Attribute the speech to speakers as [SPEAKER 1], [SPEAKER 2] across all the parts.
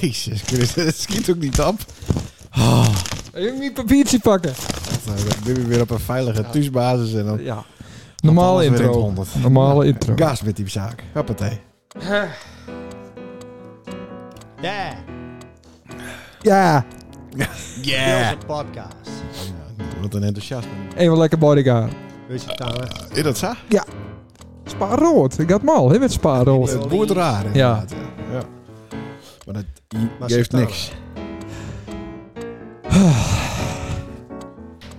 [SPEAKER 1] Jezus Christus, het schiet ook niet op.
[SPEAKER 2] Je moet niet papiertje pakken.
[SPEAKER 1] Nou, dan ben je weer op een veilige thuisbasis en dan...
[SPEAKER 2] Ja. Normale
[SPEAKER 1] alles Oh. weer in het
[SPEAKER 2] intro.
[SPEAKER 1] 100.
[SPEAKER 2] Normale intro.
[SPEAKER 1] Gas met die zaak. Hoppatee.
[SPEAKER 3] Yeah,
[SPEAKER 2] Ja.
[SPEAKER 3] yeah. Een podcast.
[SPEAKER 1] Ja, wat een enthousiasme.
[SPEAKER 2] Even lekker bodyguard.
[SPEAKER 3] Weet je het nou, hè?
[SPEAKER 1] Is dat zo?
[SPEAKER 2] Spaarrood. Ik had mal. Hè met spaarrood.
[SPEAKER 1] Het boert raar inderdaad, Ja. ja. Maar dat
[SPEAKER 3] Maar
[SPEAKER 1] geeft
[SPEAKER 3] ze staan
[SPEAKER 1] niks.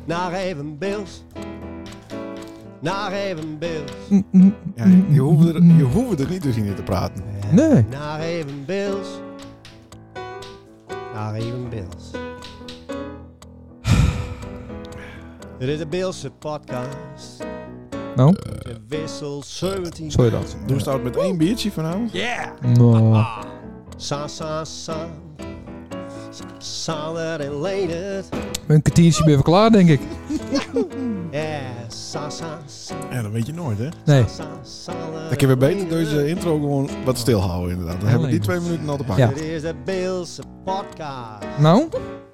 [SPEAKER 3] Naar even Bills. Naar even Bills.
[SPEAKER 2] Mm, mm,
[SPEAKER 1] Ja, je, hoeft er, je hoeft er niet doorheen in te praten.
[SPEAKER 2] Nee.
[SPEAKER 3] Naar even Bills. Naar even Bills. Dit is de Beelse podcast.
[SPEAKER 2] Nou,
[SPEAKER 3] De wissel 17.
[SPEAKER 2] zo je dat.
[SPEAKER 1] Doe het met één biertje vanavond?
[SPEAKER 3] Yeah!
[SPEAKER 2] Nou,
[SPEAKER 3] Sa, sa, sa. Sander en Leendert.
[SPEAKER 2] een kwartiertje ben je wel klaar, denk ik.
[SPEAKER 3] Yeah, sa, sa, sa.
[SPEAKER 1] Ja, dat weet je nooit, hè?
[SPEAKER 2] Nee.
[SPEAKER 3] sa, Sander
[SPEAKER 1] Dan kunnen we
[SPEAKER 3] en
[SPEAKER 1] beter
[SPEAKER 3] Leendert.
[SPEAKER 1] deze intro gewoon wat stilhouden, inderdaad. Dan hebben we die twee minuten al te pakken.
[SPEAKER 2] Ja.
[SPEAKER 3] Dit is de Beelse podcast.
[SPEAKER 2] Nou?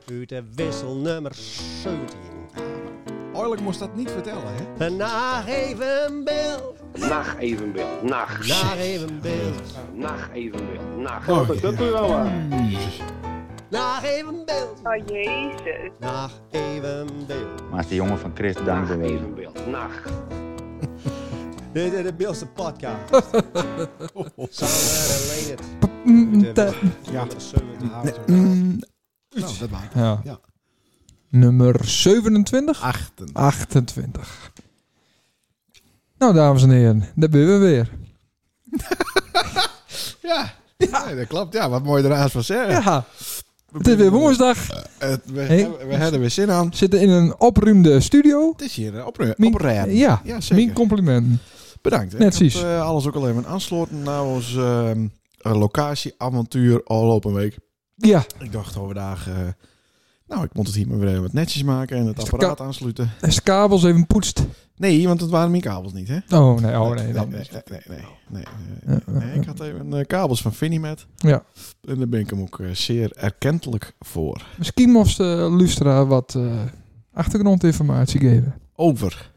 [SPEAKER 3] Uit de wissel nummer 17.
[SPEAKER 1] Eigenlijk moest dat niet vertellen, hè?
[SPEAKER 3] En Naar even Bill.
[SPEAKER 4] Nacht evenbeeld, nacht,
[SPEAKER 3] Naar even Bill.
[SPEAKER 4] nacht evenbeeld, nacht.
[SPEAKER 1] Oh,
[SPEAKER 4] Wat is dat
[SPEAKER 1] ja.
[SPEAKER 4] nou wel?
[SPEAKER 3] Naar even Bill.
[SPEAKER 5] Oh jezus.
[SPEAKER 3] Naar even Bill.
[SPEAKER 6] Maar als de jongen van Chris dank
[SPEAKER 4] Nacht
[SPEAKER 6] bewezen.
[SPEAKER 4] evenbeeld, nacht.
[SPEAKER 3] Dit is de Beelse podcast. Sander en Leendert.
[SPEAKER 2] Mm, te-
[SPEAKER 3] Ja.
[SPEAKER 2] mm,
[SPEAKER 1] Nou, dat maakt
[SPEAKER 2] Ja.
[SPEAKER 1] Ja.
[SPEAKER 2] Nummer 27?
[SPEAKER 1] achten.
[SPEAKER 2] 28. Nou, dames en heren. Daar ben we weer.
[SPEAKER 1] Ja. Nee, dat klopt. Ja, wat mooi eraan van zeggen.
[SPEAKER 2] Ja. Het is weer woensdag.
[SPEAKER 1] eh, Het- we,
[SPEAKER 2] Hey.
[SPEAKER 1] hebben- we hebben er weer zin aan.
[SPEAKER 2] We zitten in een opruimde studio.
[SPEAKER 1] Het is hier eh, opru-
[SPEAKER 2] Mien-
[SPEAKER 1] opruimen.
[SPEAKER 2] Ja,
[SPEAKER 1] ja zeker.
[SPEAKER 2] mijn complimenten.
[SPEAKER 1] Bedankt. hè.
[SPEAKER 2] Net
[SPEAKER 1] Ik heb,
[SPEAKER 2] precies.
[SPEAKER 1] eh, alles ook alleen maar aansloten na ons ehm, eh, locatieavontuur al op een week.
[SPEAKER 2] Ja,
[SPEAKER 1] Ik dacht overdag, eh nou, ik moet het hier maar weer even wat netjes maken en het
[SPEAKER 2] Is de
[SPEAKER 1] apparaat aansluiten.
[SPEAKER 2] als de kabels even poetst.
[SPEAKER 1] Nee, want het waren mijn kabels niet, hè?
[SPEAKER 2] Oh nee, oh nee.
[SPEAKER 1] nee,
[SPEAKER 2] Dan.
[SPEAKER 1] nee, nee, nee, nee, nee, nee,
[SPEAKER 2] Ja,
[SPEAKER 1] nee. Ik had even eh, kabels van Finimet.
[SPEAKER 2] Ja.
[SPEAKER 1] En daar ben ik hem ook eh, zeer erkentelijk voor.
[SPEAKER 2] Misschien moest de Lustra wat eh, achtergrondinformatie geven.
[SPEAKER 1] Over.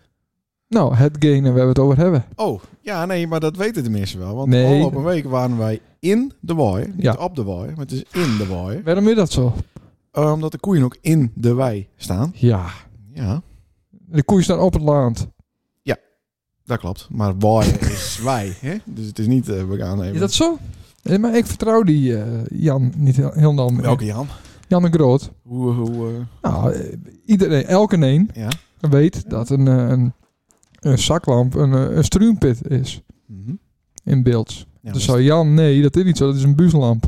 [SPEAKER 2] Nou, hetgene waar we het over hebben.
[SPEAKER 1] Oh, ja, nee, maar dat weten de mensen wel. Want
[SPEAKER 2] Nee.
[SPEAKER 1] al op een week waren wij in de wei. Niet
[SPEAKER 2] Ja.
[SPEAKER 1] op de wei, maar het is in de wei.
[SPEAKER 2] Waarom is dat zo?
[SPEAKER 1] Eh, Omdat de koeien ook in de wei staan.
[SPEAKER 2] Ja,
[SPEAKER 1] Ja,
[SPEAKER 2] de koeien staan op het land.
[SPEAKER 1] dat klopt. Maar wei is wij, hè? Dus het is niet, eh, we gaan even...
[SPEAKER 2] Is dat zo? Eh, maar ik vertrouw die eh, Jan niet heel, heel dan.
[SPEAKER 1] Welke Jan?
[SPEAKER 2] Jan de Groot.
[SPEAKER 1] Hoe, hoe, eh,
[SPEAKER 2] Nou, eh, iedereen, elke een
[SPEAKER 1] ja.
[SPEAKER 2] weet dat een, eh, een, een zaklamp een, eh, een struumpit is
[SPEAKER 1] Mhm.
[SPEAKER 2] in beeld.
[SPEAKER 1] Ja,
[SPEAKER 2] dus zou Jan, nee, dat is niet zo. Dat is een buuslamp.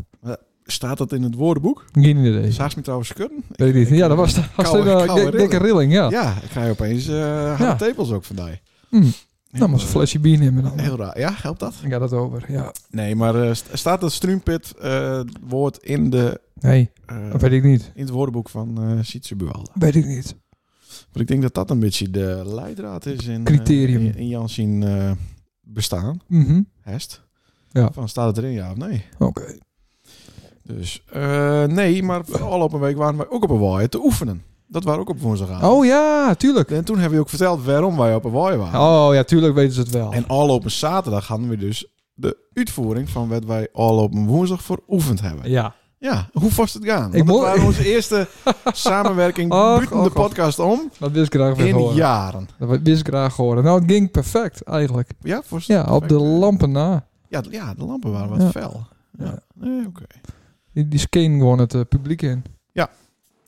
[SPEAKER 1] Staat dat in het woordenboek?
[SPEAKER 2] Geen idee.
[SPEAKER 1] Zaag me trouwens kudden?
[SPEAKER 2] Weet ik niet. Ja, dat was de
[SPEAKER 1] Koude-
[SPEAKER 2] een
[SPEAKER 1] koude
[SPEAKER 2] dikke- dikke rilling, ja.
[SPEAKER 1] Ja, ik krijg opeens eh harde
[SPEAKER 2] Ja.
[SPEAKER 1] tepels ook vandaag.
[SPEAKER 2] Mm.
[SPEAKER 1] Heel,
[SPEAKER 2] Nou, maar een
[SPEAKER 1] eh,
[SPEAKER 2] flesje bier nemen dan.
[SPEAKER 1] Heel raar. Ja, helpt dat?
[SPEAKER 2] Ik had dat over, ja.
[SPEAKER 1] Nee, maar eh, st- staat dat streampit eh, woord in, de,
[SPEAKER 2] Nee,
[SPEAKER 1] eh,
[SPEAKER 2] dat weet ik niet.
[SPEAKER 1] in het woordenboek van eh Sietse Buwalda?
[SPEAKER 2] Weet ik niet.
[SPEAKER 1] Want ik denk dat dat een beetje de leidraad is in, eh,
[SPEAKER 2] Criterium.
[SPEAKER 1] in, in Jans zien eh, bestaan.
[SPEAKER 2] Mhm.
[SPEAKER 1] Hest.
[SPEAKER 2] Ja.
[SPEAKER 1] Van staat het erin, ja of nee?
[SPEAKER 2] Oké.
[SPEAKER 1] Dus eh, nee, maar afgelopen week waren wij ook op een waaier te oefenen. Dat waren ook op woensdagavond.
[SPEAKER 2] Oh ja, tuurlijk.
[SPEAKER 1] En toen hebben we ook verteld waarom wij op een waaier waren.
[SPEAKER 2] Oh ja, tuurlijk weten ze het wel.
[SPEAKER 1] En al op een zaterdag hadden we dus de uitvoering van wat wij al op een woensdag voor oefend hebben.
[SPEAKER 2] Ja.
[SPEAKER 1] Ja, hoe vast het gaan? Want
[SPEAKER 2] Ik
[SPEAKER 1] dat
[SPEAKER 2] moet-
[SPEAKER 1] waren onze eerste samenwerking
[SPEAKER 2] Och,
[SPEAKER 1] buiten de
[SPEAKER 2] och, och.
[SPEAKER 1] podcast om
[SPEAKER 2] Dat wist ik graag weer
[SPEAKER 1] in
[SPEAKER 2] horen.
[SPEAKER 1] jaren.
[SPEAKER 2] Dat wist ik graag horen. Nou, het ging perfect eigenlijk.
[SPEAKER 1] Ja, voor
[SPEAKER 2] Ja, op de lampen na.
[SPEAKER 1] Ja, d- ja, de lampen waren wat
[SPEAKER 2] Ja.
[SPEAKER 1] fel.
[SPEAKER 2] Ja.
[SPEAKER 1] Ja, nee, oké.
[SPEAKER 2] Die, die skin gewoon het eh, publiek in.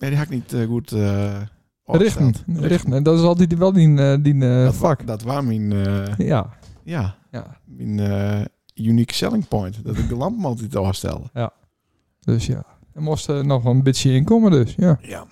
[SPEAKER 1] Nee, die had ik niet eh, goed eh,
[SPEAKER 2] Richten.
[SPEAKER 1] opgesteld.
[SPEAKER 2] Richten. En dat is altijd wel die, eh, die eh,
[SPEAKER 1] Dat, wa-
[SPEAKER 2] vak.
[SPEAKER 1] dat was mijn, eh,
[SPEAKER 2] Ja.
[SPEAKER 1] ja,
[SPEAKER 2] ja.
[SPEAKER 1] mijn eh, unique selling point. Dat ik de lamp altijd afstelde.
[SPEAKER 2] Dus ja. Er moest eh, nog wel een beetje inkomen dus. Ja.
[SPEAKER 1] Ja.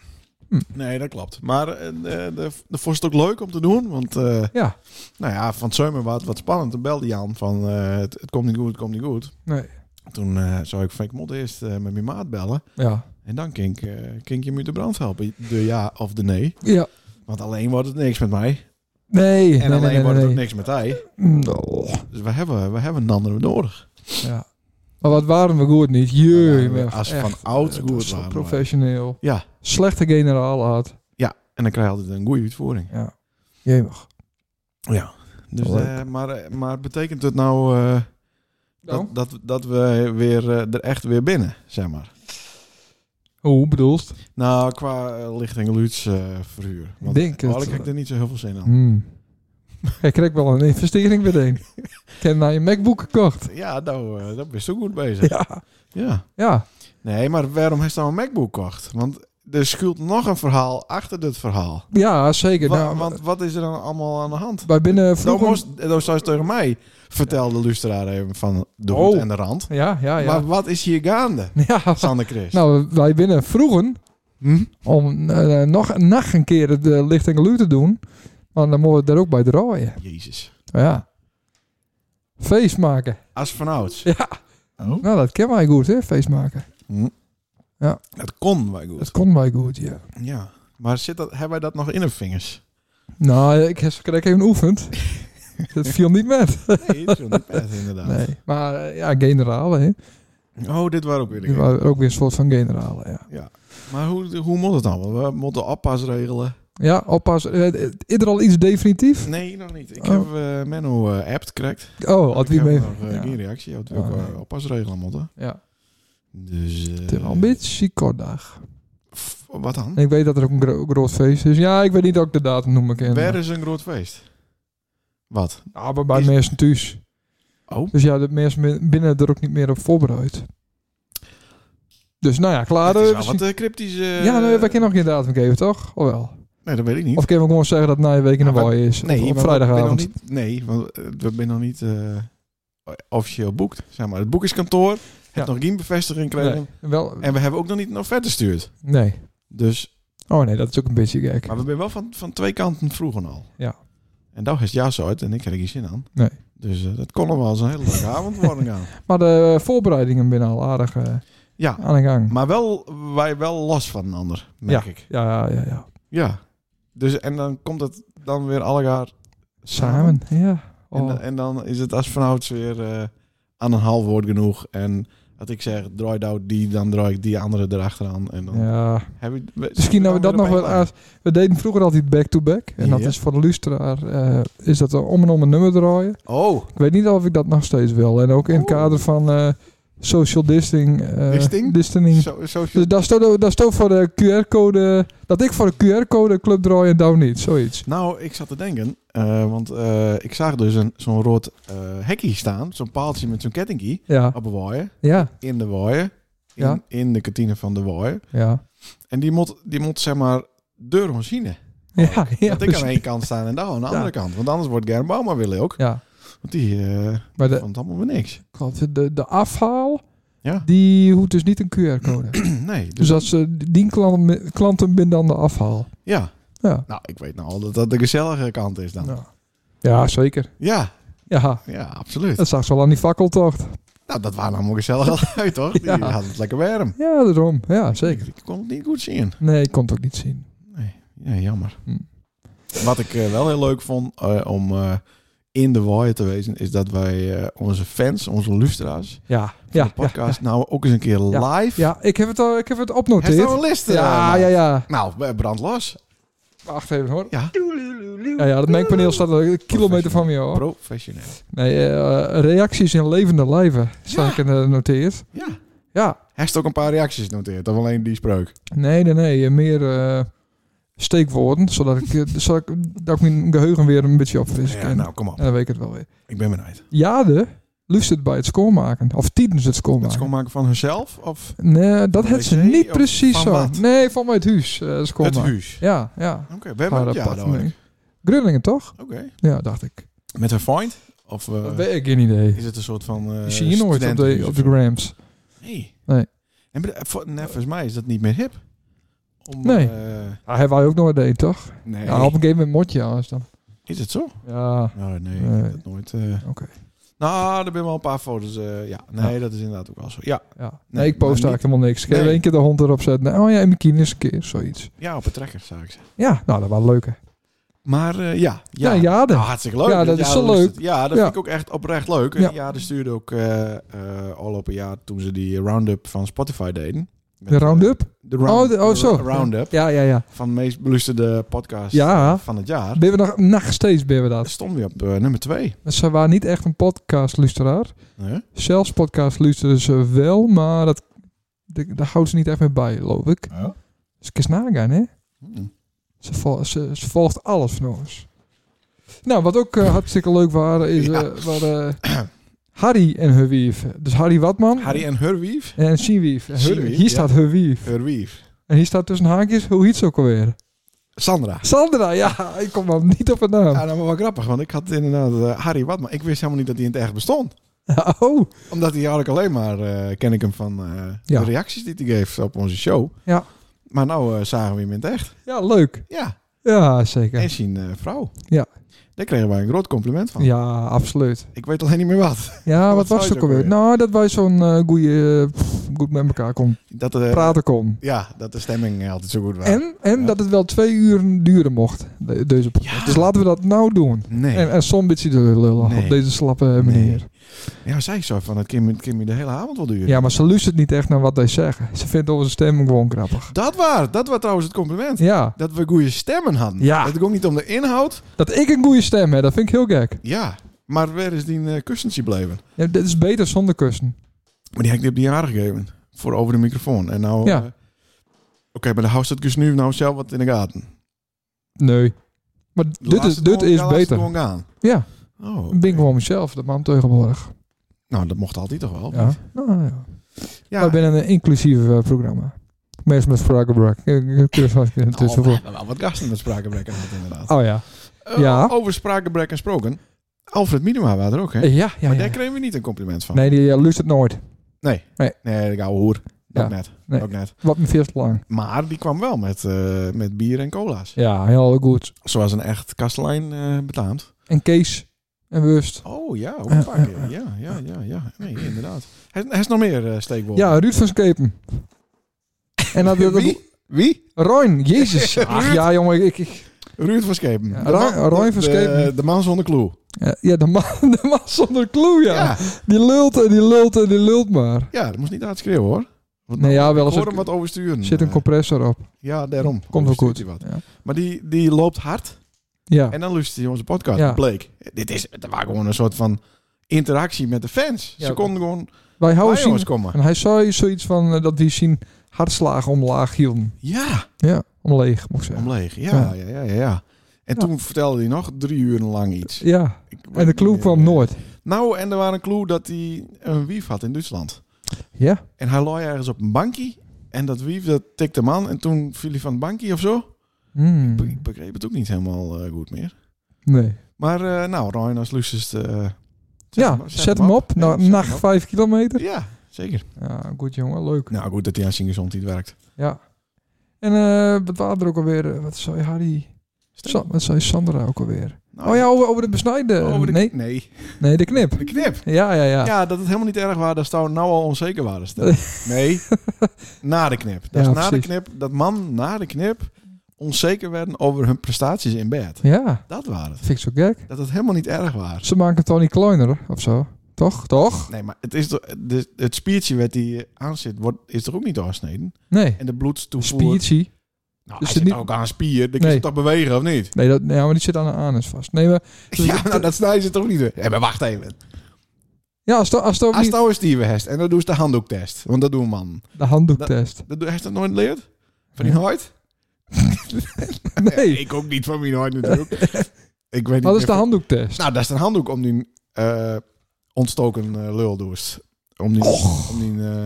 [SPEAKER 2] Hm.
[SPEAKER 1] Nee, dat klopt. Maar eh, de, de, de vond het ook leuk om te doen. Want eh,
[SPEAKER 2] Ja.
[SPEAKER 1] Nou ja, van Zeumer was het wat spannend. Toen belde Jan van eh, het, het komt niet goed, het komt niet goed.
[SPEAKER 2] Nee.
[SPEAKER 1] Toen eh zou ik van ik moet eerst eh, met mijn maat bellen.
[SPEAKER 2] Ja.
[SPEAKER 1] En dan kan ik, eh, kan ik je met de brand helpen. De ja of de nee.
[SPEAKER 2] Ja.
[SPEAKER 1] Want alleen wordt het niks met mij.
[SPEAKER 2] Nee.
[SPEAKER 1] En
[SPEAKER 2] nee,
[SPEAKER 1] alleen
[SPEAKER 2] nee, nee,
[SPEAKER 1] wordt het
[SPEAKER 2] nee.
[SPEAKER 1] ook niks met hij.
[SPEAKER 2] Mm, oh.
[SPEAKER 1] Dus we hebben, we hebben een ander nodig.
[SPEAKER 2] Ja. Maar wat waren we goed niet? Jee,
[SPEAKER 1] Ja,
[SPEAKER 2] ja,
[SPEAKER 1] als van oud goed waren
[SPEAKER 2] Zo
[SPEAKER 1] we.
[SPEAKER 2] professioneel.
[SPEAKER 1] Ja.
[SPEAKER 2] Slechte generaal had.
[SPEAKER 1] En dan krijg je altijd een goede uitvoering.
[SPEAKER 2] Ja. Jemig.
[SPEAKER 1] Ja. Dus,
[SPEAKER 2] Leuk.
[SPEAKER 1] eh, maar, eh, maar betekent het nou eh,
[SPEAKER 2] Nou,
[SPEAKER 1] dat, dat, dat we weer, eh, er echt weer binnen, zeg maar?
[SPEAKER 2] hoe bedoelst?
[SPEAKER 1] Nou, qua eh, lichting luids eh verhuur.
[SPEAKER 2] Ik denk het.
[SPEAKER 1] al heb ik er niet zo heel veel zin aan.
[SPEAKER 2] Hmm. Hij kreeg wel een investering meteen. Ik heb naar je MacBook gekocht.
[SPEAKER 1] Ja, nou, eh daar ben je zo goed bezig.
[SPEAKER 2] Ja.
[SPEAKER 1] ja.
[SPEAKER 2] Ja.
[SPEAKER 1] Nee, maar waarom heeft hij nou een MacBook gekocht? Want er schuilt nog een verhaal achter dit verhaal.
[SPEAKER 2] Ja, zeker.
[SPEAKER 1] Wa-
[SPEAKER 2] nou,
[SPEAKER 1] want wat is er dan allemaal aan de hand?
[SPEAKER 2] wij binnen
[SPEAKER 1] Dan
[SPEAKER 2] vroeger...
[SPEAKER 1] moest, dan zou ze tegen mij vertelde Lustraar even van de
[SPEAKER 2] Oh.
[SPEAKER 1] hoed en de rand.
[SPEAKER 2] Ja, ja, ja.
[SPEAKER 1] Maar wat is hier gaande,
[SPEAKER 2] ja.
[SPEAKER 1] Sander Chris?
[SPEAKER 2] Nou, wij binnen vroegen
[SPEAKER 1] Hm?
[SPEAKER 2] om eh, nog, nog een keer de lichting luid te doen. Want dan moeten we er ook bij draaien.
[SPEAKER 1] Jezus.
[SPEAKER 2] Ja. Feest maken.
[SPEAKER 1] Als vanouds.
[SPEAKER 2] Ja.
[SPEAKER 1] Oh.
[SPEAKER 2] Nou, dat ken wij goed, hè? Feest maken.
[SPEAKER 1] Hm.
[SPEAKER 2] Ja.
[SPEAKER 1] Dat kon wij goed.
[SPEAKER 2] Dat kon wij goed, ja.
[SPEAKER 1] Ja. Maar zit dat, hebben wij dat nog in de vingers?
[SPEAKER 2] Nou, ik heb ik even oefend. dat viel niet met.
[SPEAKER 1] Nee, dat is niet bad, inderdaad.
[SPEAKER 2] Nee. Maar eh, ja, generalen, hè?
[SPEAKER 1] Oh, dit waren ook weer de
[SPEAKER 2] Die waren ook weer een soort van generalen, ja.
[SPEAKER 1] Maar hoe, hoe moet het dan? We moeten oppas regelen.
[SPEAKER 2] Ja, oppassen. Eh, is er al iets definitief?
[SPEAKER 1] Nee, nog niet. Ik
[SPEAKER 2] Oh.
[SPEAKER 1] heb eh Menno eh appt correct.
[SPEAKER 2] Oh, had wie
[SPEAKER 1] Ik heb
[SPEAKER 2] mee?
[SPEAKER 1] nog, eh,
[SPEAKER 2] Ja.
[SPEAKER 1] geen reactie. Had ook
[SPEAKER 2] Oh,
[SPEAKER 1] eh,
[SPEAKER 2] nee.
[SPEAKER 1] oppas regelen moeten.
[SPEAKER 2] Ja.
[SPEAKER 1] Dus... eh,
[SPEAKER 2] Het is wel een beetje kort dag.
[SPEAKER 1] f- Wat dan?
[SPEAKER 2] En ik weet dat er ook een gro- groot feest is. Ja, ik weet niet dat ik de datum noemen kan.
[SPEAKER 1] Waar is een groot feest? Wat?
[SPEAKER 2] Ah, maar bij
[SPEAKER 1] Is-
[SPEAKER 2] mensen thuis.
[SPEAKER 1] Oh.
[SPEAKER 2] Dus ja, de mensen bin- binnen er ook niet meer op voorbereid. Dus nou ja, klaar.
[SPEAKER 1] Het is
[SPEAKER 2] eh,
[SPEAKER 1] wel
[SPEAKER 2] misschien-
[SPEAKER 1] wat eh, cryptisch. eh,
[SPEAKER 2] ja, nee, wij kunnen nog geen datum geven, toch? Of wel?
[SPEAKER 1] Nee, dat weet ik niet.
[SPEAKER 2] Of kunnen we gewoon zeggen dat het na je week in de
[SPEAKER 1] Nou,
[SPEAKER 2] waai is?
[SPEAKER 1] nee,
[SPEAKER 2] Nee, op
[SPEAKER 1] maar we zijn
[SPEAKER 2] vrijdagavond.
[SPEAKER 1] nog niet- nee, want eh, we zijn nog niet eh, officieel boekt. Zeg maar, het boekingskantoor heeft
[SPEAKER 2] Ja.
[SPEAKER 1] nog geen bevestiging gekregen.
[SPEAKER 2] Wel,
[SPEAKER 1] En we hebben ook nog niet een offerte gestuurd.
[SPEAKER 2] nee.
[SPEAKER 1] Dus,
[SPEAKER 2] Oh nee, dat is ook een beetje gek.
[SPEAKER 1] maar we zijn wel van, van twee kanten vroeger al.
[SPEAKER 2] Ja.
[SPEAKER 1] En daar is ja zo uit en ik heb er geen zin aan.
[SPEAKER 2] Nee.
[SPEAKER 1] Dus eh, dat kon nog wel eens een hele lange avond worden gaan.
[SPEAKER 2] Maar de voorbereidingen binnen al aardig eh,
[SPEAKER 1] Ja,
[SPEAKER 2] aan de gang.
[SPEAKER 1] maar wel, wij wel los van een ander, merk ik.
[SPEAKER 2] Ja, ja, ja.
[SPEAKER 1] Ja. Dus, en dan komt het dan weer allegaar
[SPEAKER 2] Samen, ja.
[SPEAKER 1] En,
[SPEAKER 2] Oh.
[SPEAKER 1] dan- en dan is het als vanouds weer eh, aan een half woord genoeg. En dat ik zeg, draai nou die, dan draai ik die andere erachteraan. En dan
[SPEAKER 2] Ja,
[SPEAKER 1] heb ik, we-
[SPEAKER 2] misschien dat we dat
[SPEAKER 1] dan
[SPEAKER 2] nog
[SPEAKER 1] weer
[SPEAKER 2] wel
[SPEAKER 1] op één
[SPEAKER 2] aan. We deden vroeger altijd back-to-back. En dat
[SPEAKER 1] Ja.
[SPEAKER 2] is voor de luisteraar, eh, is dat om en om een nummer draaien.
[SPEAKER 1] lijn. Oh,
[SPEAKER 2] Ik weet niet of ik dat nog steeds wil. En ook in het
[SPEAKER 1] Oeh.
[SPEAKER 2] kader van eh, social disting, eh,
[SPEAKER 1] Disting?
[SPEAKER 2] distancing.
[SPEAKER 1] zo, zo
[SPEAKER 2] Dus daar stond, daar stond voor de QR-code... Dat ik voor de QR-code club draai en down niet. Zoiets.
[SPEAKER 1] Nou, ik zat te denken, eh, want eh, ik zag dus een, zo'n rood eh hekje staan. Zo'n paaltje met zo'n kettingkie
[SPEAKER 2] Ja.
[SPEAKER 1] op een waaier.
[SPEAKER 2] Ja.
[SPEAKER 1] In de waaier. In,
[SPEAKER 2] Ja.
[SPEAKER 1] in de kantine van de waaier.
[SPEAKER 2] Ja.
[SPEAKER 1] En die moet, die moet zeg maar, deur ons zien.
[SPEAKER 2] Ja. Ja.
[SPEAKER 1] Oh, dat ik
[SPEAKER 2] precies.
[SPEAKER 1] aan één kant staan en daar aan de andere kant. Want anders wordt Gerrit Bouma willen ook.
[SPEAKER 2] ja.
[SPEAKER 1] Want die eh
[SPEAKER 2] Maar de,
[SPEAKER 1] vond het allemaal weer niks.
[SPEAKER 2] klopt, de, de afhaal,
[SPEAKER 1] Ja.
[SPEAKER 2] die hoeft dus niet een QR-code.
[SPEAKER 1] Nee, dus
[SPEAKER 2] dus als ze die klanten, klanten binnen dan de afhaal.
[SPEAKER 1] ja.
[SPEAKER 2] Dus- Ja.
[SPEAKER 1] Nou, ik weet nou al dat dat de gezellige kant is dan. Ja,
[SPEAKER 2] Ja. Ja, zeker.
[SPEAKER 1] ja,
[SPEAKER 2] Ja.
[SPEAKER 1] absoluut.
[SPEAKER 2] Dat zag ze al aan die fakkeltocht.
[SPEAKER 1] Nou, dat waren allemaal gezellig uit, toch? Die
[SPEAKER 2] Ja.
[SPEAKER 1] hadden het lekker warm.
[SPEAKER 2] Ja, daarom. Ja, zeker.
[SPEAKER 1] Ik kon het niet goed zien.
[SPEAKER 2] Nee, ik kon het ook niet zien.
[SPEAKER 1] Nee, ja, jammer.
[SPEAKER 2] Hm.
[SPEAKER 1] Wat ik eh, wel heel leuk vond eh, om eh, in de waaier te wezen, is dat wij eh, onze fans, onze lustra's,
[SPEAKER 2] Ja.
[SPEAKER 1] de
[SPEAKER 2] Ja. ja.
[SPEAKER 1] podcast, nou ook eens een keer
[SPEAKER 2] Ja.
[SPEAKER 1] live.
[SPEAKER 2] Ja, ik heb het, al, ik heb het
[SPEAKER 1] Heeft
[SPEAKER 2] opnoteerd.
[SPEAKER 1] nou een list? eh,
[SPEAKER 2] ja,
[SPEAKER 1] man?
[SPEAKER 2] ja, ja.
[SPEAKER 1] Nou, eh, brand los.
[SPEAKER 2] Wacht even hoor.
[SPEAKER 1] Ja.
[SPEAKER 2] Ja, ja dat mengpaneel staat al een kilometer van me hoor.
[SPEAKER 1] Professioneel.
[SPEAKER 2] Nee, eh, reacties in levende lijven, zag ik eh, noteerd.
[SPEAKER 1] Ja.
[SPEAKER 2] Ja.
[SPEAKER 1] Hij heeft ook een paar reacties noteerd, of alleen die spreuk.
[SPEAKER 2] Nee, nee, nee. eh, Meer eh, steekwoorden, zodat ik, eh, zodat ik, dat ik mijn geheugen weer een beetje opfris
[SPEAKER 1] Ja,
[SPEAKER 2] ken.
[SPEAKER 1] nou, kom op.
[SPEAKER 2] En dan weet Dus ik eh, het wel weer.
[SPEAKER 1] Ik ben benieuwd.
[SPEAKER 2] Jade luistert bij het schoonmaken. Of tijdens het
[SPEAKER 1] Dat
[SPEAKER 2] schoonmaken.
[SPEAKER 1] ze kon maken van hunzelf of
[SPEAKER 2] nee, dat
[SPEAKER 1] Van
[SPEAKER 2] had ze
[SPEAKER 1] wc
[SPEAKER 2] niet
[SPEAKER 1] of
[SPEAKER 2] precies
[SPEAKER 1] van
[SPEAKER 2] zo.
[SPEAKER 1] wat?
[SPEAKER 2] Nee, van mij het huis. eh, het
[SPEAKER 1] het
[SPEAKER 2] schoonmaken.
[SPEAKER 1] huis?
[SPEAKER 2] Ja, ja.
[SPEAKER 1] Oké, we hebben
[SPEAKER 2] Haar
[SPEAKER 1] het ja, dan
[SPEAKER 2] appartement.
[SPEAKER 1] hoor ik.
[SPEAKER 2] Groningen toch?
[SPEAKER 1] Oké.
[SPEAKER 2] Ja, dacht ik.
[SPEAKER 1] Met een vriend? Of eh,
[SPEAKER 2] Dat weet ik geen idee.
[SPEAKER 1] is het een soort van... eh
[SPEAKER 2] Ik zie je nooit op de,
[SPEAKER 1] studentenhuis
[SPEAKER 2] op
[SPEAKER 1] of
[SPEAKER 2] de
[SPEAKER 1] zo?
[SPEAKER 2] grams.
[SPEAKER 1] Nee.
[SPEAKER 2] Nee.
[SPEAKER 1] En bede- voor- nee, volgens mij is dat niet meer hip. Om,
[SPEAKER 2] Nee.
[SPEAKER 1] eh,
[SPEAKER 2] Ah, hebben wij ook nooit deed, toch?
[SPEAKER 1] nee.
[SPEAKER 2] Ja, op een gegeven moment motje anders dan.
[SPEAKER 1] Is het zo?
[SPEAKER 2] Ja,
[SPEAKER 1] Nou, nee,
[SPEAKER 2] Nee.
[SPEAKER 1] ik heb dat nooit... eh.
[SPEAKER 2] Oké.
[SPEAKER 1] Nou, er zijn wel een paar foto's. eh, ja, nee, dat is inderdaad ook wel zo. Ja,
[SPEAKER 2] ja. Nee,
[SPEAKER 1] Nee,
[SPEAKER 2] ik post
[SPEAKER 1] maar
[SPEAKER 2] eigenlijk helemaal niks. Ik heb
[SPEAKER 1] Nee.
[SPEAKER 2] één keer de hond erop zetten. Oh ja, in mijn kines een keer, zoiets.
[SPEAKER 1] ja op een trekker, zou ik zeggen.
[SPEAKER 2] Ja, nou, dat was leuker.
[SPEAKER 1] Maar eh, ja, ja.
[SPEAKER 2] Ja, Jade.
[SPEAKER 1] Nou, hartstikke leuk.
[SPEAKER 2] Ja, dat is zo
[SPEAKER 1] dan
[SPEAKER 2] leuk.
[SPEAKER 1] het. Ja, dat
[SPEAKER 2] Ja.
[SPEAKER 1] vind ik ook echt oprecht leuk.
[SPEAKER 2] Ja.
[SPEAKER 1] Ja, de stuurde ook eh eh al op een jaar toen ze die roundup van Spotify deden. Met,
[SPEAKER 2] De
[SPEAKER 1] eh,
[SPEAKER 2] round-up?
[SPEAKER 1] De round,
[SPEAKER 2] Oh, de- oh, zo.
[SPEAKER 1] roundup
[SPEAKER 2] Ja, ja, ja.
[SPEAKER 1] van de meest beluisterde podcast
[SPEAKER 2] Ja.
[SPEAKER 1] van het jaar.
[SPEAKER 2] Ben we nog, nog steeds ben we dat.
[SPEAKER 1] Stonden we op eh, nummer twee.
[SPEAKER 2] Ze waren niet echt een podcastluisteraar.
[SPEAKER 1] Hè?
[SPEAKER 2] Zelfs podcast luisteren ze wel, maar dat, de- daar houdt ze niet echt mee bij, geloof ik. Dus ik is nagaan, hè?
[SPEAKER 1] Hm.
[SPEAKER 2] Ze, vol- ze, ze volgt alles van ons. Nou, wat ook eh, hartstikke leuk waren, is
[SPEAKER 1] Ja.
[SPEAKER 2] eh, waren, eh, Harry en haar wief. Dus Harry Watman
[SPEAKER 1] Harry en Hurwief.
[SPEAKER 2] en zijn wief. En
[SPEAKER 1] Zijn
[SPEAKER 2] haar-
[SPEAKER 1] wief,
[SPEAKER 2] Hier
[SPEAKER 1] ja.
[SPEAKER 2] staat haar wief.
[SPEAKER 1] Hurwief.
[SPEAKER 2] En hier staat tussen haakjes, hoe heet ze ook alweer?
[SPEAKER 1] Sandra.
[SPEAKER 2] Sandra, ja, ik kom wel niet op het naam.
[SPEAKER 1] Ja, dat was wel grappig, want ik had inderdaad eh, Harry Watman. Ik wist helemaal niet dat hij in het echt bestond.
[SPEAKER 2] Oh,
[SPEAKER 1] Omdat hij eigenlijk alleen maar eh, ken ik hem van eh,
[SPEAKER 2] Ja.
[SPEAKER 1] de reacties die hij geeft op onze show.
[SPEAKER 2] Ja.
[SPEAKER 1] Maar nou eh, zagen we hem in het echt.
[SPEAKER 2] ja, leuk.
[SPEAKER 1] Ja.
[SPEAKER 2] Ja, zeker.
[SPEAKER 1] En zijn eh, vrouw.
[SPEAKER 2] Ja.
[SPEAKER 1] Daar kregen wij een groot compliment van.
[SPEAKER 2] Ja, absoluut.
[SPEAKER 1] Ik weet alleen niet meer wat.
[SPEAKER 2] Ja,
[SPEAKER 1] Wat
[SPEAKER 2] wat
[SPEAKER 1] zei
[SPEAKER 2] was
[SPEAKER 1] ze
[SPEAKER 2] het ook
[SPEAKER 1] ook
[SPEAKER 2] alweer?
[SPEAKER 1] alweer?
[SPEAKER 2] Nou, dat wij zo'n eh goede, goed met elkaar kon
[SPEAKER 1] Dat, eh,
[SPEAKER 2] praten kon.
[SPEAKER 1] ja, dat de stemming eh, altijd zo goed was.
[SPEAKER 2] En, en
[SPEAKER 1] Ja.
[SPEAKER 2] dat het wel twee uur duren mocht, de- deze podcast.
[SPEAKER 1] Ja.
[SPEAKER 2] Dus laten we dat nou doen.
[SPEAKER 1] Nee.
[SPEAKER 2] En, en zo'n beetje de lullen
[SPEAKER 1] Nee.
[SPEAKER 2] op deze slappe manier.
[SPEAKER 1] Ja, zei ik zo van, het Kim, Kim de hele avond wel duren.
[SPEAKER 2] Ja, maar ze luistert niet echt naar wat wij zeggen. Ze vindt onze stem gewoon grappig.
[SPEAKER 1] Dat waar. Dat was trouwens het compliment.
[SPEAKER 2] Ja,
[SPEAKER 1] Dat we goede stemmen hadden.
[SPEAKER 2] Ja.
[SPEAKER 1] Het ging niet om de inhoud.
[SPEAKER 2] dat ik een goede stem heb, dat vind ik heel gek.
[SPEAKER 1] Ja. Maar waar is die eh kussentje bleven?
[SPEAKER 2] Ja, dit is beter zonder kussen.
[SPEAKER 1] Maar die heb ik op die jaren gegeven. Voor over de microfoon. En nou...
[SPEAKER 2] Ja.
[SPEAKER 1] eh, Oké, maar de houdt het dus nu nou zelf wat in de gaten.
[SPEAKER 2] Nee. Maar dit
[SPEAKER 1] Laat
[SPEAKER 2] is,
[SPEAKER 1] ze
[SPEAKER 2] dit
[SPEAKER 1] gewoon- ja,
[SPEAKER 2] is
[SPEAKER 1] laat ze
[SPEAKER 2] beter.
[SPEAKER 1] gewoon gaan.
[SPEAKER 2] Ja,
[SPEAKER 1] Oh, oké.
[SPEAKER 2] ik ben gewoon mezelf, de man tegenwoordig.
[SPEAKER 1] Nou, dat mocht altijd toch wel?
[SPEAKER 2] Ja. Nou, ja.
[SPEAKER 1] ja.
[SPEAKER 2] We zijn een inclusief eh, programma. Mensen met spraakgebrek. Ik- ik- ik- ik-
[SPEAKER 1] Nou,
[SPEAKER 2] tussen
[SPEAKER 1] we
[SPEAKER 2] voor.
[SPEAKER 1] hebben wel wat gasten met sprakenbrek gehad, inderdaad.
[SPEAKER 2] Oh ja.
[SPEAKER 1] Eh,
[SPEAKER 2] ja.
[SPEAKER 1] Over sprakenbrek en gesproken. Alfred Minima was er ook, hè?
[SPEAKER 2] Eh, Ja, ja,
[SPEAKER 1] Maar
[SPEAKER 2] ja.
[SPEAKER 1] daar kregen we niet een compliment van.
[SPEAKER 2] Nee, die eh, luistert nooit.
[SPEAKER 1] Nee, de oude hoer. Dat
[SPEAKER 2] Ja.
[SPEAKER 1] net.
[SPEAKER 2] Nee.
[SPEAKER 1] Ook net.
[SPEAKER 2] Wat me veel te lang.
[SPEAKER 1] Maar die kwam wel met, eh, met bier en cola's.
[SPEAKER 2] Ja, heel goed.
[SPEAKER 1] Zoals een echt kastelein eh betaamt.
[SPEAKER 2] En Kees. En Wust.
[SPEAKER 1] Oh ja, ook
[SPEAKER 2] Eh,
[SPEAKER 1] een paar
[SPEAKER 2] eh,
[SPEAKER 1] keer.
[SPEAKER 2] eh.
[SPEAKER 1] Ja, ja, ja, ja. Nee, inderdaad. Hij hij is nog meer eh, steekwoorden.
[SPEAKER 2] Ja, Ruud van Skepen. En dat, dat, dat,
[SPEAKER 1] Wie? Wie?
[SPEAKER 2] Roin, jezus. Ach
[SPEAKER 1] Ruud.
[SPEAKER 2] ja, jongen. Ik, ik-
[SPEAKER 1] Ruud van Schepen.
[SPEAKER 2] Ja,
[SPEAKER 1] De
[SPEAKER 2] Roy-
[SPEAKER 1] man-
[SPEAKER 2] Roy
[SPEAKER 1] de-
[SPEAKER 2] van
[SPEAKER 1] de-
[SPEAKER 2] Schepen.
[SPEAKER 1] De man zonder clue.
[SPEAKER 2] ja, ja, de man, de man zonder clue, ja.
[SPEAKER 1] Ja,
[SPEAKER 2] Die lult en die lult en die lult maar.
[SPEAKER 1] ja dat moest niet uitschreeuwen hoor. Want
[SPEAKER 2] Nee, ja, wel
[SPEAKER 1] nou? ik
[SPEAKER 2] eens
[SPEAKER 1] hoor
[SPEAKER 2] een-
[SPEAKER 1] hem wat oversturen.
[SPEAKER 2] Zit een
[SPEAKER 1] Eh,
[SPEAKER 2] compressor op.
[SPEAKER 1] Ja, daarom.
[SPEAKER 2] Komt wel
[SPEAKER 1] Overstuurt
[SPEAKER 2] goed.
[SPEAKER 1] hij wat.
[SPEAKER 2] Ja.
[SPEAKER 1] Maar die, die loopt hard.
[SPEAKER 2] ja.
[SPEAKER 1] En dan luistert hij onze podcast.
[SPEAKER 2] Ja.
[SPEAKER 1] Bleek. Dit is, het was gewoon een soort van interactie met de fans.
[SPEAKER 2] Ja,
[SPEAKER 1] Ze
[SPEAKER 2] oké.
[SPEAKER 1] konden gewoon
[SPEAKER 2] Wij houden
[SPEAKER 1] bij
[SPEAKER 2] zien.
[SPEAKER 1] ons komen.
[SPEAKER 2] En hij zei zoiets van eh, dat we zien hartslagen omlaag hielden.
[SPEAKER 1] Ja,
[SPEAKER 2] Ja, omleeg, moet ik zeggen.
[SPEAKER 1] omleeg. Ja,
[SPEAKER 2] Ja.
[SPEAKER 1] ja, ja, ja. ja. En
[SPEAKER 2] Ja.
[SPEAKER 1] toen vertelde hij nog drie uren lang iets.
[SPEAKER 2] Ja,
[SPEAKER 1] Ik weet
[SPEAKER 2] en de
[SPEAKER 1] niet
[SPEAKER 2] clue
[SPEAKER 1] meer.
[SPEAKER 2] kwam nooit.
[SPEAKER 1] Nou, en er was een clue dat hij een wief had in Duitsland.
[SPEAKER 2] Ja,
[SPEAKER 1] En hij lag ergens op een bankje. En dat wief, dat tikte hem aan. En toen viel hij van het bankje of zo.
[SPEAKER 2] Hmm.
[SPEAKER 1] Ik begreep het ook niet helemaal eh, goed meer.
[SPEAKER 2] nee.
[SPEAKER 1] Maar eh, nou, Ryan als Lucis... eh
[SPEAKER 2] Ja, zet hem op.
[SPEAKER 1] Ja,
[SPEAKER 2] Na,
[SPEAKER 1] zet
[SPEAKER 2] nacht
[SPEAKER 1] hem op.
[SPEAKER 2] vijf kilometer.
[SPEAKER 1] Ja, zeker.
[SPEAKER 2] Ja, goed jongen, leuk.
[SPEAKER 1] Nou, goed dat hij aan zijn gezondheid werkt.
[SPEAKER 2] Ja. En eh wat waren er ook alweer? eh, Wat zei Harry? Sa- wat zei Sandra ook alweer?
[SPEAKER 1] Nou,
[SPEAKER 2] Oh ja, over, over de besnijden.
[SPEAKER 1] over de,
[SPEAKER 2] nee,
[SPEAKER 1] nee,
[SPEAKER 2] nee, de knip.
[SPEAKER 1] de knip.
[SPEAKER 2] Ja, ja, ja.
[SPEAKER 1] Ja.
[SPEAKER 2] Ja,
[SPEAKER 1] dat het helemaal niet erg was dat ze nou al onzeker waren. stel. Nee, na de knip. Dat
[SPEAKER 2] Ja,
[SPEAKER 1] is na de
[SPEAKER 2] precies.
[SPEAKER 1] knip, dat man na de knip onzeker werden over hun prestaties in bed. Dat waren het.
[SPEAKER 2] vind ik zo gek.
[SPEAKER 1] Dat het helemaal niet erg was.
[SPEAKER 2] Ze maken het toch niet kleiner, of zo? Toch? Toch?
[SPEAKER 1] Nee, maar het, is toch- de, het spiertje wat hij aan zit, wordt, is toch ook niet afgesneden?
[SPEAKER 2] Nee.
[SPEAKER 1] En de bloedstoevoer...
[SPEAKER 2] Spiertje.
[SPEAKER 1] Nou,
[SPEAKER 2] Dus
[SPEAKER 1] hij
[SPEAKER 2] het
[SPEAKER 1] zit
[SPEAKER 2] niet-
[SPEAKER 1] ook aan een spier, dan kan
[SPEAKER 2] Nee.
[SPEAKER 1] je toch bewegen, of niet?
[SPEAKER 2] Nee, dat, nee, maar die zit aan de anus vast. Nee, maar
[SPEAKER 1] Ja, nou, dat snijden ze toch niet? door? Ja, maar wacht even.
[SPEAKER 2] ja, als, to- als, to-
[SPEAKER 1] Als nou een stieven hebt en dan doe ze de handdoektest. Want dat doen man.
[SPEAKER 2] de handdoektest.
[SPEAKER 1] Dat doe, heeft dat nooit geleerd? Van die hart?
[SPEAKER 2] Nee,
[SPEAKER 1] Ik ook niet van mijn hart natuurlijk. ik weet niet
[SPEAKER 2] wat is de
[SPEAKER 1] meer-
[SPEAKER 2] handdoektest?
[SPEAKER 1] Nou, dat is een handdoek om die eh, ontstoken eh, luldoest. Om die... Om die eh,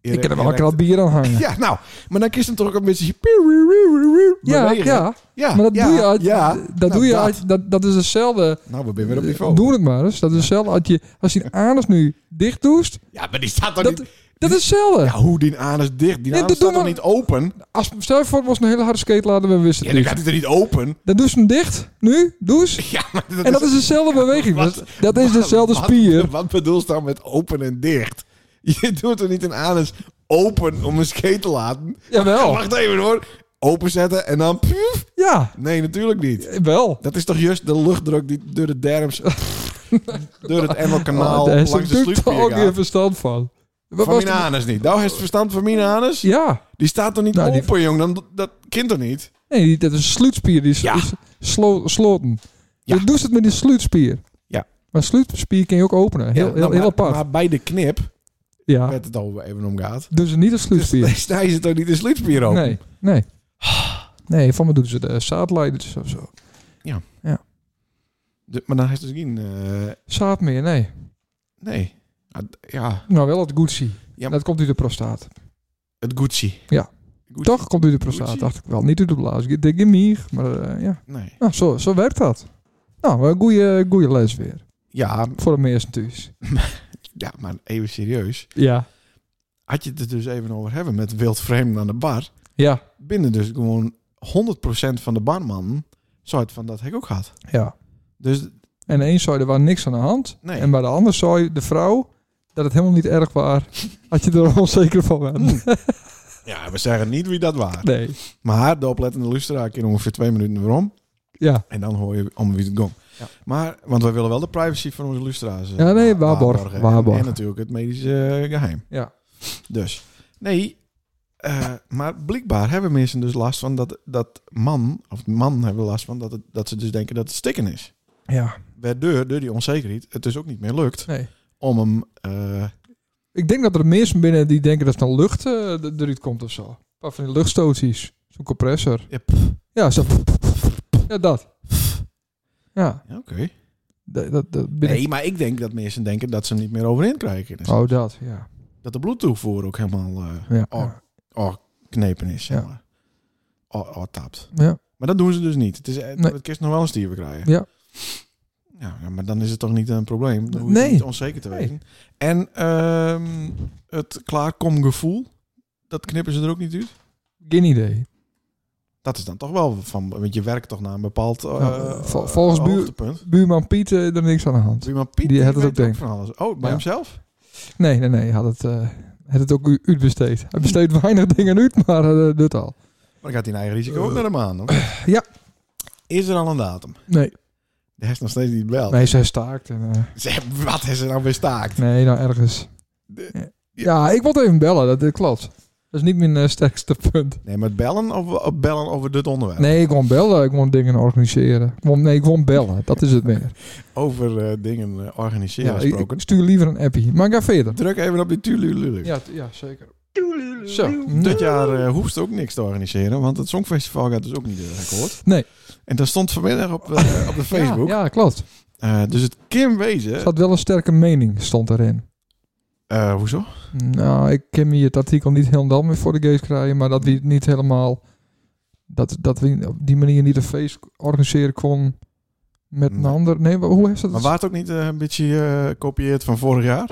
[SPEAKER 2] ik kan er wel een
[SPEAKER 1] erect-
[SPEAKER 2] krat bier aan hangen.
[SPEAKER 1] Ja, nou. Maar dan kiest hem toch ook een beetje...
[SPEAKER 2] Ja,
[SPEAKER 1] bewegen.
[SPEAKER 2] ja,
[SPEAKER 1] ja.
[SPEAKER 2] maar dat
[SPEAKER 1] ja,
[SPEAKER 2] doe je uit.
[SPEAKER 1] Ja.
[SPEAKER 2] dat,
[SPEAKER 1] Nou,
[SPEAKER 2] doe je
[SPEAKER 1] dat.
[SPEAKER 2] uit Eh, dat, dat is hetzelfde.
[SPEAKER 1] Nou, we zijn weer op niveau.
[SPEAKER 2] Doe het maar eens. Dat is hetzelfde als je, als je de anus nu dicht doest.
[SPEAKER 1] Ja, maar die staat toch
[SPEAKER 2] Dat,
[SPEAKER 1] niet...
[SPEAKER 2] dat is hetzelfde.
[SPEAKER 1] Ja, hoe die anus dicht? Die
[SPEAKER 2] Ja,
[SPEAKER 1] anus
[SPEAKER 2] dat
[SPEAKER 1] staat
[SPEAKER 2] doen
[SPEAKER 1] toch
[SPEAKER 2] we-
[SPEAKER 1] niet open?
[SPEAKER 2] Als stel je voor, het was een hele harde skate laten we wisten.
[SPEAKER 1] Ja,
[SPEAKER 2] het
[SPEAKER 1] dan
[SPEAKER 2] niet.
[SPEAKER 1] gaat hij er niet open.
[SPEAKER 2] Dan doe ze hem dicht. Nu, douche.
[SPEAKER 1] Ja, maar dat
[SPEAKER 2] En dat is dezelfde beweging.
[SPEAKER 1] wat-
[SPEAKER 2] Dat, dat is dezelfde
[SPEAKER 1] Wat-
[SPEAKER 2] spier.
[SPEAKER 1] Wat bedoel je dan met open en dicht? Je doet er niet een anus open om een skate te laten.
[SPEAKER 2] Jawel.
[SPEAKER 1] Wacht even hoor. openzetten en dan...
[SPEAKER 2] Ja,
[SPEAKER 1] Nee, natuurlijk niet.
[SPEAKER 2] wel.
[SPEAKER 1] Dat is toch juist de luchtdruk die door de derms... door het Emmelkanaal
[SPEAKER 2] Oh, daar is
[SPEAKER 1] langs de
[SPEAKER 2] natuurlijk
[SPEAKER 1] sluitpier
[SPEAKER 2] ook geen
[SPEAKER 1] gaat.
[SPEAKER 2] verstand van. Wat
[SPEAKER 1] Van
[SPEAKER 2] was
[SPEAKER 1] mijn
[SPEAKER 2] de-
[SPEAKER 1] anus niet. Nou, heeft het verstand van mijn anus?
[SPEAKER 2] Ja,
[SPEAKER 1] Die staat toch niet
[SPEAKER 2] Nou, die-
[SPEAKER 1] open, jong? Dan, dat kind toch niet?
[SPEAKER 2] nee, die- dat is een sluitspier die is,
[SPEAKER 1] Ja.
[SPEAKER 2] is slo- sloten.
[SPEAKER 1] Ja.
[SPEAKER 2] Je doet het met die sluitspier.
[SPEAKER 1] Ja.
[SPEAKER 2] Maar sluitspier kun je ook openen. Heel,
[SPEAKER 1] Ja,
[SPEAKER 2] heel,
[SPEAKER 1] nou,
[SPEAKER 2] heel
[SPEAKER 1] maar,
[SPEAKER 2] apart.
[SPEAKER 1] Maar bij de knip,
[SPEAKER 2] ja.
[SPEAKER 1] werd het al even om gaat.
[SPEAKER 2] Doen ze niet een
[SPEAKER 1] Dus
[SPEAKER 2] sluitspier.
[SPEAKER 1] dan snijden ze toch niet de slitspier open?
[SPEAKER 2] Nee, nee. Nee, van me doen ze de zaadleiders of zo.
[SPEAKER 1] De- maar dan heeft het geen... eh,
[SPEAKER 2] Zaad meer, nee.
[SPEAKER 1] nee. Ah, d- Ja,
[SPEAKER 2] Nou, wel het Gucci.
[SPEAKER 1] Ja.
[SPEAKER 2] Dat komt uit de prostaat.
[SPEAKER 1] het Gucci.
[SPEAKER 2] Ja.
[SPEAKER 1] Gucci.
[SPEAKER 2] Toch komt uit de prostaat,
[SPEAKER 1] Gucci?
[SPEAKER 2] dacht ik wel. Niet uit de blaas. Ik denk in mier, maar eh, ja.
[SPEAKER 1] Nee.
[SPEAKER 2] Nou, zo, zo werkt dat. Nou, wel een goede, goede les weer.
[SPEAKER 1] Ja,
[SPEAKER 2] Voor de meesten thuis.
[SPEAKER 1] ja, maar even serieus.
[SPEAKER 2] Ja.
[SPEAKER 1] Had je het er dus even over hebben met wildvreemden aan de bar.
[SPEAKER 2] Ja.
[SPEAKER 1] Binnen dus gewoon 100% van de barman. Zo het van dat heb ik ook gehad.
[SPEAKER 2] Ja.
[SPEAKER 1] Dus
[SPEAKER 2] En de een zei er was niks aan de hand.
[SPEAKER 1] nee.
[SPEAKER 2] En bij de ander zei de vrouw dat het helemaal niet erg was. Had je er onzeker van bent.
[SPEAKER 1] Ja, we zeggen niet wie dat waren.
[SPEAKER 2] Nee.
[SPEAKER 1] Maar de oplettende luisteraar in ongeveer twee minuten waarom.
[SPEAKER 2] Ja.
[SPEAKER 1] En dan hoor je om wie het gong.
[SPEAKER 2] Ja.
[SPEAKER 1] Maar, want wij willen wel de privacy van onze luisteraars. eh,
[SPEAKER 2] Ja, nee,
[SPEAKER 1] wa-
[SPEAKER 2] waarborgen,
[SPEAKER 1] En- En,
[SPEAKER 2] waarborgen.
[SPEAKER 1] natuurlijk het medische eh, geheim.
[SPEAKER 2] Ja.
[SPEAKER 1] Dus, nee. eh, maar blijkbaar hebben mensen dus last van dat, dat man, of man hebben last van dat, het, dat ze dus denken dat het stikken is.
[SPEAKER 2] Ja.
[SPEAKER 1] Waardoor, door die onzekerheid, het dus ook niet meer lukt
[SPEAKER 2] Nee.
[SPEAKER 1] om hem... eh,
[SPEAKER 2] Ik denk dat er mensen binnen die denken dat er dan lucht eh, d- eruit komt of zo. Een paar van die luchtstootjes. Zo'n compressor.
[SPEAKER 1] ja, pff,
[SPEAKER 2] Ja, zo. Ja, dat. Ja,
[SPEAKER 1] ja, Oké.
[SPEAKER 2] dat, dat, dat binnen...
[SPEAKER 1] Nee, maar ik denk dat mensen denken dat ze hem niet meer overin krijgen. Dus
[SPEAKER 2] Oh, dat, ja.
[SPEAKER 1] Dat de bloedtoevoer ook helemaal eh
[SPEAKER 2] Ja,
[SPEAKER 1] Oh.
[SPEAKER 2] ja.
[SPEAKER 1] oh, knepen is, zeg
[SPEAKER 2] Ja.
[SPEAKER 1] maar. Oh, oh, tapt.
[SPEAKER 2] ja.
[SPEAKER 1] Maar dat doen ze dus niet. Het is eh,
[SPEAKER 2] Nee.
[SPEAKER 1] het kerst nog wel een stier krijgen.
[SPEAKER 2] Ja.
[SPEAKER 1] Ja, ja, maar dan is het toch niet een probleem. Dan hoef je
[SPEAKER 2] Nee.
[SPEAKER 1] het niet onzeker te
[SPEAKER 2] Nee.
[SPEAKER 1] weten. En ehm, het klaarkomgevoel, dat knippen ze er ook niet uit.
[SPEAKER 2] Geen idee.
[SPEAKER 1] Dat is dan toch wel van, want je werkt toch naar een bepaald eh
[SPEAKER 2] Ja, vol- volgens
[SPEAKER 1] eh,
[SPEAKER 2] buur-
[SPEAKER 1] hoogtepunt.
[SPEAKER 2] Buurman Piet, eh, er niks aan de hand.
[SPEAKER 1] Buurman Piet,
[SPEAKER 2] Die had het
[SPEAKER 1] weet
[SPEAKER 2] ook denk.
[SPEAKER 1] van alles. Oh, bij
[SPEAKER 2] Ja.
[SPEAKER 1] hemzelf?
[SPEAKER 2] Nee, nee, nee. Had het, eh, had het ook u- uitbesteed. Hij besteedt weinig dingen uit, maar eh doet al.
[SPEAKER 1] Maar dan gaat hij een eigen risico ook naar de maan. hoor.
[SPEAKER 2] Eh, ja.
[SPEAKER 1] Is er al een datum?
[SPEAKER 2] Nee.
[SPEAKER 1] Hij is nog steeds niet bel.
[SPEAKER 2] Nee, ze staakt. En, eh,
[SPEAKER 1] Zeg, wat is er nou weer staakt?
[SPEAKER 2] nee, nou ergens.
[SPEAKER 1] De-
[SPEAKER 2] Ja, ik wilde even bellen. Dat, dat klopt. Dat is niet mijn eh, sterkste punt.
[SPEAKER 1] Nee, maar bellen of bellen over dit onderwerp?
[SPEAKER 2] Nee, ik won bellen. Ik won dingen organiseren. Ik wou- nee, ik won bellen. Dat is het meer.
[SPEAKER 1] Over eh, dingen eh, organiseren
[SPEAKER 2] Ja, ik,
[SPEAKER 1] gesproken.
[SPEAKER 2] ik stuur liever een appie. Maar ga verder.
[SPEAKER 1] Druk even op die tulululu.
[SPEAKER 2] Ja, t- ja zeker. Zo.
[SPEAKER 1] Dit jaar eh, hoeft ook niks te organiseren, want het Songfestival gaat dus ook niet door akkoord.
[SPEAKER 2] Nee.
[SPEAKER 1] En dat stond vanmiddag op, eh, op de Facebook.
[SPEAKER 2] Ja, ja, klopt.
[SPEAKER 1] Eh, dus het Kim Wezen...
[SPEAKER 2] Er zat wel een sterke mening, stond erin.
[SPEAKER 1] Eh, hoezo?
[SPEAKER 2] Nou, ik ken me het artikel niet helemaal meer voor de geest krijgen, maar dat we het niet helemaal... Dat, dat we op die manier niet een feest organiseren kon met een
[SPEAKER 1] Nee.
[SPEAKER 2] ander. Nee, wa- hoe is dat?
[SPEAKER 1] Maar waar het ook niet eh, een beetje eh, kopieerd van vorig jaar?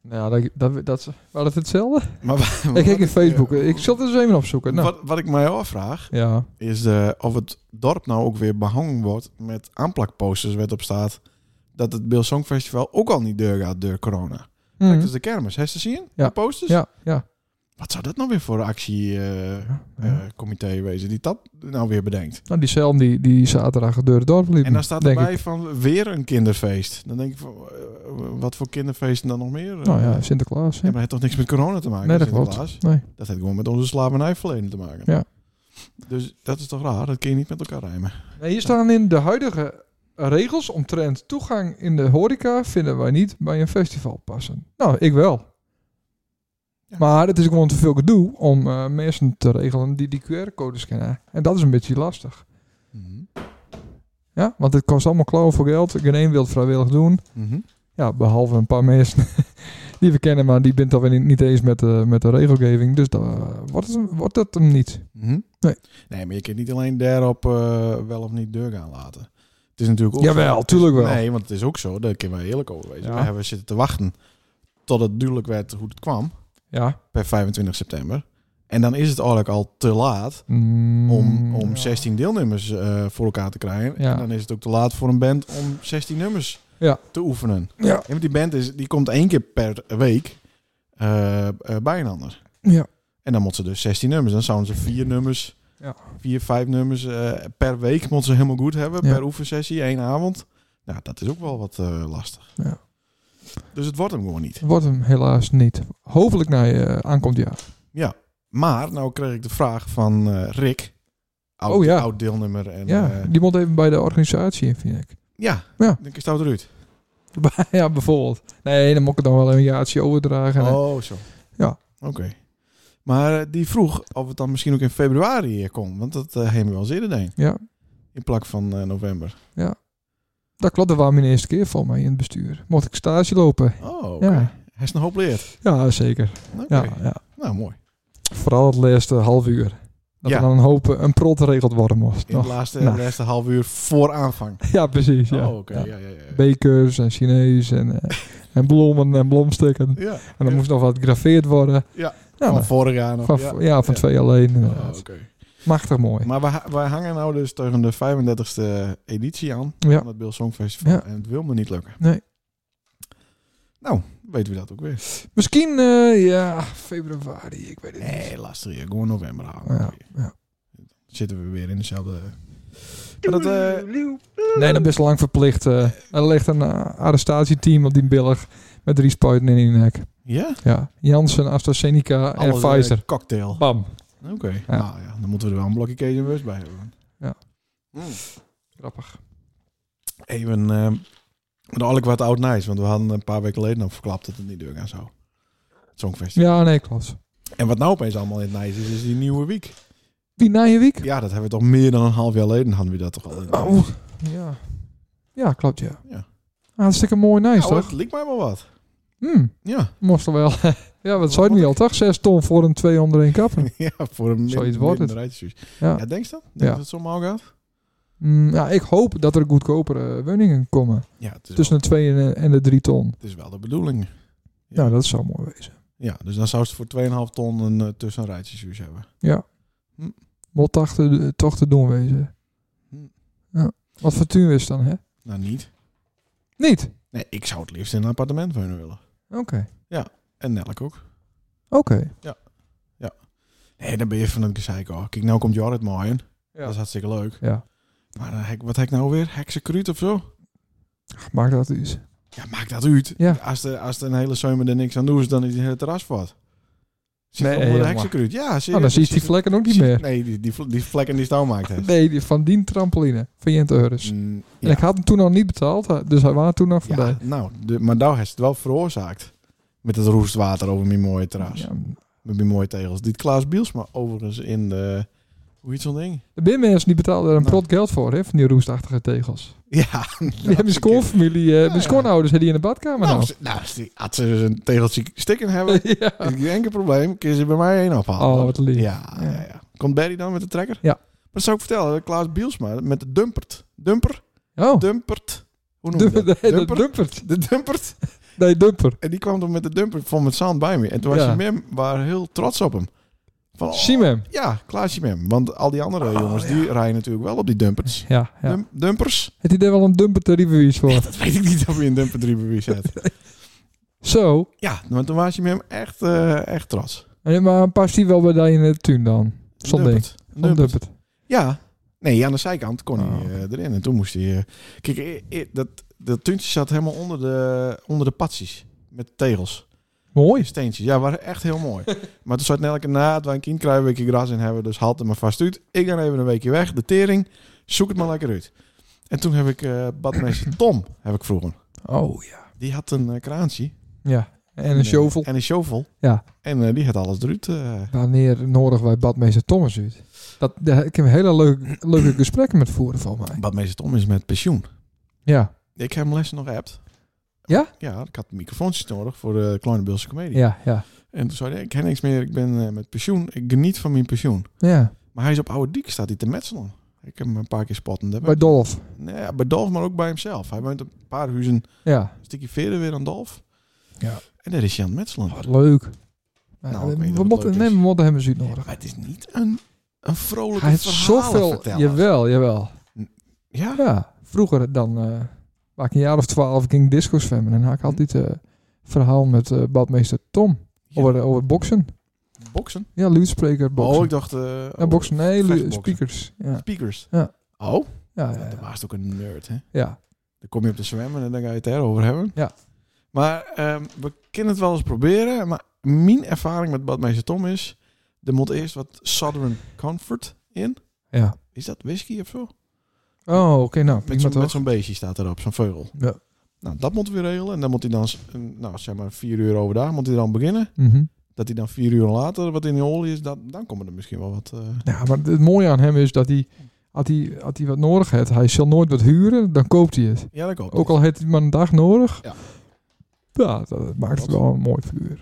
[SPEAKER 2] Nou, dat, dat, dat, was het hetzelfde?
[SPEAKER 1] Maar, wa-
[SPEAKER 2] ik kijk
[SPEAKER 1] wat
[SPEAKER 2] in Facebook.
[SPEAKER 1] eh,
[SPEAKER 2] Ik zal het eens even opzoeken. Nou,
[SPEAKER 1] Wat, wat ik mij afvraag,
[SPEAKER 2] ja.
[SPEAKER 1] is eh, of het dorp nou ook weer behangen wordt met aanplakposters waar op staat dat het Beeld Songfestival ook al niet deur gaat door corona.
[SPEAKER 2] Mhm.
[SPEAKER 1] Dat is de kermis. Heb je ze zien?
[SPEAKER 2] Ja.
[SPEAKER 1] De posters?
[SPEAKER 2] Ja, ja.
[SPEAKER 1] Wat zou dat nou weer voor actiecomité
[SPEAKER 2] Ja, ja.
[SPEAKER 1] comité wezen die dat nou weer bedenkt?
[SPEAKER 2] Nou, die Selm die, die zaterdag door het dorp liep.
[SPEAKER 1] En dan staat
[SPEAKER 2] denk
[SPEAKER 1] erbij
[SPEAKER 2] ik.
[SPEAKER 1] van weer een kinderfeest. Dan denk ik, van, eh, wat voor kinderfeesten dan nog meer?
[SPEAKER 2] Nou ja,
[SPEAKER 1] Eh,
[SPEAKER 2] Sinterklaas.
[SPEAKER 1] ja,
[SPEAKER 2] hè.
[SPEAKER 1] maar het heeft toch niks met corona te maken?
[SPEAKER 2] Nee, dat klopt.
[SPEAKER 1] Sinterklaas?
[SPEAKER 2] Nee.
[SPEAKER 1] Dat heeft gewoon met onze slavernijverleden te maken.
[SPEAKER 2] Ja.
[SPEAKER 1] Dus dat is toch raar? Dat kun je niet met elkaar rijmen.
[SPEAKER 2] Nee, hier staan in de huidige regels omtrent toegang in de horeca vinden wij niet bij een festival passen. Nou, ik wel.
[SPEAKER 1] Ja.
[SPEAKER 2] Maar het is gewoon te veel gedoe om eh, mensen te regelen die die QR-codes kennen. En dat is een beetje lastig.
[SPEAKER 1] Mhm.
[SPEAKER 2] Ja, want het kost allemaal klauwen voor geld. Geen één wil het vrijwillig doen.
[SPEAKER 1] Mhm.
[SPEAKER 2] Ja, behalve een paar mensen die we kennen, maar die bindt alweer niet, niet eens met de, met de regelgeving. Dus dan eh, wordt, het, hem- wordt dat hem niet.
[SPEAKER 1] Mhm.
[SPEAKER 2] Nee.
[SPEAKER 1] nee, maar je kunt niet alleen daarop eh, wel of niet deur gaan laten. Het is natuurlijk ook
[SPEAKER 2] Jawel,
[SPEAKER 1] zo-
[SPEAKER 2] tuurlijk wel.
[SPEAKER 1] Nee, want het is ook zo, daar kunnen we eerlijk over wezen.
[SPEAKER 2] Ja.
[SPEAKER 1] We hebben zitten te wachten tot het duidelijk werd hoe het kwam,
[SPEAKER 2] Ja.
[SPEAKER 1] per 25 september. En dan is het eigenlijk al te laat
[SPEAKER 2] Mm,
[SPEAKER 1] om, om 16 deelnemers eh, voor elkaar te krijgen.
[SPEAKER 2] Ja.
[SPEAKER 1] En dan is het ook te laat voor een band om 16 nummers
[SPEAKER 2] Ja.
[SPEAKER 1] te oefenen.
[SPEAKER 2] Ja.
[SPEAKER 1] En want die band is, die komt één keer per week eh eh, bij een ander.
[SPEAKER 2] Ja.
[SPEAKER 1] En dan moeten ze dus 16 nummers. Dan zouden ze vier nummers,
[SPEAKER 2] Ja.
[SPEAKER 1] vier, vijf nummers eh, per week moeten ze helemaal goed hebben.
[SPEAKER 2] Ja.
[SPEAKER 1] Per oefensessie, één avond. Nou, dat is ook wel wat eh, lastig.
[SPEAKER 2] Ja.
[SPEAKER 1] Dus het wordt hem gewoon niet.
[SPEAKER 2] Wordt hem helaas niet. Hopelijk na je eh, aankomend jaar.
[SPEAKER 1] Maar, nou kreeg ik de vraag van eh, Rick. Oud,
[SPEAKER 2] Oh ja.
[SPEAKER 1] oud deelnemer. En,
[SPEAKER 2] ja,
[SPEAKER 1] eh,
[SPEAKER 2] die moet even bij de organisatie in, vind ik.
[SPEAKER 1] ja.
[SPEAKER 2] Ja.
[SPEAKER 1] denk ik stout eruit.
[SPEAKER 2] ja, bijvoorbeeld. Nee, dan moet ik het dan wel een jaartje overdragen. En-
[SPEAKER 1] Oh, zo.
[SPEAKER 2] Ja.
[SPEAKER 1] Oké. Maar eh, die vroeg of het dan misschien ook in februari eh, kon. Want dat eh hebben we wel eens eerder deed.
[SPEAKER 2] Ja.
[SPEAKER 1] In plak van eh, november.
[SPEAKER 2] Dat klopt, dat was mijn eerste keer voor mij in het bestuur. Mocht ik stage lopen?
[SPEAKER 1] Oh, oké.
[SPEAKER 2] Ja.
[SPEAKER 1] Hij is nog hoop leert.
[SPEAKER 2] Ja, zeker.
[SPEAKER 1] Oké.
[SPEAKER 2] Ja, ja.
[SPEAKER 1] Nou, mooi.
[SPEAKER 2] Vooral het laatste half uur. Dat
[SPEAKER 1] Ja.
[SPEAKER 2] er dan een hoop eh, een prot geregeld worden moest.
[SPEAKER 1] In de
[SPEAKER 2] Nog.
[SPEAKER 1] laatste,
[SPEAKER 2] nou.
[SPEAKER 1] de laatste half uur voor aanvang.
[SPEAKER 2] Ja, precies. Ja.
[SPEAKER 1] Oh, oké.
[SPEAKER 2] Ja.
[SPEAKER 1] Ja, ja, ja. ja.
[SPEAKER 2] Bekers en Chinees en, eh, en bloemen en blomstukken. En
[SPEAKER 1] Ja.
[SPEAKER 2] dan moest nog wat gegraveerd worden.
[SPEAKER 1] Ja.
[SPEAKER 2] Nou,
[SPEAKER 1] van
[SPEAKER 2] nou,
[SPEAKER 1] vorig jaar nog.
[SPEAKER 2] van,
[SPEAKER 1] ja.
[SPEAKER 2] ja, van twee alleen.
[SPEAKER 1] Oh,
[SPEAKER 2] inderdaad.
[SPEAKER 1] oké.
[SPEAKER 2] Machtig mooi.
[SPEAKER 1] Maar we, ha- we hangen nou dus tegen de 35e editie aan.
[SPEAKER 2] Ja.
[SPEAKER 1] Van het Bill Song Festival.
[SPEAKER 2] Ja.
[SPEAKER 1] En het wil me niet lukken.
[SPEAKER 2] Nee.
[SPEAKER 1] Nou, weten we dat ook weer.
[SPEAKER 2] Misschien, eh, ja, februari, ik weet het niet.
[SPEAKER 1] Nee, lastig hier. Gewoon november halen.
[SPEAKER 2] Ja, ja.
[SPEAKER 1] Zitten we weer in dezelfde... Maar dat, eh,
[SPEAKER 2] Nee, dan best lang verplicht. eh. er ligt een eh, arrestatieteam op die billig met drie spuiten in je nek.
[SPEAKER 1] ja?
[SPEAKER 2] Ja, Janssen, AstraZeneca en
[SPEAKER 1] Alles, eh,
[SPEAKER 2] Pfizer.
[SPEAKER 1] cocktail.
[SPEAKER 2] Bam.
[SPEAKER 1] Oké.
[SPEAKER 2] Ja.
[SPEAKER 1] Nou ja, dan moeten we er wel een blokje Cajun Wurst bij hebben.
[SPEAKER 2] Ja.
[SPEAKER 1] Mm.
[SPEAKER 2] Grappig.
[SPEAKER 1] Even... ehm eigenlijk wat oud nice. Want we hadden een paar weken geleden nog verklapt dat het niet doorgaan zou. Het Songfestival.
[SPEAKER 2] Ja, nee, klopt.
[SPEAKER 1] En wat nou opeens allemaal in het nice is, is die nieuwe week.
[SPEAKER 2] Wie na je week?
[SPEAKER 1] Ja, dat hebben we toch meer dan een half jaar geleden hadden we dat toch al. In.
[SPEAKER 2] Oh, ja. Ja, klopt, ja. Ah,
[SPEAKER 1] Ja.
[SPEAKER 2] Hartstikke mooi nice,
[SPEAKER 1] nou,
[SPEAKER 2] toch?
[SPEAKER 1] het liep mij wel wat.
[SPEAKER 2] Hm,
[SPEAKER 1] Ja,
[SPEAKER 2] moest er wel. ja, wat zei het niet al, toch? Zes ton voor een twee onder één kap.
[SPEAKER 1] ja voor een min,
[SPEAKER 2] Zoiets wordt het.
[SPEAKER 1] minderheidsjury.
[SPEAKER 2] Ja.
[SPEAKER 1] Ja, denk je dat? Denk je
[SPEAKER 2] Ja.
[SPEAKER 1] dat het zo mal gaat?
[SPEAKER 2] Hm, ja, ik hoop dat er goedkopere woningen komen.
[SPEAKER 1] Ja, het is,
[SPEAKER 2] Tussen
[SPEAKER 1] wel,
[SPEAKER 2] de twee en, eh, en de drie ton.
[SPEAKER 1] het is wel de bedoeling. Ja.
[SPEAKER 2] Ja, dat zou mooi wezen.
[SPEAKER 1] Ja, dus dan zou ze voor 2,5 ton een eh, tussenrijtjesjury hebben.
[SPEAKER 2] Moet toch te, toch te doen wezen.
[SPEAKER 1] Hm.
[SPEAKER 2] Ja. Wat voor tuin is het dan, hè?
[SPEAKER 1] Nou, niet.
[SPEAKER 2] Niet? Oké.
[SPEAKER 1] Nee, ik zou het liefst in een appartement van hun willen. En Nelk ook.
[SPEAKER 2] Oké.
[SPEAKER 1] Nee, dan ben je van het gezeik. Oh, kijk, nou komt Jorrit mooi in. Dat is hartstikke leuk.
[SPEAKER 2] Ja.
[SPEAKER 1] Maar eh, hek- wat heb ik nou weer? Heksenkruut of zo?
[SPEAKER 2] Ach, Maakt dat iets.
[SPEAKER 1] Ja, maakt dat uit.
[SPEAKER 2] Ja.
[SPEAKER 1] Als, de, als de een hele zomer er niks aan doet, dan is die hele terras wat.
[SPEAKER 2] Nee,
[SPEAKER 1] Nee, de
[SPEAKER 2] jongen.
[SPEAKER 1] heksenkruut. Ja, zie
[SPEAKER 2] Nou, dan zie je die vlekken ook niet meer.
[SPEAKER 1] Nee, die, die, vl- die vlek en die stouw maakt hij.
[SPEAKER 2] Nee, die van die trampoline. Van Jent Eurus.
[SPEAKER 1] Mm,
[SPEAKER 2] En ik
[SPEAKER 1] ja.
[SPEAKER 2] had hem toen nog niet betaald. Dus hij was toen nog
[SPEAKER 1] Ja,
[SPEAKER 2] voorbij.
[SPEAKER 1] nou, de, maar daar heeft het wel veroorzaakt. Met het roestwater over mijn mooie terras.
[SPEAKER 2] Ja.
[SPEAKER 1] Met mijn mooie tegels. Dit Klaas Bielsma overigens in de... Hoe heet zo'n ding?
[SPEAKER 2] Er zijn mensen die betalen er een
[SPEAKER 1] Nou.
[SPEAKER 2] prot geld voor, hè? Van die roestachtige tegels.
[SPEAKER 1] Ja.
[SPEAKER 2] Die hebben de schoonfamilie, eh
[SPEAKER 1] Ja,
[SPEAKER 2] de
[SPEAKER 1] ja.
[SPEAKER 2] schoonouders, hebben die in de badkamer
[SPEAKER 1] Nou,
[SPEAKER 2] nou.
[SPEAKER 1] ze- oh, nou, als die- als ze een tegeltje stikken hebben,
[SPEAKER 2] ja.
[SPEAKER 1] is geen enkel probleem. Kun je ze bij mij heen ophalen.
[SPEAKER 2] Oh, wat lief.
[SPEAKER 1] Ja, ja. ja, Komt Barry dan met de trekker?
[SPEAKER 2] Ja.
[SPEAKER 1] Maar dat zou ik vertellen, Klaas Bielsma met de dumpert. Dumper?
[SPEAKER 2] Oh,
[SPEAKER 1] Dumpert? Hoe noem je
[SPEAKER 2] dumper.
[SPEAKER 1] dat?
[SPEAKER 2] Nee, dat
[SPEAKER 1] Dumper?
[SPEAKER 2] dumpert.
[SPEAKER 1] De dumpert?
[SPEAKER 2] Nee, dumper.
[SPEAKER 1] En die kwam toen met de dumper van met zand bij me. En toen was
[SPEAKER 2] Ja.
[SPEAKER 1] je mem waren heel trots op hem. Van, oh,
[SPEAKER 2] Zie hem.
[SPEAKER 1] Ja, Klaasje mem. Want al die andere jongens, die rijden natuurlijk wel op die dumpers.
[SPEAKER 2] Oh, Ja, ja.
[SPEAKER 1] Dum- dumpers?
[SPEAKER 2] Het idee wel een dumper te reviews voor.
[SPEAKER 1] Dat weet ik niet of je een dumper 3 bewijs hebt.
[SPEAKER 2] Zo.
[SPEAKER 1] ja, want toen was je mem echt, eh, echt trots.
[SPEAKER 2] En- Maar past die wel bij jou in de tuin dan?
[SPEAKER 1] Een
[SPEAKER 2] Zo'n ding.
[SPEAKER 1] dumpert. Een
[SPEAKER 2] Een
[SPEAKER 1] dumpert.
[SPEAKER 2] dumpert.
[SPEAKER 1] Ja. Nee, aan de zijkant kon
[SPEAKER 2] Oh,
[SPEAKER 1] hij eh, erin. En toen moest hij... eh, kijk, eh, eh, dat, dat tuintje zat helemaal onder de, onder de patsies. Met tegels.
[SPEAKER 2] Mooi.
[SPEAKER 1] Steentjes. Ja, waren echt heel mooi. maar toen zat elke na, het was een kind krijgen, een weekje gras in hebben. Dus haalt hem maar vast uit. Ik ga even een weekje weg. De tering. Zoek het maar lekker uit. En toen heb ik eh badmeester Tom, heb ik vroeger.
[SPEAKER 2] Oh ja.
[SPEAKER 1] Die had een eh, kraantje.
[SPEAKER 2] Ja. En een
[SPEAKER 1] eh,
[SPEAKER 2] shovel.
[SPEAKER 1] En een shovel.
[SPEAKER 2] Ja.
[SPEAKER 1] En eh, die had alles eruit. eh.
[SPEAKER 2] Wanneer nodig wij badmeester Thomas uit? Dat, daar heb ik een hele leuk, leuke gesprekken met voeren van mij.
[SPEAKER 1] Badmeester Tom is met pensioen.
[SPEAKER 2] Ja,
[SPEAKER 1] Ik heb hem lessen nog appt.
[SPEAKER 2] Ja?
[SPEAKER 1] Ja, ik had microfoontjes nodig voor de Kleine Bilse Comedie.
[SPEAKER 2] ja, ja.
[SPEAKER 1] En toen zei hij, ik heb niks meer, ik ben eh, met pensioen. Ik geniet van mijn pensioen.
[SPEAKER 2] Ja,
[SPEAKER 1] Maar hij is op Oude Diek, staat hij te metselen. Ik heb hem een paar keer spotten. Daar
[SPEAKER 2] bij
[SPEAKER 1] ben-
[SPEAKER 2] Dolf.
[SPEAKER 1] Nee, ja, bij Dolf, maar ook bij hemzelf. Hij woont een paar huizen, een
[SPEAKER 2] Ja,
[SPEAKER 1] stukje verder weer aan Dolf.
[SPEAKER 2] Ja.
[SPEAKER 1] En daar is hij aan het metselen.
[SPEAKER 2] wat leuk. Ja,
[SPEAKER 1] Nou, ik weet niet
[SPEAKER 2] we, we
[SPEAKER 1] of het
[SPEAKER 2] moeten,
[SPEAKER 1] leuk
[SPEAKER 2] nee,
[SPEAKER 1] is.
[SPEAKER 2] we moeten hem eens uit nodig.
[SPEAKER 1] maar het is niet een, een vrolijke
[SPEAKER 2] Hij heeft
[SPEAKER 1] verhalen
[SPEAKER 2] zoveel...
[SPEAKER 1] verteller.
[SPEAKER 2] Jawel, jawel.
[SPEAKER 1] Ja?
[SPEAKER 2] Ja, vroeger dan... eh waar ik een jaar of twaalf ging disco zwemmen. En dan had ik altijd eh verhaal met eh, badmeester Tom.
[SPEAKER 1] Ja.
[SPEAKER 2] Over, over boksen.
[SPEAKER 1] Boksen?
[SPEAKER 2] Ja, luidspreker, boxen.
[SPEAKER 1] Oh, ik dacht... eh
[SPEAKER 2] ja, boksen, nee, lu-
[SPEAKER 1] vechtboksen.
[SPEAKER 2] speakers. Ja,
[SPEAKER 1] Speakers.
[SPEAKER 2] Ja.
[SPEAKER 1] Oh,
[SPEAKER 2] ja,
[SPEAKER 1] ja,
[SPEAKER 2] ja,
[SPEAKER 1] dat
[SPEAKER 2] ja.
[SPEAKER 1] was ook een nerd, hè?
[SPEAKER 2] ja.
[SPEAKER 1] Dan kom je op de zwemmen en dan ga je het daarover hebben.
[SPEAKER 2] Ja.
[SPEAKER 1] Maar ehm, we kunnen het wel eens proberen. Maar mijn ervaring met Badmeester Tom is... Er moet eerst wat Southern Comfort in.
[SPEAKER 2] ja.
[SPEAKER 1] Is dat whisky of zo?
[SPEAKER 2] Oh, oké, nou,
[SPEAKER 1] Met
[SPEAKER 2] prima
[SPEAKER 1] zo'n
[SPEAKER 2] toch?
[SPEAKER 1] met zo'n beestje staat erop, zo'n vogel.
[SPEAKER 2] Ja.
[SPEAKER 1] Nou, dat moeten we regelen. En dan moet hij dan, s- een- nou, zeg maar, vier uur overdag moet hij dan beginnen.
[SPEAKER 2] Mhm.
[SPEAKER 1] Dat hij dan vier uur later wat in de olie is, dat, dan komen er misschien wel wat... eh,
[SPEAKER 2] Ja, maar het mooie aan hem is dat hij, als hij, als hij wat nodig heeft, hij zal nooit wat huren, dan koopt hij het.
[SPEAKER 1] Ja, dat komt.
[SPEAKER 2] Ook al heeft hij maar een dag nodig.
[SPEAKER 1] Ja.
[SPEAKER 2] Ja, dat maakt het wel een mooi figuur.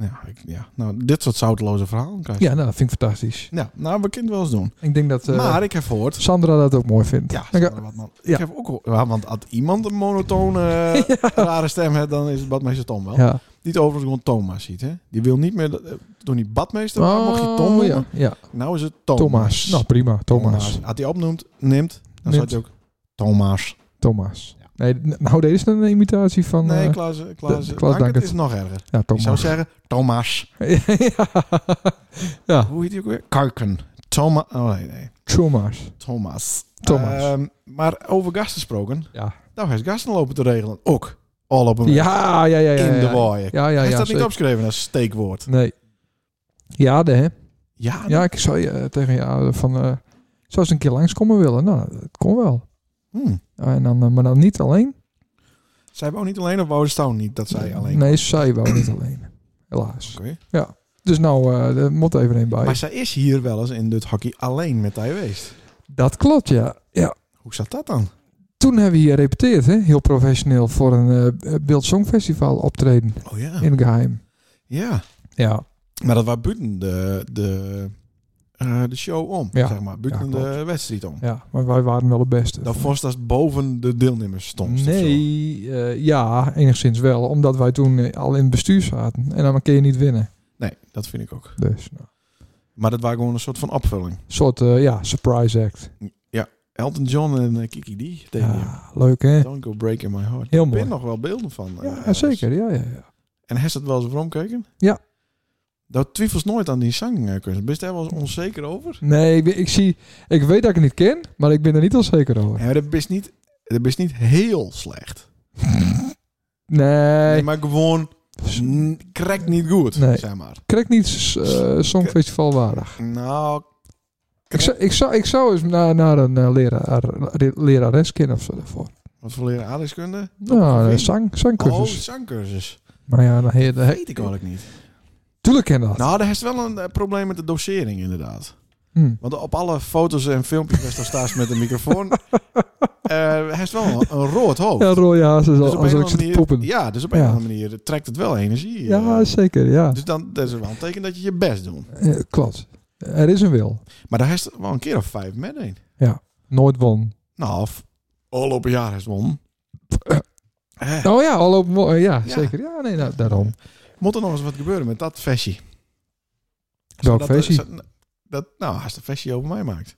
[SPEAKER 1] Ja, ik, ja. Nou, dit soort zoutloze verhalen krijg je.
[SPEAKER 2] Ja, nou, dat vind ik fantastisch.
[SPEAKER 1] Ja, nou, we kunnen het wel eens doen.
[SPEAKER 2] Ik denk dat eh,
[SPEAKER 1] maar ik heb gehoord...
[SPEAKER 2] Sandra dat ook mooi vindt.
[SPEAKER 1] Ja,
[SPEAKER 2] Ik-
[SPEAKER 1] Sandra Watman. Ik
[SPEAKER 2] ja.
[SPEAKER 1] heb ook gehoord... ja, want als iemand een monotone, eh, rare stem heeft, dan is het badmeester Tom wel.
[SPEAKER 2] ja.
[SPEAKER 1] Die het overigens gewoon Thomas ziet, hè. Die wil niet meer... dat- eh, Toen die badmeester was, mocht je Tom
[SPEAKER 2] Oh,
[SPEAKER 1] noemen.
[SPEAKER 2] ja. ja.
[SPEAKER 1] Nou is het Thomas.
[SPEAKER 2] Thomas. Nou, prima. Thomas.
[SPEAKER 1] Als hij opnoemt, neemt, dan
[SPEAKER 2] Neemt.
[SPEAKER 1] staat hij ook Thomas.
[SPEAKER 2] Thomas. Nee, n- nou, deze is dan een imitatie van...
[SPEAKER 1] Nee,
[SPEAKER 2] eh,
[SPEAKER 1] Klaas, Klaas,
[SPEAKER 2] de- Klaas
[SPEAKER 1] Dankert
[SPEAKER 2] Dankert.
[SPEAKER 1] is nog erger.
[SPEAKER 2] ja,
[SPEAKER 1] Ik zou
[SPEAKER 2] Thomas.
[SPEAKER 1] zeggen Thomas.
[SPEAKER 2] ja,
[SPEAKER 1] Hoe heet hij ook weer? Karken. Thomas. Oh nee, nee.
[SPEAKER 2] Thomas.
[SPEAKER 1] Thomas.
[SPEAKER 2] Thomas.
[SPEAKER 1] Ehm, maar over gasten gesproken.
[SPEAKER 2] Ja.
[SPEAKER 1] Nou, hij is gasten lopen te regelen. Ook. Al op een weg.
[SPEAKER 2] Ja, ja, ja, ja.
[SPEAKER 1] In de
[SPEAKER 2] ja.
[SPEAKER 1] waaien.
[SPEAKER 2] Ja, ja,
[SPEAKER 1] Hij
[SPEAKER 2] ja.
[SPEAKER 1] staat niet
[SPEAKER 2] zeker.
[SPEAKER 1] opgeschreven als steekwoord.
[SPEAKER 2] Nee. Ja, de, hè?
[SPEAKER 1] Ja, nou,
[SPEAKER 2] Ja, ik zou je, eh, tegen jou van... eh zou eens een keer langskomen willen? Nou, dat kon wel.
[SPEAKER 1] hmm.
[SPEAKER 2] En dan, eh, maar dan niet alleen.
[SPEAKER 1] Zij wou niet alleen of wou de Stouw niet? Dat zij alleen.
[SPEAKER 2] Nee, zij wou niet alleen. Helaas.
[SPEAKER 1] Oké.
[SPEAKER 2] Dus nou, eh er moet even een bij.
[SPEAKER 1] Maar zij is hier wel eens in dit hockey alleen met hij geweest.
[SPEAKER 2] Dat klopt, ja. ja.
[SPEAKER 1] Hoe zat dat dan?
[SPEAKER 2] Toen hebben we hier repeteerd, hè? heel professioneel, voor een eh Beeld Songfestival optreden.
[SPEAKER 1] Oh ja.
[SPEAKER 2] In het geheim.
[SPEAKER 1] Ja.
[SPEAKER 2] Ja.
[SPEAKER 1] Maar dat was buiten de, de, eh, de show om,
[SPEAKER 2] Ja.
[SPEAKER 1] zeg maar. Buiten
[SPEAKER 2] Ja, klopt.
[SPEAKER 1] de wedstrijd om.
[SPEAKER 2] ja, maar wij waren wel de beste.
[SPEAKER 1] Dat vond dat boven de deelnemers stond.
[SPEAKER 2] Nee, eh, ja, enigszins wel. Omdat wij toen eh, al in het bestuur zaten. En dan kun je niet winnen.
[SPEAKER 1] Nee, dat vind ik ook.
[SPEAKER 2] Dus, nou.
[SPEAKER 1] Maar dat was gewoon een soort van opvulling.
[SPEAKER 2] Een soort, eh, ja, surprise act.
[SPEAKER 1] Elton John en eh, Kiki D tegen je.
[SPEAKER 2] Ja, leuk, hè?
[SPEAKER 1] Don't go breaking my heart.
[SPEAKER 2] Heel
[SPEAKER 1] Er
[SPEAKER 2] mooi.
[SPEAKER 1] zijn nog wel beelden van. eh,
[SPEAKER 2] Ja,
[SPEAKER 1] ergens.
[SPEAKER 2] zeker. Ja, ja, ja.
[SPEAKER 1] En heeft dat wel eens over omkeken?
[SPEAKER 2] Ja.
[SPEAKER 1] Dat twijfels nooit aan die zangkunst. Ben je daar wel eens onzeker over?
[SPEAKER 2] Nee, ik, ik zie... Ik weet dat ik het niet ken, maar ik ben er niet al zeker over.
[SPEAKER 1] Ja, maar dat is niet, dat is niet heel slecht.
[SPEAKER 2] Nee.
[SPEAKER 1] Nee, maar gewoon n- krek niet goed,
[SPEAKER 2] Nee.
[SPEAKER 1] zeg maar.
[SPEAKER 2] Krijg niet eh Songfestival waardig.
[SPEAKER 1] Nou,
[SPEAKER 2] Ik zou, ik zou, ik zou eens naar, naar een eh, leraar, re- lerares kennen of zo daarvoor.
[SPEAKER 1] wat voor leren aardrijkskunde?
[SPEAKER 2] Nou,
[SPEAKER 1] Topografie?
[SPEAKER 2] eh, zang,
[SPEAKER 1] Oh,
[SPEAKER 2] zangcursus.
[SPEAKER 1] zangcursus.
[SPEAKER 2] Maar ja, dan heet, dan
[SPEAKER 1] Dat
[SPEAKER 2] heet-
[SPEAKER 1] weet ik eigenlijk niet.
[SPEAKER 2] Tuurlijk ken dat.
[SPEAKER 1] Nou, daar is wel een eh, probleem met de dosering inderdaad.
[SPEAKER 2] Hm.
[SPEAKER 1] Want op alle foto's en filmpjes waar ze staat met een microfoon... eh hij is wel een, een rood hoofd.
[SPEAKER 2] Ja, Roy Haas is
[SPEAKER 1] Dus
[SPEAKER 2] al
[SPEAKER 1] op
[SPEAKER 2] als
[SPEAKER 1] een of
[SPEAKER 2] ik
[SPEAKER 1] andere
[SPEAKER 2] zit
[SPEAKER 1] manier-
[SPEAKER 2] te poepen. Ja,
[SPEAKER 1] Ja, dus op een
[SPEAKER 2] Ja.
[SPEAKER 1] of andere manier trekt het wel energie. eh.
[SPEAKER 2] zeker, ja.
[SPEAKER 1] Dus dan dat is wel een teken dat je je best doet.
[SPEAKER 2] Eh, klopt. Er is een wil.
[SPEAKER 1] Maar daar heeft het wel een keer of vijf met een.
[SPEAKER 2] Nooit won.
[SPEAKER 1] Nou, of al op een jaar heeft won. Eh,
[SPEAKER 2] Oh ja, al op, mo- eh, ja,
[SPEAKER 1] Ja.
[SPEAKER 2] zeker. Ja, nee, nou, daarom.
[SPEAKER 1] Moet er nog eens wat gebeuren met dat vestje?
[SPEAKER 2] Welk
[SPEAKER 1] Zodat-
[SPEAKER 2] versie?
[SPEAKER 1] zo- Dat, nou, als de vestje over mij maakt.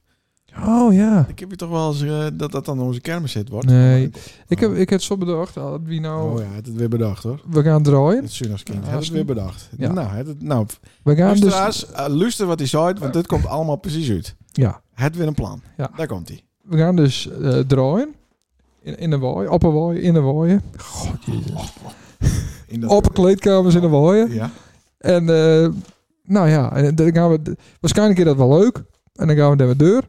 [SPEAKER 2] Oh ja.
[SPEAKER 1] Ik heb je toch wel eens eh, dat dat dan onze kermis zit wordt.
[SPEAKER 2] Nee, ik heb, ik heb het zo bedacht. ah, Wie nou...
[SPEAKER 1] Oh ja, hij heeft het weer bedacht hoor.
[SPEAKER 2] We gaan draaien.
[SPEAKER 1] Het Sunnerskind.
[SPEAKER 2] Ja,
[SPEAKER 1] Hij heeft het weer bedacht.
[SPEAKER 2] Ja.
[SPEAKER 1] Nou, hij heeft het, nou
[SPEAKER 2] We gaan dus...
[SPEAKER 1] luisteraars, eh, luister wat hij zei, want dit komt allemaal precies uit.
[SPEAKER 2] Ja.
[SPEAKER 1] Hij heeft weer een plan.
[SPEAKER 2] Ja.
[SPEAKER 1] Daar komt hij.
[SPEAKER 2] We gaan dus eh, draaien. In, in de waai, op een waai, in de waaien. God, jezus.
[SPEAKER 1] In dat-
[SPEAKER 2] Op kleedkamers in de waaien.
[SPEAKER 1] Ja.
[SPEAKER 2] En eh, nou ja, en dan gaan we, waarschijnlijk is dat wel leuk. En dan gaan we naar de deur.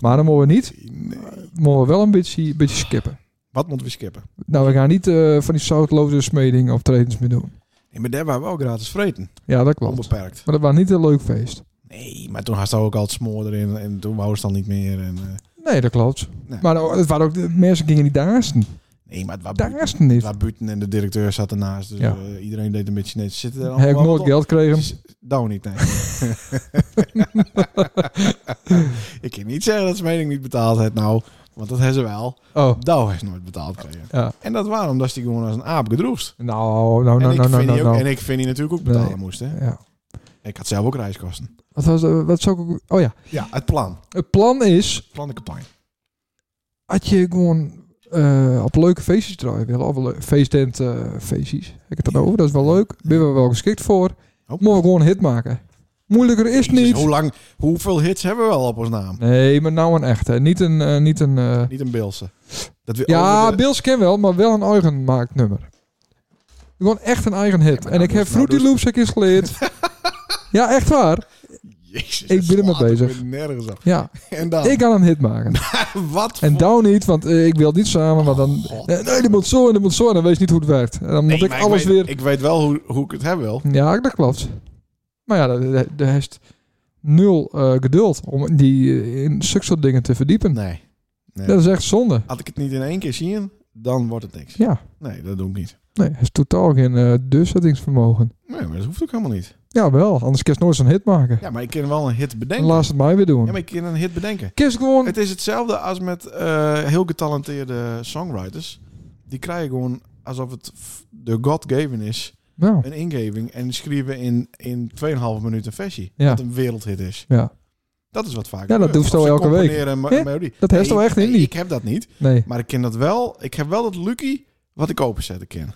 [SPEAKER 2] Maar dan mogen we niet.
[SPEAKER 1] Nee.
[SPEAKER 2] Mogen we wel een beetje, beetje skippen.
[SPEAKER 1] Wat moeten we skippen?
[SPEAKER 2] Nou, we gaan niet eh, van die zoutloze smeding optredens meer doen.
[SPEAKER 1] Nee, maar daar waren we ook gratis vreten.
[SPEAKER 2] Ja, dat klopt.
[SPEAKER 1] Onbeperkt.
[SPEAKER 2] Maar dat was niet een leuk feest.
[SPEAKER 1] Nee, maar toen had ze ook al het smoor erin en toen wou ze dan niet meer. En, eh,
[SPEAKER 2] Nee, dat klopt.
[SPEAKER 1] Nee.
[SPEAKER 2] Maar er- het waren ook, de mensen gingen niet daarsten.
[SPEAKER 1] nee, maar het was buiten.
[SPEAKER 2] Daarsten
[SPEAKER 1] Het
[SPEAKER 2] niet.
[SPEAKER 1] was buiten en de directeur zat ernaast. Dus
[SPEAKER 2] Ja.
[SPEAKER 1] eh, iedereen deed een beetje net. Zitten er
[SPEAKER 2] Heb ik nooit
[SPEAKER 1] wel-
[SPEAKER 2] geld gekregen.
[SPEAKER 1] Is- Nou niet, nee. ik kan niet zeggen dat ze mening niet betaald heeft nou. Want dat hebben ze wel.
[SPEAKER 2] Oh,
[SPEAKER 1] Douw heeft nooit betaald gekregen.
[SPEAKER 2] Ja.
[SPEAKER 1] En dat waarom? Omdat ze die gewoon als een aap gedroegst.
[SPEAKER 2] nou, nou,
[SPEAKER 1] en,
[SPEAKER 2] nou,
[SPEAKER 1] ik
[SPEAKER 2] nou, nou,
[SPEAKER 1] vind
[SPEAKER 2] nou.
[SPEAKER 1] die ook- en
[SPEAKER 2] nou.
[SPEAKER 1] ik vind die natuurlijk ook betalen
[SPEAKER 2] Nee.
[SPEAKER 1] moest. Hè?
[SPEAKER 2] Ja.
[SPEAKER 1] Ik had zelf ook reiskosten.
[SPEAKER 2] Wat was eh, wat zou ik ook- Oh ja,
[SPEAKER 1] Ja, het plan.
[SPEAKER 2] het plan is
[SPEAKER 1] Het plan de campagne.
[SPEAKER 2] had je gewoon eh, op leuke feestjes draaien willen. Of le- feesttent eh, feestjes. Heb ik het dan
[SPEAKER 1] Ja.
[SPEAKER 2] over? Dat is wel leuk. Ben je wel geschikt voor.
[SPEAKER 1] Oh.
[SPEAKER 2] Moet gewoon een hit maken. Moeilijker is
[SPEAKER 1] Jezus,
[SPEAKER 2] niet.
[SPEAKER 1] hoe lang, hoeveel hits hebben we al op ons naam?
[SPEAKER 2] Nee, maar nou een echte. Niet een... eh, niet een eh,
[SPEAKER 1] Niet een Bilse. Dat we
[SPEAKER 2] Ja,
[SPEAKER 1] over de-
[SPEAKER 2] Bills ken wel, maar wel een eigen maaknummer. Gewoon echt een eigen hit.
[SPEAKER 1] maar
[SPEAKER 2] en
[SPEAKER 1] nou
[SPEAKER 2] ik heb
[SPEAKER 1] dus- nou
[SPEAKER 2] Fruity
[SPEAKER 1] dus-
[SPEAKER 2] Loops geïnstalleerd. ja, echt waar.
[SPEAKER 1] Jezus,
[SPEAKER 2] Ik
[SPEAKER 1] dat
[SPEAKER 2] ben ermee
[SPEAKER 1] slaat
[SPEAKER 2] bezig.
[SPEAKER 1] weer Nergens op.
[SPEAKER 2] Ja,
[SPEAKER 1] En dan,
[SPEAKER 2] ik kan een hit maken.
[SPEAKER 1] wat
[SPEAKER 2] En
[SPEAKER 1] voor-
[SPEAKER 2] nou niet, want eh, ik wil niet samen, maar dan...
[SPEAKER 1] God.
[SPEAKER 2] eh, nee, dat moet zo en dat moet zo. En dan weet je niet hoe het werkt. En dan moet
[SPEAKER 1] Nee,
[SPEAKER 2] ik
[SPEAKER 1] maar
[SPEAKER 2] alles
[SPEAKER 1] weet,
[SPEAKER 2] weer...
[SPEAKER 1] Ik weet wel hoe, hoe ik het hebben wil.
[SPEAKER 2] Ja, dat klopt. Maar ja, de- de heeft nul eh, geduld om die eh, in zulke soort dingen te verdiepen.
[SPEAKER 1] Nee. nee.
[SPEAKER 2] Dat is echt zonde.
[SPEAKER 1] Had ik het niet in één keer zien, dan wordt het niks.
[SPEAKER 2] Ja,
[SPEAKER 1] Nee, dat doe ik niet.
[SPEAKER 2] nee, hij is totaal geen eh doorzettingsvermogen.
[SPEAKER 1] Nee, maar dat hoeft ook helemaal niet.
[SPEAKER 2] Ja, wel. Anders kan je nooit zo'n hit maken.
[SPEAKER 1] Ja, maar ik kan wel een hit
[SPEAKER 2] En
[SPEAKER 1] bedenken.
[SPEAKER 2] laat ze het mij weer doen.
[SPEAKER 1] Ja, maar ik kan een hit bedenken.
[SPEAKER 2] Kies gewoon.
[SPEAKER 1] Het is hetzelfde als met eh, heel getalenteerde songwriters. Die krijgen gewoon alsof het f- de God given is,
[SPEAKER 2] Nou,
[SPEAKER 1] een ingeving. En schrijven in, in 2,5 minuten een versie.
[SPEAKER 2] Ja.
[SPEAKER 1] Dat een wereldhit is.
[SPEAKER 2] ja,
[SPEAKER 1] Dat is wat vaak.
[SPEAKER 2] Ja, dat
[SPEAKER 1] gebeurt.
[SPEAKER 2] doe je
[SPEAKER 1] Of
[SPEAKER 2] zo
[SPEAKER 1] ze
[SPEAKER 2] elke week.
[SPEAKER 1] componeren een me-
[SPEAKER 2] Ja,
[SPEAKER 1] melodie.
[SPEAKER 2] dat heeft wel echt in
[SPEAKER 1] ik,
[SPEAKER 2] die.
[SPEAKER 1] ik heb dat niet.
[SPEAKER 2] nee.
[SPEAKER 1] Maar ik ken dat wel. Ik heb wel dat Lucky wat ik openzetten ken.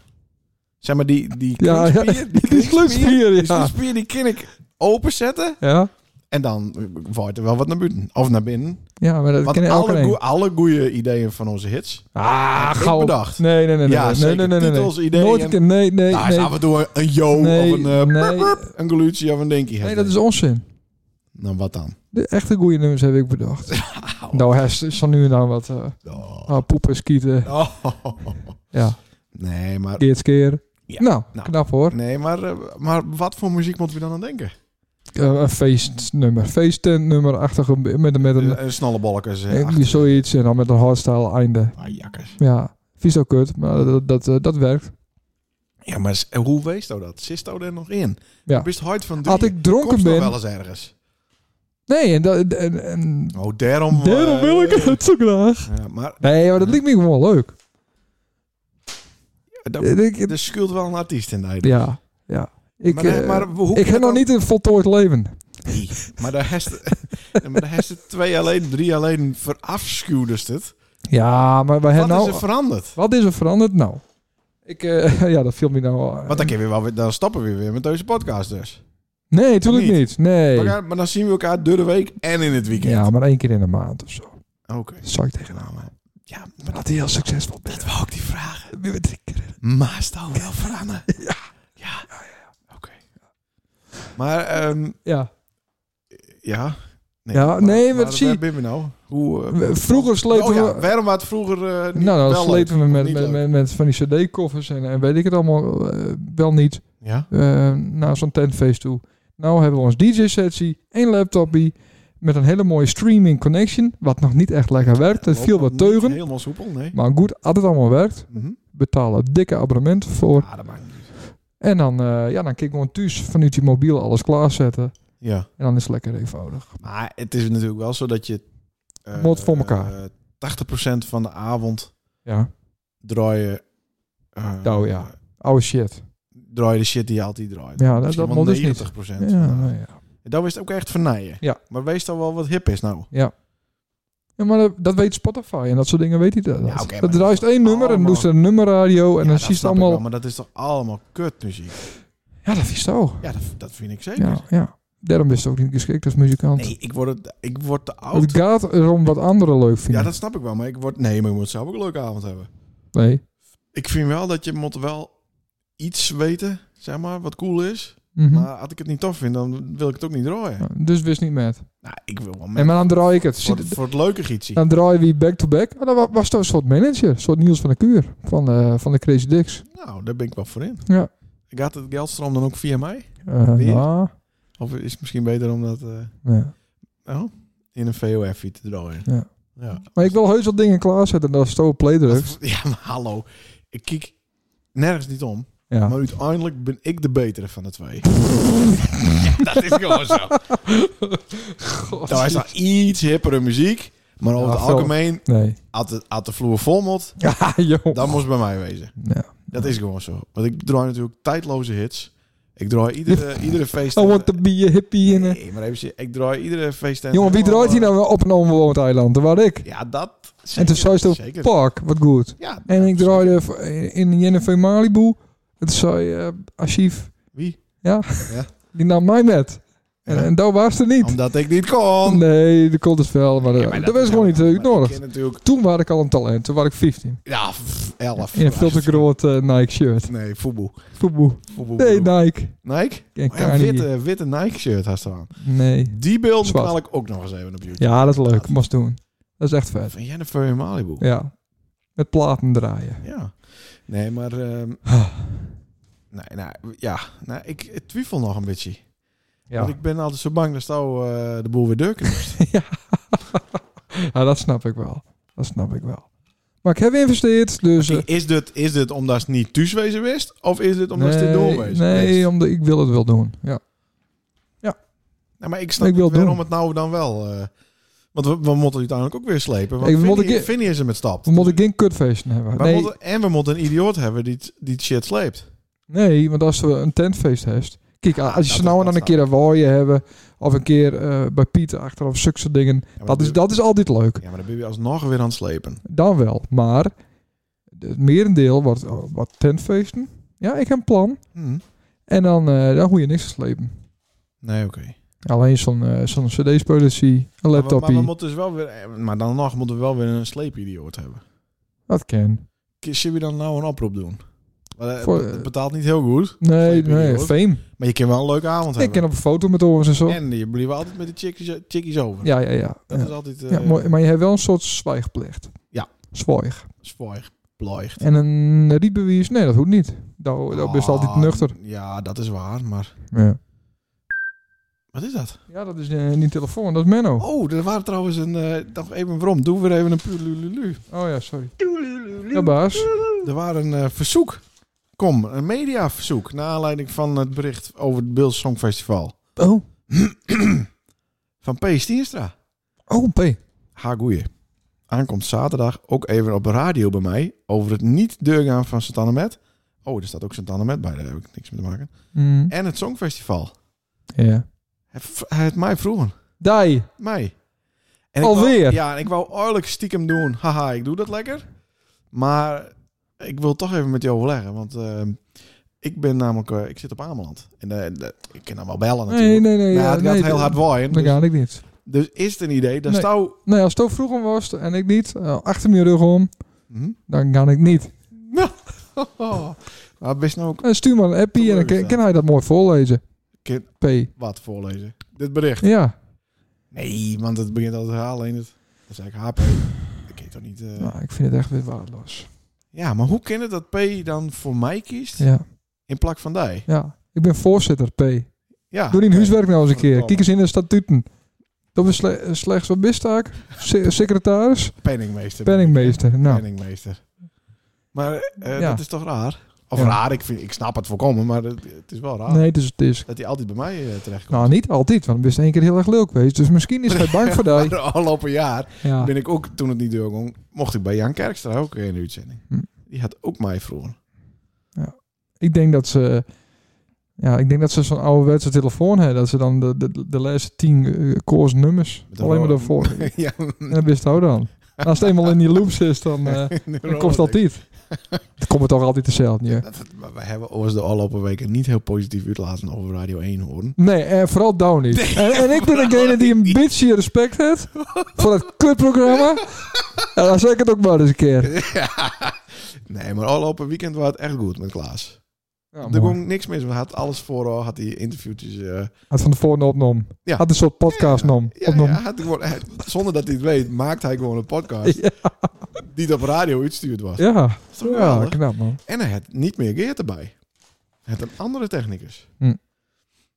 [SPEAKER 1] Zeg maar die die
[SPEAKER 2] Ja, ja,
[SPEAKER 1] kringspier,
[SPEAKER 2] die kringspier,
[SPEAKER 1] die
[SPEAKER 2] ja.
[SPEAKER 1] kringspier, die kan ik openzetten
[SPEAKER 2] Ja,
[SPEAKER 1] en dan wordt er wel wat naar buiten of naar binnen.
[SPEAKER 2] ja maar dat
[SPEAKER 1] Want
[SPEAKER 2] ken je elke
[SPEAKER 1] alle, goe-
[SPEAKER 2] een.
[SPEAKER 1] alle goede ideeën van onze hits.
[SPEAKER 2] Ah,
[SPEAKER 1] heb ik
[SPEAKER 2] gauw.
[SPEAKER 1] bedacht.
[SPEAKER 2] Nee, nee, nee. nee,
[SPEAKER 1] Ja,
[SPEAKER 2] nee,
[SPEAKER 1] zeker.
[SPEAKER 2] nee, nee, nee, nee.
[SPEAKER 1] Titels, ideeën.
[SPEAKER 2] Nooit een keer- nee, nee,
[SPEAKER 1] nou,
[SPEAKER 2] nee.
[SPEAKER 1] is af en toe een yo
[SPEAKER 2] Nee,
[SPEAKER 1] of een eh,
[SPEAKER 2] nee.
[SPEAKER 1] burp, burp, een geluutje of een dinkie.
[SPEAKER 2] Nee, dat is onzin.
[SPEAKER 1] Nou, wat dan?
[SPEAKER 2] De echte goede nummers heb ik bedacht. nou, hij is is van nu en dan wat eh
[SPEAKER 1] Oh.
[SPEAKER 2] ah, poepen, skieten.
[SPEAKER 1] Oh.
[SPEAKER 2] Ja,
[SPEAKER 1] Nee, maar,
[SPEAKER 2] keer.
[SPEAKER 1] Ja,
[SPEAKER 2] Nou,
[SPEAKER 1] nou.
[SPEAKER 2] knap hoor.
[SPEAKER 1] nee maar, eh, maar wat voor muziek moeten we dan aan denken?
[SPEAKER 2] Eh, een feestnummer. Feesttentnummer achtige met, een- met een...
[SPEAKER 1] Een, een snollebolkers. eh,
[SPEAKER 2] eh,
[SPEAKER 1] achter-
[SPEAKER 2] zoiets en dan met een hardstyle einde.
[SPEAKER 1] Ah, jakkers.
[SPEAKER 2] Ja, vies ook kut, maar dat, dat, eh, dat werkt.
[SPEAKER 1] Ja, maar s- hoe wees nou dat? Zit nou er nog in?
[SPEAKER 2] Ja.
[SPEAKER 1] Je bent hard van drie.
[SPEAKER 2] Had ik
[SPEAKER 1] Komst
[SPEAKER 2] dronken
[SPEAKER 1] nog
[SPEAKER 2] ben...
[SPEAKER 1] wel eens ergens.
[SPEAKER 2] Nee, en, dat, en, en
[SPEAKER 1] Oh, daarom...
[SPEAKER 2] daarom
[SPEAKER 1] eh,
[SPEAKER 2] wil ik het zo graag.
[SPEAKER 1] Ja, maar
[SPEAKER 2] Nee, maar dat liep me gewoon leuk.
[SPEAKER 1] eh, dat,
[SPEAKER 2] Ik- ik-
[SPEAKER 1] er schuilt wel een artiest in de eigen.
[SPEAKER 2] ja, ja. Ik,
[SPEAKER 1] dus- Maar, daar-
[SPEAKER 2] eh,
[SPEAKER 1] maar hoe
[SPEAKER 2] ik
[SPEAKER 1] kan
[SPEAKER 2] heb
[SPEAKER 1] dan-
[SPEAKER 2] nog niet een voltooid leven.
[SPEAKER 1] Nee, maar daar heeft maar daar heeft het twee alleen, drie alleen verafschuwdest het.
[SPEAKER 2] Ja, maar wij
[SPEAKER 1] Wat
[SPEAKER 2] hebben nou...
[SPEAKER 1] is er veranderd?
[SPEAKER 2] wat is er veranderd nou? Ik, eh, ja, dat viel me nou... eh,
[SPEAKER 1] Want dan, kun je weer wel, weer- dan stappen we weer met deze podcast dus.
[SPEAKER 2] nee, tuurlijk niet.
[SPEAKER 1] niet.
[SPEAKER 2] Nee.
[SPEAKER 1] Maar, maar dan zien we elkaar door de week en in het weekend.
[SPEAKER 2] Ja, maar één keer in de maand of zo.
[SPEAKER 1] Oké.
[SPEAKER 2] Dat zou ik tegen
[SPEAKER 1] Nou,
[SPEAKER 2] nou.
[SPEAKER 1] maar- ja, maar
[SPEAKER 2] Maar dat hij heel succesvol bent.
[SPEAKER 1] dat wou ik die vragen.
[SPEAKER 2] Wie weet ik.
[SPEAKER 1] Maar staan wel veranderen. Ja. Ja. Oké. Maar, ehm
[SPEAKER 2] Ja.
[SPEAKER 1] ja.
[SPEAKER 2] Ja,
[SPEAKER 1] maar-
[SPEAKER 2] nee, maar
[SPEAKER 1] maar,
[SPEAKER 2] zie-
[SPEAKER 1] Waar ben je nou? Hoe, eh,
[SPEAKER 2] We- Vroeger sleten
[SPEAKER 1] oh, ja,
[SPEAKER 2] we...
[SPEAKER 1] waarom was het vroeger eh, niet
[SPEAKER 2] nou,
[SPEAKER 1] wel
[SPEAKER 2] dan
[SPEAKER 1] leuk,
[SPEAKER 2] sleten we
[SPEAKER 1] of
[SPEAKER 2] met,
[SPEAKER 1] niet
[SPEAKER 2] met,
[SPEAKER 1] leuk?
[SPEAKER 2] met, met van die cd-koffers en, en weet ik het allemaal eh, wel niet.
[SPEAKER 1] Ja?
[SPEAKER 2] eh, naar zo'n tentfeest toe. Nou hebben we ons DJ-sessie, één laptopie met een hele mooie streaming connection, wat nog niet echt lekker werkt. Het viel wat
[SPEAKER 1] Niet
[SPEAKER 2] teugen,
[SPEAKER 1] Helemaal soepel, nee.
[SPEAKER 2] maar goed, als het allemaal werkt,
[SPEAKER 1] Mhm.
[SPEAKER 2] betalen we dikke abonnement voor.
[SPEAKER 1] Ah, dat maakt niet uit.
[SPEAKER 2] En dan, eh, ja, dan kan ik gewoon thuis vanuit je mobiel alles klaarzetten.
[SPEAKER 1] Ja.
[SPEAKER 2] En dan is het lekker eenvoudig.
[SPEAKER 1] Maar het is natuurlijk wel zo dat je... eh,
[SPEAKER 2] Moet voor elkaar.
[SPEAKER 1] eh, 80% van de avond
[SPEAKER 2] Ja,
[SPEAKER 1] draai je... eh,
[SPEAKER 2] Nou ja. oude shit.
[SPEAKER 1] Draai je de shit die je altijd draait.
[SPEAKER 2] Ja, dat-
[SPEAKER 1] Misschien
[SPEAKER 2] dat
[SPEAKER 1] wel
[SPEAKER 2] moet dus niet.
[SPEAKER 1] 90%.
[SPEAKER 2] Ja,
[SPEAKER 1] van de avond.
[SPEAKER 2] nou ja.
[SPEAKER 1] Dat wist ook echt vernijden.
[SPEAKER 2] Ja.
[SPEAKER 1] Maar wees dan wel wat hip is nou.
[SPEAKER 2] Ja, maar dat, dat weet Spotify en dat soort dingen weet hij dat.
[SPEAKER 1] Ja, oké,
[SPEAKER 2] dat
[SPEAKER 1] maar
[SPEAKER 2] draait één nummer en
[SPEAKER 1] allemaal-
[SPEAKER 2] doet ze een nummerradio en
[SPEAKER 1] Ja,
[SPEAKER 2] dan
[SPEAKER 1] dat
[SPEAKER 2] zie je
[SPEAKER 1] snap
[SPEAKER 2] het
[SPEAKER 1] ik
[SPEAKER 2] allemaal...
[SPEAKER 1] wel, maar dat is toch allemaal kutmuziek?
[SPEAKER 2] Ja, dat is zo.
[SPEAKER 1] Ja, dat, dat vind ik zeker.
[SPEAKER 2] Ja, ja. Daarom is het ook niet geschikt als muzikant.
[SPEAKER 1] Nee, ik word, het, ik word te
[SPEAKER 2] Het
[SPEAKER 1] oud.
[SPEAKER 2] gaat erom wat anderen leuk vinden.
[SPEAKER 1] Ja, dat snap ik wel. Maar ik word... Nee, maar je moet zelf ook een leuke avond hebben.
[SPEAKER 2] Nee.
[SPEAKER 1] Ik vind wel dat je moet wel iets weten, zeg maar, wat cool is.
[SPEAKER 2] Mhm.
[SPEAKER 1] Maar als ik het niet tof vind, dan wil ik het ook niet draaien.
[SPEAKER 2] Ja, Dus wist niet met.
[SPEAKER 1] Nou, ik wil wel
[SPEAKER 2] En maar dan draai ik het. Zie-
[SPEAKER 1] voor, voor het leuke gietsie.
[SPEAKER 2] Dan draai we back-to-back. Maar dat wa- was toch een soort manager. Een soort Niels van de Kuur. Van, eh, van de Crazy Dicks.
[SPEAKER 1] Nou, daar ben ik wel voor in.
[SPEAKER 2] Ja.
[SPEAKER 1] Gaat het geldstroom dan ook via mij?
[SPEAKER 2] Eh,
[SPEAKER 1] Weer?
[SPEAKER 2] ja.
[SPEAKER 1] Of is het misschien beter om dat eh,
[SPEAKER 2] Ja.
[SPEAKER 1] oh, in een vof te draaien?
[SPEAKER 2] Ja.
[SPEAKER 1] Ja.
[SPEAKER 2] Maar ik wil heus wat dingen klaarzetten. Dat is toch play drugs.
[SPEAKER 1] Ja, maar hallo. Ik kijk nergens niet om.
[SPEAKER 2] Ja.
[SPEAKER 1] Maar uiteindelijk ben ik de betere van de twee. ja, dat is gewoon zo. Nou, is nog iets hippere muziek. Maar over
[SPEAKER 2] Ja,
[SPEAKER 1] het
[SPEAKER 2] veel.
[SPEAKER 1] algemeen,
[SPEAKER 2] Nee.
[SPEAKER 1] had de, had de vloer vol moet,
[SPEAKER 2] Ja, joh.
[SPEAKER 1] dan moest het bij mij wezen.
[SPEAKER 2] Oh. Ja.
[SPEAKER 1] Dat is gewoon zo. Want ik draai natuurlijk tijdloze hits. Ik draai iedere, iedere feest...
[SPEAKER 2] I want to be a hippie. In a-
[SPEAKER 1] Nee, maar even, ik draai iedere feest...
[SPEAKER 2] Jongen, wie draait hier nou op een onbewoond eiland? Dat was ik.
[SPEAKER 1] eh, Ja, dat...
[SPEAKER 2] en
[SPEAKER 1] zeker,
[SPEAKER 2] toen zei ze
[SPEAKER 1] zeker.
[SPEAKER 2] toch, pak, wat goed.
[SPEAKER 1] Ja,
[SPEAKER 2] En ik
[SPEAKER 1] zeker.
[SPEAKER 2] draaide v- in Jennifer Malibu. Het zei eh, archief.
[SPEAKER 1] Wie?
[SPEAKER 2] Ja.
[SPEAKER 1] Ja.
[SPEAKER 2] Die nam mij met. En,
[SPEAKER 1] Ja.
[SPEAKER 2] en daar was ze niet.
[SPEAKER 1] Omdat ik niet kon.
[SPEAKER 2] Nee, de komt het wel, maar, eh,
[SPEAKER 1] Ja, maar
[SPEAKER 2] dat was gewoon niet eh,
[SPEAKER 1] Maar
[SPEAKER 2] uitnodigd.
[SPEAKER 1] Ik ken natuurlijk,
[SPEAKER 2] Toen was ik al een talent, toen was ik 15.
[SPEAKER 1] ja, pff, 11.
[SPEAKER 2] In een veel te groot eh, Nike shirt.
[SPEAKER 1] Nee, voetbal.
[SPEAKER 2] Voetboe.
[SPEAKER 1] Voetbal,
[SPEAKER 2] Nee, nou-
[SPEAKER 1] voetbal.
[SPEAKER 2] Nike.
[SPEAKER 1] Nike?
[SPEAKER 2] En
[SPEAKER 1] Oh ja,
[SPEAKER 2] Kanye.
[SPEAKER 1] witte, witte Nike-shirt had ze aan.
[SPEAKER 2] Nee.
[SPEAKER 1] Die beelden
[SPEAKER 2] Zwart.
[SPEAKER 1] knal ik ook nog eens even op YouTube.
[SPEAKER 2] Ja, dat is leuk. Moest doen. Dat is echt vet.
[SPEAKER 1] nou Van Jennifer in Malibu. Ja.
[SPEAKER 2] Ja. Met platen draaien.
[SPEAKER 1] Nee, maar... ehm,
[SPEAKER 2] Ah.
[SPEAKER 1] nee, nou, ja. Nou, ik, ik twijfel nog een beetje. Want
[SPEAKER 2] Ja.
[SPEAKER 1] ik ben altijd zo bang dat nou eh, de boel weer deur knipt.
[SPEAKER 2] ja, Nou, dat snap ik wel. Dat snap ik wel. Maar ik heb geïnvesteerd, dus... eh,
[SPEAKER 1] is, dit, is dit omdat ze niet thuis wezen wist? Of is dit omdat ze dit dus doorwezen wist?
[SPEAKER 2] Nee, omdat ik wil het wel doen. Ja.
[SPEAKER 1] Nou, maar ik snap
[SPEAKER 2] Ik wil
[SPEAKER 1] niet waarom
[SPEAKER 2] doen.
[SPEAKER 1] het nou dan wel... eh, want we, we moeten uiteindelijk ook weer slepen. Want
[SPEAKER 2] Ik- we
[SPEAKER 1] Vinnie-
[SPEAKER 2] moeten-
[SPEAKER 1] Vinnie is er met stapt.
[SPEAKER 2] We moeten geen kutfeesten hebben.
[SPEAKER 1] We
[SPEAKER 2] nee,
[SPEAKER 1] moeten- en we moeten een idioot hebben die, het- die het shit sleept.
[SPEAKER 2] nee, want als we een tentfeest hebt... Kijk,
[SPEAKER 1] Ah,
[SPEAKER 2] als je
[SPEAKER 1] dat-
[SPEAKER 2] ze nou en dan
[SPEAKER 1] dat
[SPEAKER 2] een keer een waaien hebben... of een keer eh, bij Pieter achter of zulke dingen...
[SPEAKER 1] Ja, maar
[SPEAKER 2] Dat is,
[SPEAKER 1] dan-
[SPEAKER 2] dat is altijd leuk.
[SPEAKER 1] Ja, maar dan ben je alsnog weer aan het slepen.
[SPEAKER 2] Dan wel. Maar het merendeel wordt, oh, wordt tentfeesten. Ja, ik heb een plan.
[SPEAKER 1] Hm.
[SPEAKER 2] En dan, eh dan hoef je niks te slepen.
[SPEAKER 1] Nee, oké.
[SPEAKER 2] Alleen zo'n eh, zo'n cd-spelersie,
[SPEAKER 1] Maar,
[SPEAKER 2] een
[SPEAKER 1] we- maar we
[SPEAKER 2] laptopje.
[SPEAKER 1] moeten dus wel weer... eh, Maar dan nog moeten we wel weer een sleepidioot hebben.
[SPEAKER 2] Dat kan.
[SPEAKER 1] K- Zullen we dan nou een oproep doen? Maar, eh,
[SPEAKER 2] Voor,
[SPEAKER 1] het
[SPEAKER 2] eh,
[SPEAKER 1] betaalt niet heel goed.
[SPEAKER 2] Nee,
[SPEAKER 1] Sleepidioot.
[SPEAKER 2] nee, fame.
[SPEAKER 1] Maar je kan wel een leuke avond
[SPEAKER 2] Ik
[SPEAKER 1] hebben.
[SPEAKER 2] ken op een foto met oren en zo.
[SPEAKER 1] En je blijft altijd met de chickies, chickies over.
[SPEAKER 2] Ja, ja, ja.
[SPEAKER 1] Dat
[SPEAKER 2] ja.
[SPEAKER 1] is altijd... eh
[SPEAKER 2] Ja, mooi. maar je hebt wel een soort zwijgplicht.
[SPEAKER 1] Ja.
[SPEAKER 2] Zwijg.
[SPEAKER 1] Spoor. Ploigt.
[SPEAKER 2] En een eh, rietbewijs, nee, dat hoeft niet. Dat dat is altijd nuchter.
[SPEAKER 1] Ah, Ja, dat is waar, maar...
[SPEAKER 2] Ja,
[SPEAKER 1] Wat is dat?
[SPEAKER 2] ja dat is eh, niet telefoon, dat is Menno. Oh,
[SPEAKER 1] Oh, er waren trouwens een... eh, nog even waarom. Doe weer even een puur lululu.
[SPEAKER 2] Oh, ja, sorry. Ja, baas.
[SPEAKER 1] Er waren een eh, verzoek. Kom, een mediaverzoek. Naar aanleiding van het bericht over het Beels Songfestival.
[SPEAKER 2] Oh,
[SPEAKER 1] Van P. Stienstra.
[SPEAKER 2] oh, P.
[SPEAKER 1] Ha, goeie. Aankomt zaterdag ook even op de radio bij mij over het niet deurgaan van Sint Met. Oh, er staat ook Sint Met bij, daar heb ik niks mee te maken.
[SPEAKER 2] Mm.
[SPEAKER 1] En het Songfestival.
[SPEAKER 2] Ja.
[SPEAKER 1] Hij v- Hij het mij vroegen.
[SPEAKER 2] Die.
[SPEAKER 1] Mij. En Ik
[SPEAKER 2] Alweer?
[SPEAKER 1] wou, ja, en ik wou oorlijk stiekem doen. Haha, ik doe dat lekker. Maar ik wil toch even met je overleggen, want eh, ik ben namelijk, eh, ik zit op Ameland. En eh, de- ik kan dan wel bellen natuurlijk.
[SPEAKER 2] Nee, nee, nee.
[SPEAKER 1] Nou,
[SPEAKER 2] ja,
[SPEAKER 1] het
[SPEAKER 2] nee,
[SPEAKER 1] gaat heel hard waaien.
[SPEAKER 2] Dat
[SPEAKER 1] Dus,
[SPEAKER 2] ga ik niet.
[SPEAKER 1] dus is het een idee, dan
[SPEAKER 2] Nee.
[SPEAKER 1] stouw...
[SPEAKER 2] Nee, als het vroeger was en ik niet, eh, achter mijn rug om,
[SPEAKER 1] Hm?
[SPEAKER 2] dan ga ik niet.
[SPEAKER 1] maar best nou ook
[SPEAKER 2] Eh, stuur maar een appie en dan kan- kan hij dat mooi voorlezen.
[SPEAKER 1] Ken-
[SPEAKER 2] P.
[SPEAKER 1] wat voorlezen. Dit bericht.
[SPEAKER 2] Ja.
[SPEAKER 1] Nee, want het begint al te herhalen. in het- Dat is eigenlijk HP. Dat kan je toch niet... eh,
[SPEAKER 2] Nou, ik vind het echt weer waardeloos.
[SPEAKER 1] Ja, maar hoe kan het dat P dan voor mij kiest
[SPEAKER 2] Ja.
[SPEAKER 1] in plak van die?
[SPEAKER 2] Ja. Ik ben voorzitter, P.
[SPEAKER 1] Ah, Ja.
[SPEAKER 2] Doe die een
[SPEAKER 1] Nee.
[SPEAKER 2] huiswerk nou eens een keer.
[SPEAKER 1] Oh.
[SPEAKER 2] Kijk eens in de statuten. Dat is sle- slechts wat bistaak. Se- secretaris,
[SPEAKER 1] Penningmeester.
[SPEAKER 2] penningmeester. Nou,
[SPEAKER 1] Penningmeester. Maar eh,
[SPEAKER 2] Ja.
[SPEAKER 1] dat is toch raar? Of
[SPEAKER 2] Ja.
[SPEAKER 1] raar, ik, vind, ik snap het volkomen, maar het, het is wel raar.
[SPEAKER 2] nee, het is, het is.
[SPEAKER 1] Dat hij altijd bij mij eh, terechtkomt.
[SPEAKER 2] Nou, niet altijd, want dan is één keer heel erg leuk geweest. Dus misschien is hij bang voor die.
[SPEAKER 1] de afgelopen jaar
[SPEAKER 2] Ja.
[SPEAKER 1] ben ik ook, toen het niet doorging, mocht ik bij Jan Kerkstra ook in de uitzending.
[SPEAKER 2] Hm.
[SPEAKER 1] Die had ook mij vroeger.
[SPEAKER 2] Ik denk dat ze. Ja, ik denk dat ze zo'n ouderwetse telefoon hebben. Dat ze dan de, de, de laatste tien eh, koers nummers
[SPEAKER 1] Met een
[SPEAKER 2] alleen maar
[SPEAKER 1] rode-
[SPEAKER 2] daarvoor. en
[SPEAKER 1] ja,
[SPEAKER 2] dat wist hij dan. En Als het eenmaal in die loop zit, dan, eh, dan komt het altijd. Dan komt het toch altijd hetzelfde. Ja.
[SPEAKER 1] Dat- Maar we hebben ons de afgelopen weken niet heel positief uitlaten over Radio 1 horen.
[SPEAKER 2] Nee, en vooral Down niet. en, en ik ben degene die een beetje respect heeft voor het kutprogramma. En dan zeg ik het ook maar eens een keer.
[SPEAKER 1] Nee, maar afgelopen weekend was het echt goed met Klaas.
[SPEAKER 2] Ja,
[SPEAKER 1] er
[SPEAKER 2] mooi.
[SPEAKER 1] ging niks mis. We had alles voor, had die interviewtjes. eh,
[SPEAKER 2] Had van tevoren opnom.
[SPEAKER 1] Ja.
[SPEAKER 2] Had een soort podcast nom.
[SPEAKER 1] Ja,
[SPEAKER 2] Opnom.
[SPEAKER 1] ja, hij had gewoon, hij- zonder dat hij het weet, maakt hij gewoon een podcast
[SPEAKER 2] Ja.
[SPEAKER 1] die het op radio uitstuurd was.
[SPEAKER 2] Ja.
[SPEAKER 1] Dat is toch
[SPEAKER 2] ja,
[SPEAKER 1] geweldig?
[SPEAKER 2] knap man.
[SPEAKER 1] En hij had niet meer Geert erbij. Hij had een andere technicus.
[SPEAKER 2] Hm.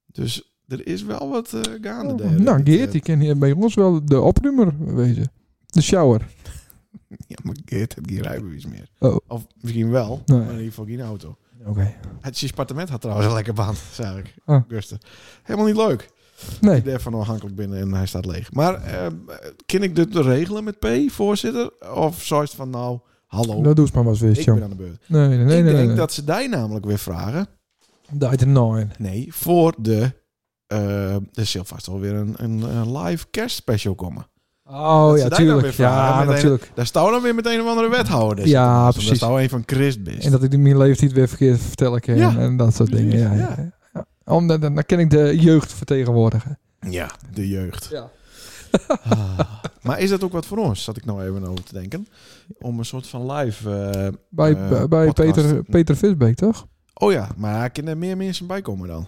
[SPEAKER 1] Dus er is wel wat eh, gaande. daar.
[SPEAKER 2] Nou,
[SPEAKER 1] Ik, eh,
[SPEAKER 2] Geert, die kan hier bij ons wel de opnummer wezen. De shower.
[SPEAKER 1] Ja, maar Geert heeft geen rijbewijs meer.
[SPEAKER 2] Oh.
[SPEAKER 1] Of misschien wel,
[SPEAKER 2] Nee.
[SPEAKER 1] maar in ieder geval geen auto.
[SPEAKER 2] Oké.
[SPEAKER 1] Het appartement had trouwens een lekker baan, zag ik.
[SPEAKER 2] Ah.
[SPEAKER 1] Guster. Helemaal niet leuk.
[SPEAKER 2] Nee.
[SPEAKER 1] Ik daarvan afhankelijk binnen en hij staat leeg. Maar eh kan ik dit regelen met P, voorzitter? Of zou je het van, nou, hallo,
[SPEAKER 2] Dat doe ze maar wel eens
[SPEAKER 1] ik
[SPEAKER 2] wist,
[SPEAKER 1] ben
[SPEAKER 2] jong.
[SPEAKER 1] aan de beurt.
[SPEAKER 2] Nee, nee, nee.
[SPEAKER 1] ik
[SPEAKER 2] nee,
[SPEAKER 1] denk
[SPEAKER 2] nee.
[SPEAKER 1] dat ze die namelijk weer vragen.
[SPEAKER 2] Dat is een
[SPEAKER 1] Nee, voor de... eh er zal vast wel weer een, een, een live kerstspecial komen.
[SPEAKER 2] Oh
[SPEAKER 1] Dat ze daar
[SPEAKER 2] ja,
[SPEAKER 1] dan weer
[SPEAKER 2] tuurlijk.
[SPEAKER 1] vragen
[SPEAKER 2] Ja,
[SPEAKER 1] met een-
[SPEAKER 2] natuurlijk.
[SPEAKER 1] Daar staan dan weer met een of andere wethouder.
[SPEAKER 2] Ja,
[SPEAKER 1] zitten. Dus
[SPEAKER 2] precies.
[SPEAKER 1] Daar staan een van Christ best.
[SPEAKER 2] En dat ik in mijn leeftijd weer verkeerd vertel ik
[SPEAKER 1] Ja,
[SPEAKER 2] en dat soort dingen.
[SPEAKER 1] precies,
[SPEAKER 2] Ja, ja.
[SPEAKER 1] ja.
[SPEAKER 2] ja. Oké. Om, dan, dan dan kan ik de jeugd vertegenwoordigen.
[SPEAKER 1] Ja, de jeugd.
[SPEAKER 2] Ja.
[SPEAKER 1] Ah. Maar is dat ook wat voor ons? Zat ik nou even over te denken. Om een soort van live... eh,
[SPEAKER 2] Bij,
[SPEAKER 1] Eh,
[SPEAKER 2] bij- bij
[SPEAKER 1] podcast.
[SPEAKER 2] Peter, Peter Visbeek, toch?
[SPEAKER 1] Oh ja, maar kunnen er meer mensen bij komen dan?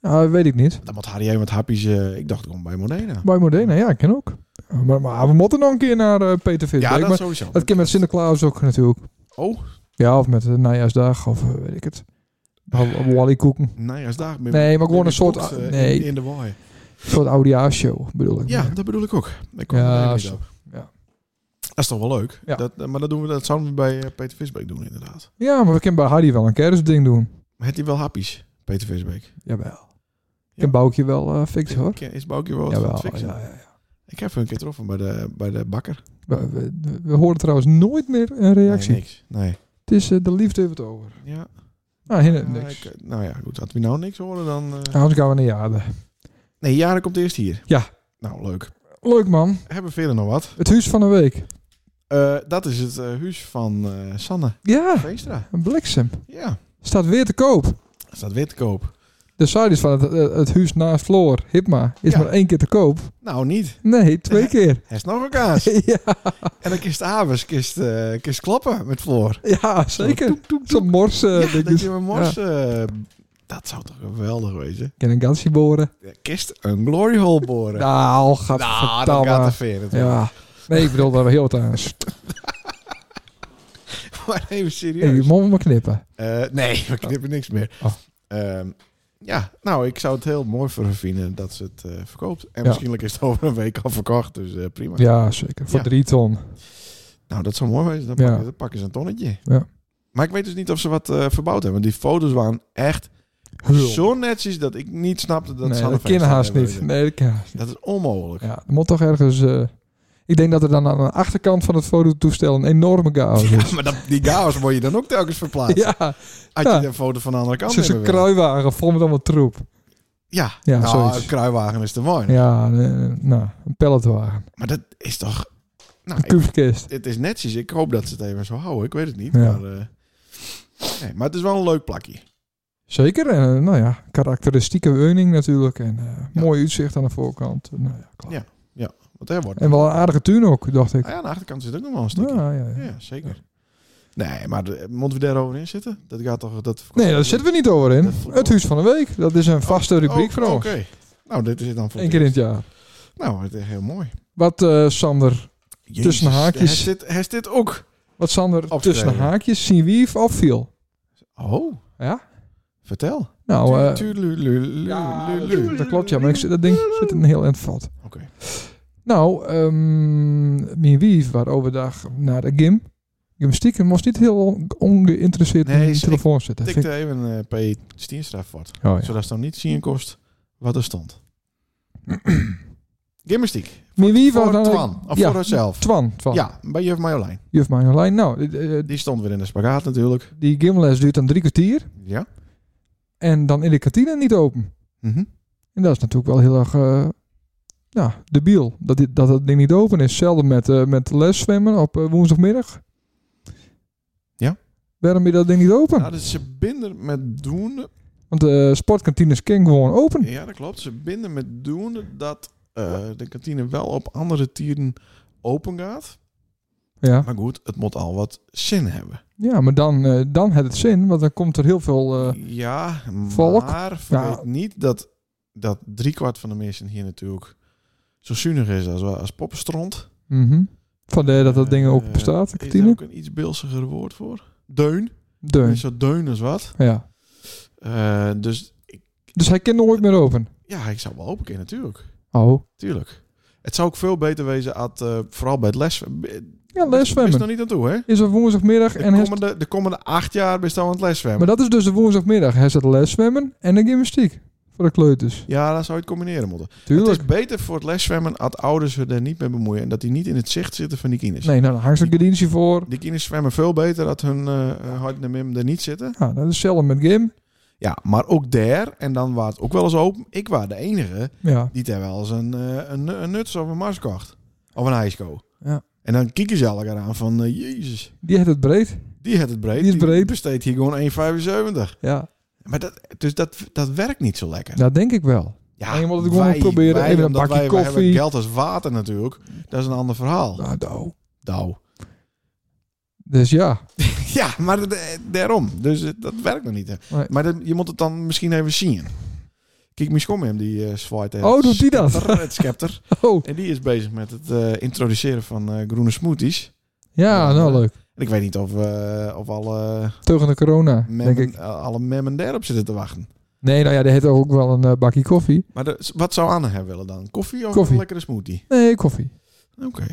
[SPEAKER 2] Ja, weet ik niet.
[SPEAKER 1] Dan moet Harry even wat hapjes... eh, ik dacht, ik kom bij Modena.
[SPEAKER 2] Bij Modena, ja, ik ken ook. Maar, maar we moeten nog een keer naar eh, Peter Visbeek.
[SPEAKER 1] Ja, dat
[SPEAKER 2] maar
[SPEAKER 1] sowieso.
[SPEAKER 2] dat kan met Sinterklaas ook natuurlijk.
[SPEAKER 1] Oh,
[SPEAKER 2] Ja, of met de najaarsdag, of eh, weet ik het. Of- of Wallykoeken.
[SPEAKER 1] najaarsdag. ben-
[SPEAKER 2] Nee, maar gewoon
[SPEAKER 1] ben
[SPEAKER 2] een soort-
[SPEAKER 1] geboekt, eh, in-
[SPEAKER 2] nee.
[SPEAKER 1] In, de waai.
[SPEAKER 2] Een soort oudejaarsshow, bedoel ik.
[SPEAKER 1] Ja,
[SPEAKER 2] meer.
[SPEAKER 1] dat bedoel ik ook. Daar kwam
[SPEAKER 2] Ja,
[SPEAKER 1] Modena niet
[SPEAKER 2] zo.
[SPEAKER 1] op.
[SPEAKER 2] Ja.
[SPEAKER 1] Dat is toch wel leuk.
[SPEAKER 2] Ja.
[SPEAKER 1] Dat, eh, maar dat, doen we, dat zouden we bij eh, Peter Visbeek doen, inderdaad.
[SPEAKER 2] ja, maar we kunnen bij Harry wel een kerstding doen.
[SPEAKER 1] Maar heeft hij wel hapjes, Peter Visbeek?
[SPEAKER 2] Hm? Jawel. Ik kan Boukje wel eh, fixen, hoor.
[SPEAKER 1] Is Boukje wel wat van het
[SPEAKER 2] Jawel,
[SPEAKER 1] fixen?
[SPEAKER 2] ja, ja, ja.
[SPEAKER 1] Ik heb hem een keer getroffen bij de, bij de bakker.
[SPEAKER 2] We, we, we horen trouwens nooit meer een reactie.
[SPEAKER 1] Nee, niks. Nee.
[SPEAKER 2] Het is eh, de liefde heeft het over.
[SPEAKER 1] Ja.
[SPEAKER 2] Nou, hinder,
[SPEAKER 1] Ja,
[SPEAKER 2] niks.
[SPEAKER 1] ik- nou ja, goed. Had we nou niks horen dan... eh,
[SPEAKER 2] Anders gaan we naar Jade.
[SPEAKER 1] Nee, Jaren komt eerst hier.
[SPEAKER 2] Ja.
[SPEAKER 1] Nou, leuk.
[SPEAKER 2] Leuk man.
[SPEAKER 1] Hebben we verder nog wat?
[SPEAKER 2] Het huis van de week.
[SPEAKER 1] Eh, dat is het eh, huis van eh, Sanne
[SPEAKER 2] Ja,
[SPEAKER 1] Veenstra.
[SPEAKER 2] een bliksem.
[SPEAKER 1] Ja,
[SPEAKER 2] Staat weer te koop.
[SPEAKER 1] staat weer te koop.
[SPEAKER 2] De site is van het, eh, het huis naast Floor, Hipma, is
[SPEAKER 1] Ja.
[SPEAKER 2] maar één keer te koop.
[SPEAKER 1] Nou, niet.
[SPEAKER 2] Nee, twee keer.
[SPEAKER 1] Hij is nog een kaas.
[SPEAKER 2] ja,
[SPEAKER 1] en dan kist Avers, kist, eh kist klappen met Floor.
[SPEAKER 2] ja, zeker. Zo'n mors. eh,
[SPEAKER 1] ja, dat
[SPEAKER 2] dingetjes.
[SPEAKER 1] je met mors... eh, dat zou toch geweldig wezen?
[SPEAKER 2] Ik ken een gansie boren.
[SPEAKER 1] Ja, Kist een glory hole boren.
[SPEAKER 2] Nou, gaat
[SPEAKER 1] nou, dat gaat te ver. het wordt.
[SPEAKER 2] Ja. Nee, ik bedoel, dat we heel wat aan.
[SPEAKER 1] Maar even serieus.
[SPEAKER 2] Hey, je mond maar knippen.
[SPEAKER 1] Eh, nee, we knippen niks meer.
[SPEAKER 2] Oh.
[SPEAKER 1] Ehm, ja, nou, ik zou het heel mooi voor haar vinden dat ze het eh, verkoopt. En
[SPEAKER 2] Ja.
[SPEAKER 1] misschien is het over een week al verkocht, dus eh, prima.
[SPEAKER 2] Ja, zeker. Voor
[SPEAKER 1] Ja.
[SPEAKER 2] drie ton.
[SPEAKER 1] Nou, dat zou mooi zijn. Dan,
[SPEAKER 2] Ja.
[SPEAKER 1] pakken, dan pakken ze een tonnetje.
[SPEAKER 2] Ja.
[SPEAKER 1] Maar ik weet dus niet of ze wat eh, verbouwd hebben. Want die foto's waren echt
[SPEAKER 2] Hul.
[SPEAKER 1] zo netjes dat ik niet snapte dat
[SPEAKER 2] nee,
[SPEAKER 1] ze aan de
[SPEAKER 2] dat kan
[SPEAKER 1] feest
[SPEAKER 2] haast
[SPEAKER 1] hebben.
[SPEAKER 2] niet. Nee, dat kan haast niet.
[SPEAKER 1] Dat is onmogelijk.
[SPEAKER 2] Ja, er moet toch ergens... eh, ik denk dat er dan aan de achterkant van het fototoestel een enorme chaos is.
[SPEAKER 1] Ja, maar dat, die chaos word je dan ook telkens verplaatsen.
[SPEAKER 2] Oh, Ja,
[SPEAKER 1] Als
[SPEAKER 2] Ja.
[SPEAKER 1] je een foto van de andere kant
[SPEAKER 2] het is een
[SPEAKER 1] hebben wil.
[SPEAKER 2] kruiwagen vol met allemaal troep.
[SPEAKER 1] Ja,
[SPEAKER 2] Ja,
[SPEAKER 1] nou,
[SPEAKER 2] zoiets.
[SPEAKER 1] een kruiwagen is te mooi.
[SPEAKER 2] Ja, eh, nou, een palletwagen.
[SPEAKER 1] Maar dat is toch... Nou,
[SPEAKER 2] Een
[SPEAKER 1] ik-
[SPEAKER 2] kubekist.
[SPEAKER 1] het is netjes. Ik hoop dat ze het even zo houden. Ik weet het niet.
[SPEAKER 2] Ja.
[SPEAKER 1] Maar, eh, nee, maar het is wel een leuk plakje.
[SPEAKER 2] Zeker. En eh, nou ja, karakteristieke woning natuurlijk. En eh,
[SPEAKER 1] Ja.
[SPEAKER 2] mooi uitzicht aan de voorkant. Nou ja, klaar.
[SPEAKER 1] Ja. Want er wordt...
[SPEAKER 2] En wel een aardige tuin ook, dacht ik.
[SPEAKER 1] Ah ja, aan de achterkant zit ook nog wel een stukje.
[SPEAKER 2] Ja, ja, ja.
[SPEAKER 1] Ja, zeker. Nee, maar de eh, Montevideo overin zitten? Dat gaat toch... Dat
[SPEAKER 2] Nee, daar zitten we niet over in.
[SPEAKER 1] Dat voelt-
[SPEAKER 2] Het Huis van de Week. Dat is een vaste rubriek voor
[SPEAKER 1] Oh, Oké.
[SPEAKER 2] ons.
[SPEAKER 1] Nou, dit is het dan voor
[SPEAKER 2] Eén keer in het jaar.
[SPEAKER 1] Nou, het is heel mooi.
[SPEAKER 2] Wat eh, Sander,
[SPEAKER 1] Jezus,
[SPEAKER 2] Tussen haakjes.
[SPEAKER 1] Hij zit, hij zit ook.
[SPEAKER 2] wat Sander
[SPEAKER 1] Opschrijven.
[SPEAKER 2] tussen de haakjes zien wie of viel.
[SPEAKER 1] Oh.
[SPEAKER 2] Ja?
[SPEAKER 1] Vertel.
[SPEAKER 2] Nou, eh,
[SPEAKER 1] Tuurlulululu.
[SPEAKER 2] dat klopt ja, maar ik, zit- dat ding zit een heel eind valt.
[SPEAKER 1] Oké.
[SPEAKER 2] Nou, ehm mijn wief waar overdag naar de gym. Gymnastiek en moest niet heel on- ongeïnteresseerd
[SPEAKER 1] Nee,
[SPEAKER 2] in de
[SPEAKER 1] ze-
[SPEAKER 2] telefoon zitten.
[SPEAKER 1] Tik
[SPEAKER 2] Vind ik-
[SPEAKER 1] er even eh P. Stienstra voort.
[SPEAKER 2] Oh, ja.
[SPEAKER 1] Zodat ze dan niet zien kost wat er stond. Gymnastiek.
[SPEAKER 2] Mijn wief was
[SPEAKER 1] Voor
[SPEAKER 2] dan...
[SPEAKER 1] Twan. Of
[SPEAKER 2] ja,
[SPEAKER 1] voor haarzelf.
[SPEAKER 2] Twan, Twan.
[SPEAKER 1] Ja, bij juf Marjolein.
[SPEAKER 2] Juf Marjolein. Nou, eh, eh,
[SPEAKER 1] Die stond weer in de spagaat natuurlijk.
[SPEAKER 2] die gymles duurt dan drie kwartier.
[SPEAKER 1] Ja.
[SPEAKER 2] En dan in de kantine niet open.
[SPEAKER 1] Mhm.
[SPEAKER 2] En dat is natuurlijk wel heel erg eh ja, debiel. Dat, dit, dat het ding niet open is. Zelden met, eh met leszwemmen op eh, woensdagmiddag.
[SPEAKER 1] Ja.
[SPEAKER 2] Waarom is dat ding niet open?
[SPEAKER 1] Nou, dus ze binden met doende.
[SPEAKER 2] Want de sportkantines kan gewoon open.
[SPEAKER 1] Ja, dat klopt. Ze binden met doende dat eh, de kantine wel op andere tieren open gaat.
[SPEAKER 2] Ja,
[SPEAKER 1] Maar goed, het moet al wat zin hebben.
[SPEAKER 2] ja maar dan, eh, dan heeft het zin. Want dan komt er heel veel... eh,
[SPEAKER 1] ja,
[SPEAKER 2] volk?
[SPEAKER 1] maar vergeet
[SPEAKER 2] Ja.
[SPEAKER 1] niet dat, dat driekwart van de mensen hier natuurlijk zo zuinig is als, als poppenstront.
[SPEAKER 2] mhm. Vandaar dat dat ding ook
[SPEAKER 1] Eh,
[SPEAKER 2] bestaat, de
[SPEAKER 1] Is daar
[SPEAKER 2] kantine.
[SPEAKER 1] ook een iets bilsiger woord voor? Deun.
[SPEAKER 2] Deun.
[SPEAKER 1] Is zo deun als wat.
[SPEAKER 2] Ja.
[SPEAKER 1] Eh, dus ik,
[SPEAKER 2] Dus hij kan nooit meer open.
[SPEAKER 1] ja, ik zou wel open kunnen natuurlijk.
[SPEAKER 2] Oh.
[SPEAKER 1] Tuurlijk. Het zou ook veel beter wezen, at, eh, vooral bij het les.
[SPEAKER 2] Ja,
[SPEAKER 1] Is er
[SPEAKER 2] leszwemmen.
[SPEAKER 1] nog niet aan toe, hè?
[SPEAKER 2] Is op woensdagmiddag
[SPEAKER 1] De
[SPEAKER 2] en... hij-
[SPEAKER 1] komende, de komende acht jaar ben je dan aan het leszwemmen.
[SPEAKER 2] Maar dat is dus de woensdagmiddag. Hij zet leszwemmen en de gymnastiek. Voor de kleuters.
[SPEAKER 1] Ja, dan zou je het combineren moeten.
[SPEAKER 2] Tuurlijk.
[SPEAKER 1] Het is beter voor het leszwemmen als ouders ze er niet mee bemoeien. En dat die niet in het zicht zitten van die kinders.
[SPEAKER 2] Nee, nou, dan hangt er een gedienstje voor.
[SPEAKER 1] Die kinders zwemmen veel beter dat hun eh hart en mim er niet zitten.
[SPEAKER 2] Ja, dat is hetzelfde met Gim.
[SPEAKER 1] Ja, maar ook daar, en dan was het ook wel eens open. Ik was de enige
[SPEAKER 2] Ja.
[SPEAKER 1] die daar wel eens een, eh, een, een nuts of een mars kocht. Of een ijsko.
[SPEAKER 2] Ja.
[SPEAKER 1] En dan kieken ze elkaar aan van, eh, jezus,
[SPEAKER 2] Die heeft het breed.
[SPEAKER 1] die heeft het breed.
[SPEAKER 2] Die is breed.
[SPEAKER 1] besteedt hier gewoon 1,75.
[SPEAKER 2] Ja.
[SPEAKER 1] Maar dat, dus dat, dat werkt niet zo lekker.
[SPEAKER 2] Dat denk ik wel.
[SPEAKER 1] Ja,
[SPEAKER 2] en je moet het gewoon proberen.
[SPEAKER 1] Wij,
[SPEAKER 2] Even een
[SPEAKER 1] omdat
[SPEAKER 2] bakje
[SPEAKER 1] wij, wij hebben
[SPEAKER 2] koffie.
[SPEAKER 1] geld als water natuurlijk. Dat is een ander verhaal.
[SPEAKER 2] Nou, nou.
[SPEAKER 1] Nou.
[SPEAKER 2] Dus ja,
[SPEAKER 1] Ja, maar dat- eh, daarom. Dus eh, dat werkt nog niet. hè.
[SPEAKER 2] Nee.
[SPEAKER 1] Maar dat- je moet het dan misschien even zien. Kijk, misschien hem die eh zwaait. eh,
[SPEAKER 2] Oh, doet die dat?
[SPEAKER 1] scepter, Het scepter.
[SPEAKER 2] oh,
[SPEAKER 1] En die is bezig met het eh, introduceren van eh, groene smoothies.
[SPEAKER 2] ja, nou leuk.
[SPEAKER 1] En ik weet niet of, eh, of alle,
[SPEAKER 2] Tegen de corona, denk
[SPEAKER 1] memmen,
[SPEAKER 2] ik.
[SPEAKER 1] alle memmen daarop zitten te wachten.
[SPEAKER 2] Nee, nou ja, die heeft ook wel een eh, bakje koffie.
[SPEAKER 1] Maar de- wat zou Anne hebben willen dan? Koffie of
[SPEAKER 2] Koffie.
[SPEAKER 1] een lekkere smoothie?
[SPEAKER 2] Nee, koffie.
[SPEAKER 1] Oké.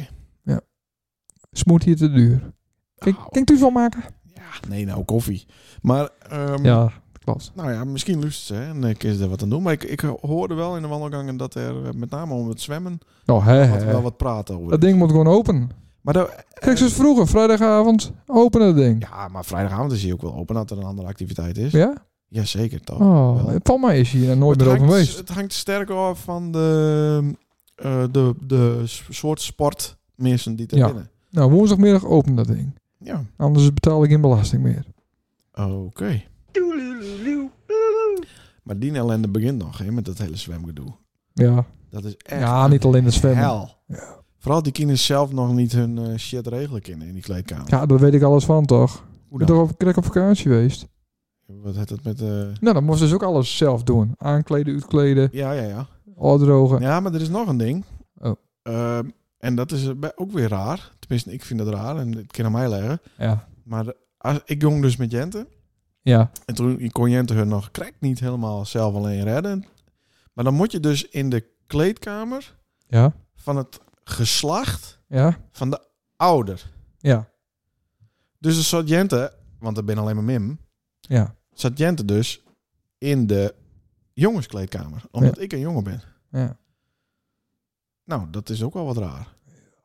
[SPEAKER 2] Smoothie te duur. Kijk,
[SPEAKER 1] Nou,
[SPEAKER 2] kijk u van maken.
[SPEAKER 1] ja, nee, nou, koffie. Maar ehm,
[SPEAKER 2] Ja, klopt.
[SPEAKER 1] Nou ja, misschien lust ze hè, en ik is er wat aan doen. Maar ik, ik hoorde wel in de wandelgangen dat er eh, met name om het zwemmen
[SPEAKER 2] Nou, hè,
[SPEAKER 1] wat, wel
[SPEAKER 2] hè.
[SPEAKER 1] wat praten over.
[SPEAKER 2] Dat
[SPEAKER 1] is.
[SPEAKER 2] ding moet gewoon open.
[SPEAKER 1] Maar, daar-
[SPEAKER 2] Kijk, zoals vroeger, vrijdagavond, open dat ding.
[SPEAKER 1] ja, maar vrijdagavond is hij ook wel open dat er een andere activiteit is.
[SPEAKER 2] Ja?
[SPEAKER 1] Jazeker, toch?
[SPEAKER 2] Oh,
[SPEAKER 1] wel.
[SPEAKER 2] van mij is hier nou nooit
[SPEAKER 1] het,
[SPEAKER 2] meer open
[SPEAKER 1] hangt,
[SPEAKER 2] geweest.
[SPEAKER 1] het hangt sterk af van de, eh, de, de s- soort sport mensen die er
[SPEAKER 2] Ja.
[SPEAKER 1] binnen.
[SPEAKER 2] Nou, woensdagmiddag open dat ding.
[SPEAKER 1] Ja,
[SPEAKER 2] Anders betaal ik geen belasting meer.
[SPEAKER 1] oké. Maar die ellende begint nog hè, met dat hele zwemgedoe.
[SPEAKER 2] Ja,
[SPEAKER 1] Dat is echt
[SPEAKER 2] ja niet alleen het zwemmen.
[SPEAKER 1] hel. Vooral die kinderen zelf nog niet hun eh, shit regelen kunnen in die kleedkamer.
[SPEAKER 2] Ja, daar weet ik alles van, toch?
[SPEAKER 1] Hoe
[SPEAKER 2] Ik
[SPEAKER 1] dan?
[SPEAKER 2] ben toch op, ik op vakantie geweest.
[SPEAKER 1] Wat heeft dat met... eh,
[SPEAKER 2] Nou, dan moest ze dus ook alles zelf doen. Aankleden, uitkleden,
[SPEAKER 1] Ja, ja, ja.
[SPEAKER 2] afdrogen.
[SPEAKER 1] Ja, maar er is nog een ding.
[SPEAKER 2] Oh.
[SPEAKER 1] Ehm, en dat is bij- ook weer raar. Tenminste, ik vind dat raar en het kan aan mij leggen.
[SPEAKER 2] Ja.
[SPEAKER 1] Maar de- als, ik jong dus met Jente.
[SPEAKER 2] Ja.
[SPEAKER 1] En toen kon Jente hun nog krek niet helemaal zelf alleen redden. Maar dan moet je dus in de kleedkamer
[SPEAKER 2] Ja.
[SPEAKER 1] van het geslacht
[SPEAKER 2] Ja.
[SPEAKER 1] van de ouder.
[SPEAKER 2] Ja.
[SPEAKER 1] Dus er zat Jente, want er ben alleen maar Mim,
[SPEAKER 2] Ja.
[SPEAKER 1] zat Jente dus in de jongenskleedkamer. Omdat ik een jongen ben.
[SPEAKER 2] Ja.
[SPEAKER 1] Nou, dat is ook wel wat raar.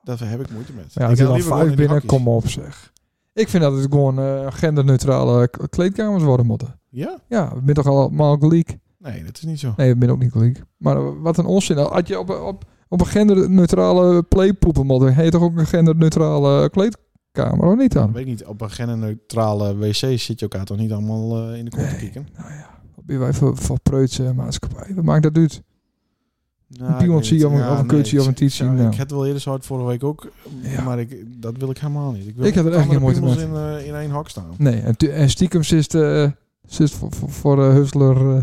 [SPEAKER 1] Daar heb ik moeite met.
[SPEAKER 2] Ja,
[SPEAKER 1] ik
[SPEAKER 2] als je
[SPEAKER 1] ga
[SPEAKER 2] al
[SPEAKER 1] liever gewoon
[SPEAKER 2] vijf
[SPEAKER 1] in die
[SPEAKER 2] binnen,
[SPEAKER 1] hakjes.
[SPEAKER 2] kom op zeg. Ik vind dat het gewoon eh, genderneutrale k- kleedkamers worden moeten.
[SPEAKER 1] Ja?
[SPEAKER 2] Ja, we zijn toch allemaal gelijk?
[SPEAKER 1] Nee, dat is niet zo.
[SPEAKER 2] Nee, we zijn ook niet gelijk. Maar eh, wat een onzin. Had je op, op, op een genderneutrale playpoepen moeten, heet toch ook een genderneutrale kleedkamer, of niet
[SPEAKER 1] Ik
[SPEAKER 2] dan?
[SPEAKER 1] weet niet, op een genderneutrale wc zit je elkaar toch niet allemaal eh, in de kont te
[SPEAKER 2] Nee.
[SPEAKER 1] kieken?
[SPEAKER 2] Nou ja, wat ben wij voor, voor preutse maatschappij? Wat maakt dat uit?
[SPEAKER 1] Nou,
[SPEAKER 2] Een piemel
[SPEAKER 1] ik weet
[SPEAKER 2] zie je
[SPEAKER 1] niet.
[SPEAKER 2] of een- of een kut zie je of een
[SPEAKER 1] ik-
[SPEAKER 2] tiet zien,
[SPEAKER 1] Ik
[SPEAKER 2] nou.
[SPEAKER 1] had wel eerder zo hard vorige week ook,
[SPEAKER 2] Ja.
[SPEAKER 1] maar ik, dat wil ik helemaal niet. wil
[SPEAKER 2] Ik heb er echt
[SPEAKER 1] andere
[SPEAKER 2] geen moeite
[SPEAKER 1] piemels in, eh, in één hok staan.
[SPEAKER 2] Nee, en, tu- en stiekem zit, eh zit voor, voor, voor eh, Hussler eh,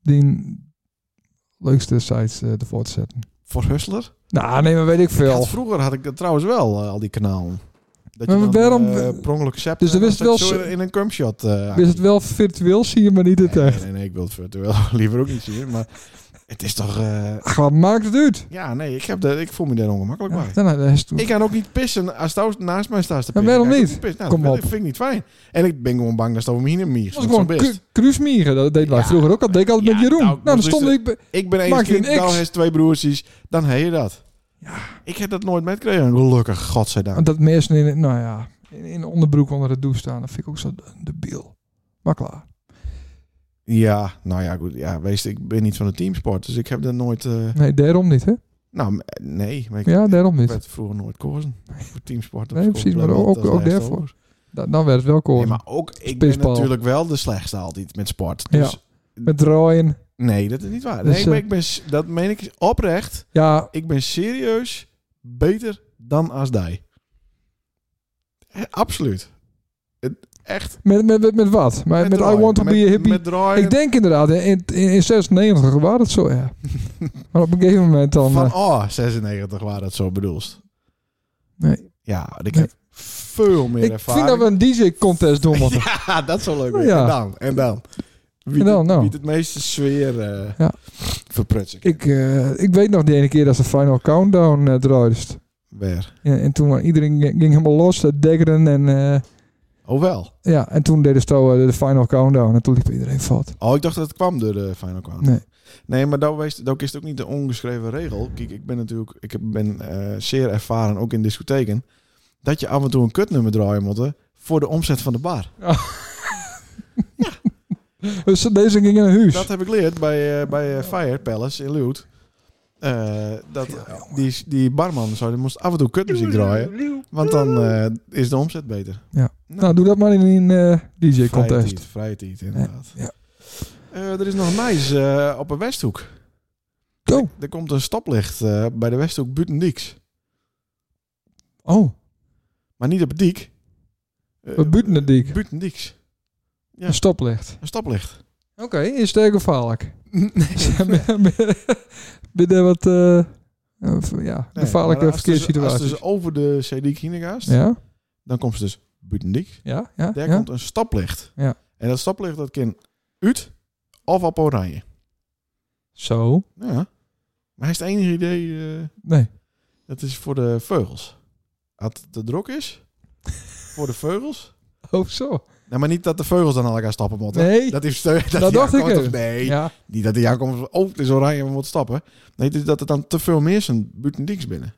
[SPEAKER 2] die leukste sites eh, ervoor te zetten.
[SPEAKER 1] Voor Hustler?
[SPEAKER 2] Nou, nee, maar weet ik
[SPEAKER 1] Ik
[SPEAKER 2] veel.
[SPEAKER 1] had- vroeger had ik dat trouwens wel, eh, al die kanalen. Dat
[SPEAKER 2] Maar
[SPEAKER 1] je dan,
[SPEAKER 2] waarom-
[SPEAKER 1] eh, per ongeluk zept
[SPEAKER 2] Dus
[SPEAKER 1] en
[SPEAKER 2] er
[SPEAKER 1] dan
[SPEAKER 2] wist
[SPEAKER 1] zet je
[SPEAKER 2] wel
[SPEAKER 1] zo in een cumshot. eh,
[SPEAKER 2] Is het wel virtueel, zie je maar niet het
[SPEAKER 1] Nee,
[SPEAKER 2] echt.
[SPEAKER 1] Nee, nee, ik wil het virtueel liever ook niet zien. Maar het is toch... eh,
[SPEAKER 2] Ach, wat maakt het uit?
[SPEAKER 1] ja, nee, ik, heb dat, ik voel me daar ongemakkelijk bij.
[SPEAKER 2] dan, dan is het-
[SPEAKER 1] Ik kan ook niet pissen als Stouw naast mij staat te
[SPEAKER 2] Ja,
[SPEAKER 1] pissen.
[SPEAKER 2] waarom
[SPEAKER 1] Kan ik ook
[SPEAKER 2] niet?
[SPEAKER 1] pissen. Nou,
[SPEAKER 2] Kom
[SPEAKER 1] dat
[SPEAKER 2] op.
[SPEAKER 1] vind ik niet fijn. En ik ben gewoon bang dat Stouw me hier
[SPEAKER 2] dat was gewoon
[SPEAKER 1] best.
[SPEAKER 2] kru- kruismieren. Dat deden wij
[SPEAKER 1] Ja.
[SPEAKER 2] vroeger ook. Dat deed ik altijd
[SPEAKER 1] Ja,
[SPEAKER 2] met Jeroen.
[SPEAKER 1] nou,
[SPEAKER 2] Nou, dan
[SPEAKER 1] moest
[SPEAKER 2] stond
[SPEAKER 1] dus
[SPEAKER 2] ik... bij-
[SPEAKER 1] Ik ben één
[SPEAKER 2] Maak je
[SPEAKER 1] kind,
[SPEAKER 2] een X.
[SPEAKER 1] Douw heeft twee broertjes. Dan heet je dat.
[SPEAKER 2] Ja.
[SPEAKER 1] Ik heb dat nooit metgekregen. Gelukkig, godzijdank.
[SPEAKER 2] Want dat mensen in, nou ja, in, in de onderbroek onder de douche staan. Dat vind ik ook zo debiel. Maar klaar.
[SPEAKER 1] Ja, nou ja, goed. Ja, wees, ik ben niet van de teamsport. Dus ik heb dat nooit... eh,
[SPEAKER 2] Nee, daarom niet, hè?
[SPEAKER 1] nou, m- nee. Maar ik
[SPEAKER 2] Ja, daarom
[SPEAKER 1] ik
[SPEAKER 2] niet.
[SPEAKER 1] werd vroeger nooit kozen. Voor teamsport.
[SPEAKER 2] Nee, precies, maar ook- ook daarvoor. Da- dan werd het wel koor.
[SPEAKER 1] Nee, maar ook, ik ben
[SPEAKER 2] Spitsbal.
[SPEAKER 1] natuurlijk wel de slechtste altijd met sport. Dus
[SPEAKER 2] Ja. Met draaien.
[SPEAKER 1] nee, dat is niet waar. nee, ik
[SPEAKER 2] Dus,
[SPEAKER 1] ben,
[SPEAKER 2] eh,
[SPEAKER 1] ik ben s- dat meen ik oprecht.
[SPEAKER 2] Ja,
[SPEAKER 1] Ik ben serieus beter dan als die. Eh, Absoluut. Het- Echt.
[SPEAKER 2] met, met, met, met wat? Met, met I
[SPEAKER 1] draaien,
[SPEAKER 2] want to be a hippie.
[SPEAKER 1] Met draaien.
[SPEAKER 2] ik denk inderdaad, in, in, in 96 was het zo, ja. maar op een gegeven moment dan...
[SPEAKER 1] van
[SPEAKER 2] eh,
[SPEAKER 1] oh, 96 waar dat zo bedoelst.
[SPEAKER 2] nee.
[SPEAKER 1] Ja, ik
[SPEAKER 2] Nee.
[SPEAKER 1] heb veel meer
[SPEAKER 2] Ik
[SPEAKER 1] ervaring.
[SPEAKER 2] vind dat we een DJ-contest doen moeten.
[SPEAKER 1] Ja, dat zou leuk zijn.
[SPEAKER 2] Ja.
[SPEAKER 1] En dan, en dan. Wie,
[SPEAKER 2] En dan,
[SPEAKER 1] het-
[SPEAKER 2] nou.
[SPEAKER 1] wie het meeste sfeer eh
[SPEAKER 2] Ja.
[SPEAKER 1] verprutsen kan.
[SPEAKER 2] Ik, eh, ik weet nog die ene keer dat ze Final Countdown eh draaide.
[SPEAKER 1] Weer.
[SPEAKER 2] Ja, en toen eh, iedereen ging ging helemaal los, eh, deggeren en... eh,
[SPEAKER 1] Oh wel.
[SPEAKER 2] ja, en toen deden ze zo, eh, de Final Countdown en toen liep iedereen vast.
[SPEAKER 1] Oh, ik dacht dat het kwam door de Final Countdown.
[SPEAKER 2] Nee.
[SPEAKER 1] Nee, maar dat, wees, dat is ook niet de ongeschreven regel. Kijk, ik ben natuurlijk ik heb- ben eh, zeer ervaren, ook in discotheken, dat je af en toe een kutnummer draaien moet hè, voor de omzet van de bar.
[SPEAKER 2] Dus deze ging naar huis.
[SPEAKER 1] Dat heb ik geleerd bij, eh, bij eh, Fire Palace in Leeuwarden. Eh, dat die, die barman zo, die moest af en toe kutmuziek draaien, want dan eh, is de omzet beter.
[SPEAKER 2] Ja. Nou, doe dat maar in een eh,
[SPEAKER 1] Vrije
[SPEAKER 2] DJ-contest.
[SPEAKER 1] tiet, vrije tiet, inderdaad.
[SPEAKER 2] Ja.
[SPEAKER 1] Eh, er is nog nice eh, op een Westhoek.
[SPEAKER 2] Go.
[SPEAKER 1] Er komt een stoplicht eh, bij de Westhoek Butendieks.
[SPEAKER 2] Oh,
[SPEAKER 1] Maar niet op het diek. Eh,
[SPEAKER 2] Op Butendiek?
[SPEAKER 1] eh, Butendieks. Ja.
[SPEAKER 2] een stoplicht.
[SPEAKER 1] Een stoplicht.
[SPEAKER 2] Oké, is het erg gevaarlijk?
[SPEAKER 1] Nee,
[SPEAKER 2] Binnen wat... eh, eh, v- ja,
[SPEAKER 1] maar
[SPEAKER 2] gevaarlijke
[SPEAKER 1] als het dus- Als
[SPEAKER 2] verkeerssituaties.
[SPEAKER 1] het dus over de CD Kienegast,
[SPEAKER 2] ja,
[SPEAKER 1] dan komt ze dus Butendieks.
[SPEAKER 2] ja, ja.
[SPEAKER 1] Daar
[SPEAKER 2] ja.
[SPEAKER 1] komt een stoplicht.
[SPEAKER 2] Ja.
[SPEAKER 1] En dat stoplicht dat kan uit of op oranje.
[SPEAKER 2] Zo.
[SPEAKER 1] Ja. Maar hij is het enige idee... eh,
[SPEAKER 2] Nee.
[SPEAKER 1] Dat is voor de vogels. Als het te druk is, voor de vogels.
[SPEAKER 2] Oh, zo.
[SPEAKER 1] Nee, maar niet dat de vogels dan aan elkaar stappen moeten.
[SPEAKER 2] Nee.
[SPEAKER 1] Dat, is, dat,
[SPEAKER 2] Dat
[SPEAKER 1] die
[SPEAKER 2] dacht ik
[SPEAKER 1] aankomt of-
[SPEAKER 2] even.
[SPEAKER 1] Nee,
[SPEAKER 2] Ja.
[SPEAKER 1] niet dat die aankomt van, oh, het is oranje, we moeten stappen. Nee, het is dat er dan te veel mensen buiten diks binnen.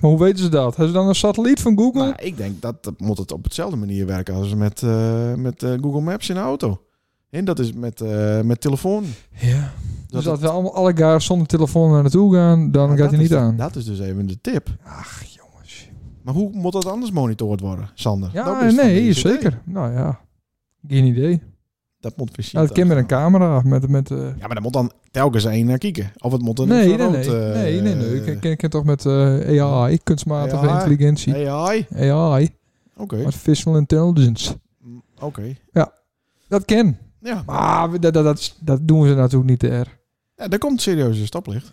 [SPEAKER 2] Maar hoe weten ze dat? Hebben ze dan een satelliet van Google?
[SPEAKER 1] Maar ik denk dat dat moet het op hetzelfde manier werken als met, eh, met eh, Google Maps in de auto. En dat is met, eh, met telefoon.
[SPEAKER 2] Ja.
[SPEAKER 1] Dat
[SPEAKER 2] Dus
[SPEAKER 1] het-
[SPEAKER 2] dat we allemaal alle gaar zonder telefoon naar naartoe gaan, dan
[SPEAKER 1] Maar
[SPEAKER 2] gaat hij
[SPEAKER 1] dat
[SPEAKER 2] niet
[SPEAKER 1] is-
[SPEAKER 2] aan.
[SPEAKER 1] Dat is dus even de tip.
[SPEAKER 2] Ach, jongens.
[SPEAKER 1] Maar hoe moet dat anders monitord worden, Sander? Dat is
[SPEAKER 2] Ja,
[SPEAKER 1] van
[SPEAKER 2] nee,
[SPEAKER 1] DCD.
[SPEAKER 2] zeker. Nou ja, geen idee.
[SPEAKER 1] Dat moet precies.
[SPEAKER 2] Ja, dat Nou, kan met een camera. Met, met, eh,
[SPEAKER 1] Ja, maar dan moet dan telkens één naar kijken. Of het moet dan
[SPEAKER 2] nee, nee, nee,
[SPEAKER 1] infrarood,
[SPEAKER 2] nee,
[SPEAKER 1] eh,
[SPEAKER 2] nee, nee, Ik ken, ken, ken toch met eh, AI, kunstmatige
[SPEAKER 1] AI.
[SPEAKER 2] intelligentie.
[SPEAKER 1] AI.
[SPEAKER 2] AI,
[SPEAKER 1] Oké,
[SPEAKER 2] artificial intelligence.
[SPEAKER 1] Mm, oké.
[SPEAKER 2] Dat ken.
[SPEAKER 1] Ja, maar
[SPEAKER 2] Maar we- dat, dat, dat, dat doen ze natuurlijk niet er.
[SPEAKER 1] ja, daar komt serieus een stoplicht.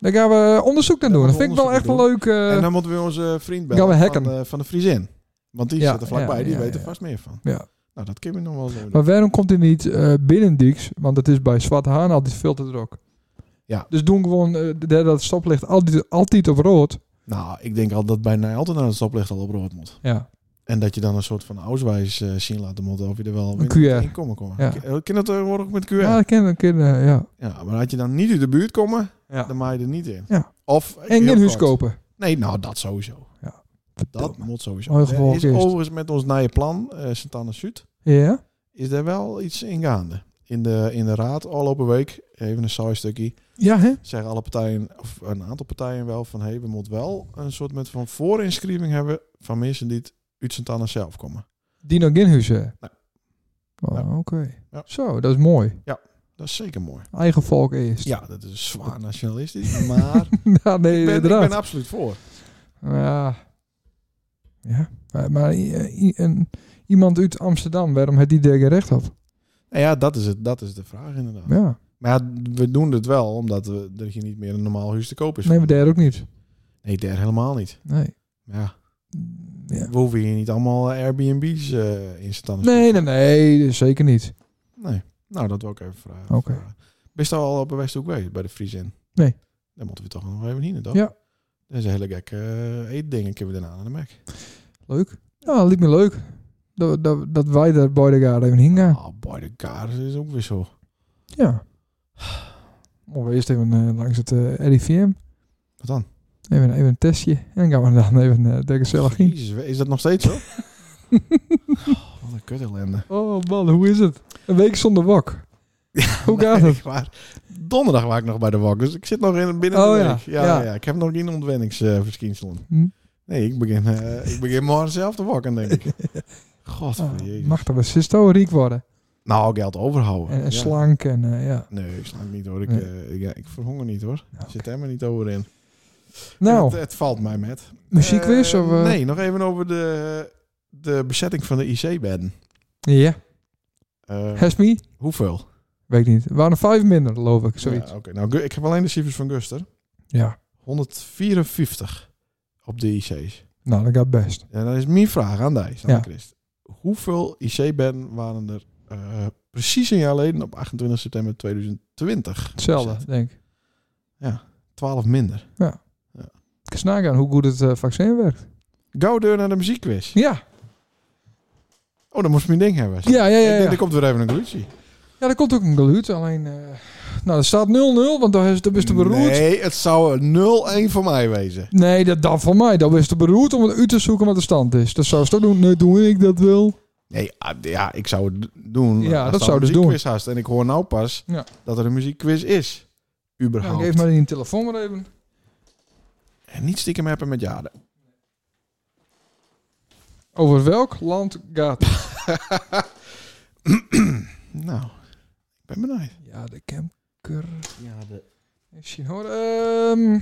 [SPEAKER 2] Daar gaan we onderzoek naar
[SPEAKER 1] Daar
[SPEAKER 2] doen. Dat
[SPEAKER 1] gaan we
[SPEAKER 2] vind ik wel echt
[SPEAKER 1] onderzoek
[SPEAKER 2] wel leuk. eh,
[SPEAKER 1] en dan moeten we onze vriend
[SPEAKER 2] gaan we
[SPEAKER 1] bellen
[SPEAKER 2] hacken.
[SPEAKER 1] van, eh, van de Friesin. Want die
[SPEAKER 2] Ja,
[SPEAKER 1] zit er vlakbij,
[SPEAKER 2] ja,
[SPEAKER 1] die
[SPEAKER 2] ja,
[SPEAKER 1] weet er
[SPEAKER 2] ja.
[SPEAKER 1] vast meer van.
[SPEAKER 2] Ja.
[SPEAKER 1] Nou, dat kunnen we nog wel zo doen.
[SPEAKER 2] Maar waarom komt hij niet eh binnen Dieks? Want het is bij Zwarte Haan altijd veel te druk.
[SPEAKER 1] Ja.
[SPEAKER 2] Dus doen gewoon eh, de- dat stoplicht altijd, altijd op rood.
[SPEAKER 1] Nou, ik denk al dat bijna altijd naar het stoplicht al op rood moet.
[SPEAKER 2] Ja.
[SPEAKER 1] En dat je dan een soort van auswijs eh, zien laten moeten of je er wel
[SPEAKER 2] Een
[SPEAKER 1] binnen
[SPEAKER 2] QR.
[SPEAKER 1] in komen komen.
[SPEAKER 2] Ja.
[SPEAKER 1] Ken ken dat tegenwoordig ook met QR?
[SPEAKER 2] Ja,
[SPEAKER 1] Ja.
[SPEAKER 2] dat ken ik. ken, eh, ja.
[SPEAKER 1] maar had je dan niet in de buurt komen,
[SPEAKER 2] ja.
[SPEAKER 1] dan maai je er niet in.
[SPEAKER 2] Ja.
[SPEAKER 1] Of eh,
[SPEAKER 2] En
[SPEAKER 1] heel
[SPEAKER 2] geen huis
[SPEAKER 1] kort.
[SPEAKER 2] kopen.
[SPEAKER 1] Nee, nou, dat sowieso. Dat moet sowieso.
[SPEAKER 2] Mooi
[SPEAKER 1] Er
[SPEAKER 2] gevolg
[SPEAKER 1] is
[SPEAKER 2] is het.
[SPEAKER 1] overigens met ons nieuwe plan, eh Santana Zuid,
[SPEAKER 2] Ja?
[SPEAKER 1] is er wel iets in gaande. In de, in de raad, afgelopen week, even een saai stukje,
[SPEAKER 2] Ja, hè?
[SPEAKER 1] zeggen alle partijen, of een aantal partijen wel, van hé, hey, we moeten wel een soort met van voorinschrijving hebben van mensen die het uit Santana zelf komen.
[SPEAKER 2] Die nog geen huis hè?
[SPEAKER 1] Nee.
[SPEAKER 2] Oh,
[SPEAKER 1] Ja.
[SPEAKER 2] Oké.
[SPEAKER 1] Ja.
[SPEAKER 2] Zo, dat is mooi.
[SPEAKER 1] Dat is zeker mooi.
[SPEAKER 2] Eigen volk eerst.
[SPEAKER 1] Ja, dat is zwaar nationalistisch, maar ik
[SPEAKER 2] Ja, nee,
[SPEAKER 1] ben, ik
[SPEAKER 2] inderdaad.
[SPEAKER 1] ben absoluut voor.
[SPEAKER 2] Ja. Ja. Maar, maar i- i- een- iemand uit Amsterdam, waarom het die daar geen recht op?
[SPEAKER 1] Nou ja, dat is, het, dat is de vraag inderdaad.
[SPEAKER 2] Ja.
[SPEAKER 1] Maar ja, we doen het wel, omdat we, er hier niet meer een normaal huis te koop is.
[SPEAKER 2] Nee, maar daar ook niet.
[SPEAKER 1] nee daar helemaal niet.
[SPEAKER 2] Nee.
[SPEAKER 1] Ja.
[SPEAKER 2] Ja.
[SPEAKER 1] We hoeven hier niet allemaal eh, Airbnb's eh in stand
[SPEAKER 2] Nee, nee, nee, zeker niet.
[SPEAKER 1] nee. Nou, dat wil ik even vragen.
[SPEAKER 2] Oké.
[SPEAKER 1] Vragen. Bist al al op een Westhoek geweest, bij de Friesin?
[SPEAKER 2] Nee.
[SPEAKER 1] Dan moeten we toch nog even heen, toch?
[SPEAKER 2] Ja.
[SPEAKER 1] Dat is een hele gekke eh, eetding. Ik heb daarna aan de Mac.
[SPEAKER 2] Leuk. Ja, liep me leuk. Dat, dat, dat wij daar bij de gaar even heen gaan.
[SPEAKER 1] Oh, boy, de kaars is ook weer zo.
[SPEAKER 2] Ja. Moeten we eerst even eh, langs het eh, RIVM.
[SPEAKER 1] Wat dan?
[SPEAKER 2] Even, even een testje. En dan gaan we dan even eh de gezellig in.
[SPEAKER 1] Jezus, is dat nog steeds zo? oh, wat een kut ellende.
[SPEAKER 2] Oh man, hoe is het? Een week zonder wak. Hoe gaat het?
[SPEAKER 1] Maar donderdag was ik nog bij de wak, dus ik zit nog in binnen
[SPEAKER 2] Oh,
[SPEAKER 1] de
[SPEAKER 2] ja.
[SPEAKER 1] week. Ja, ja.
[SPEAKER 2] Ja.
[SPEAKER 1] ik heb nog geen ontwenningsverschijnselen.
[SPEAKER 2] Hm?
[SPEAKER 1] nee, ik begin, eh, ik begin morgen zelf te wakken, denk ik. God,
[SPEAKER 2] Ah,
[SPEAKER 1] jezus.
[SPEAKER 2] mag dat we systoriek worden.
[SPEAKER 1] Nou, geld overhouden.
[SPEAKER 2] En, en
[SPEAKER 1] Ja.
[SPEAKER 2] slank en eh, ja.
[SPEAKER 1] Nee, ik slank niet hoor. Ik,
[SPEAKER 2] Nee.
[SPEAKER 1] eh, ik, ja, ik verhonger niet hoor.
[SPEAKER 2] Ja, oké.
[SPEAKER 1] Zit helemaal niet over in.
[SPEAKER 2] Nou,
[SPEAKER 1] Het, het valt mij met.
[SPEAKER 2] muziekquiz
[SPEAKER 1] Eh,
[SPEAKER 2] of... eh?
[SPEAKER 1] Nee, nog even over de, de bezetting van de IC-bedden.
[SPEAKER 2] Ja,
[SPEAKER 1] Eh,
[SPEAKER 2] has me?
[SPEAKER 1] hoeveel?
[SPEAKER 2] Weet ik niet. We waren er vijf minder, geloof ik. Zoiets.
[SPEAKER 1] Ja, Oké, nou, Gu- ik heb alleen de cijfers van Guster.
[SPEAKER 2] Ja.
[SPEAKER 1] 154 op de IC's.
[SPEAKER 2] Nou, dat gaat best.
[SPEAKER 1] En dan is mijn vraag aan die, Sander
[SPEAKER 2] Ja.
[SPEAKER 1] Christ. Hoeveel IC-bedden waren er eh, precies een jaar geleden op 28 september 2020?
[SPEAKER 2] Hetzelfde,
[SPEAKER 1] Bezet?
[SPEAKER 2] denk ik.
[SPEAKER 1] 12 minder.
[SPEAKER 2] Ik snaak aan hoe goed het eh, vaccin werkt.
[SPEAKER 1] Gauw deur naar de muziekquiz.
[SPEAKER 2] Ja.
[SPEAKER 1] Oh, dan moest ik mijn ding hebben.
[SPEAKER 2] Ja, ja, ja,
[SPEAKER 1] Ik denk,
[SPEAKER 2] ja.
[SPEAKER 1] er komt weer even een glutje.
[SPEAKER 2] Ja, er komt ook een geluid. Alleen, eh, nou, er staat 0-0, want daar is, daar is de beroerd. Nee,
[SPEAKER 1] Nee, het zou een 0-1 voor mij wezen.
[SPEAKER 2] dat, dat van mij. Dat is de beroerd om het uit te zoeken wat de stand is. Dat zou ze toch doen. Nee, doe ik dat wel.
[SPEAKER 1] Nee, ah, ja, ik zou het d- doen.
[SPEAKER 2] Ja,
[SPEAKER 1] als
[SPEAKER 2] dat
[SPEAKER 1] er
[SPEAKER 2] zou
[SPEAKER 1] een
[SPEAKER 2] dus
[SPEAKER 1] muziekquiz haast. En ik hoor nou pas
[SPEAKER 2] Ja.
[SPEAKER 1] dat er een muziekquiz is.
[SPEAKER 2] Nou,
[SPEAKER 1] Überhaupt.
[SPEAKER 2] geef maar die telefoon maar even.
[SPEAKER 1] En niet stiekem hebben met jaren.
[SPEAKER 2] Over welk land gaat het?
[SPEAKER 1] Nou, ik ben benieuwd.
[SPEAKER 2] Ja, de camper.
[SPEAKER 1] Ja, de...
[SPEAKER 2] Even hoor. Ehm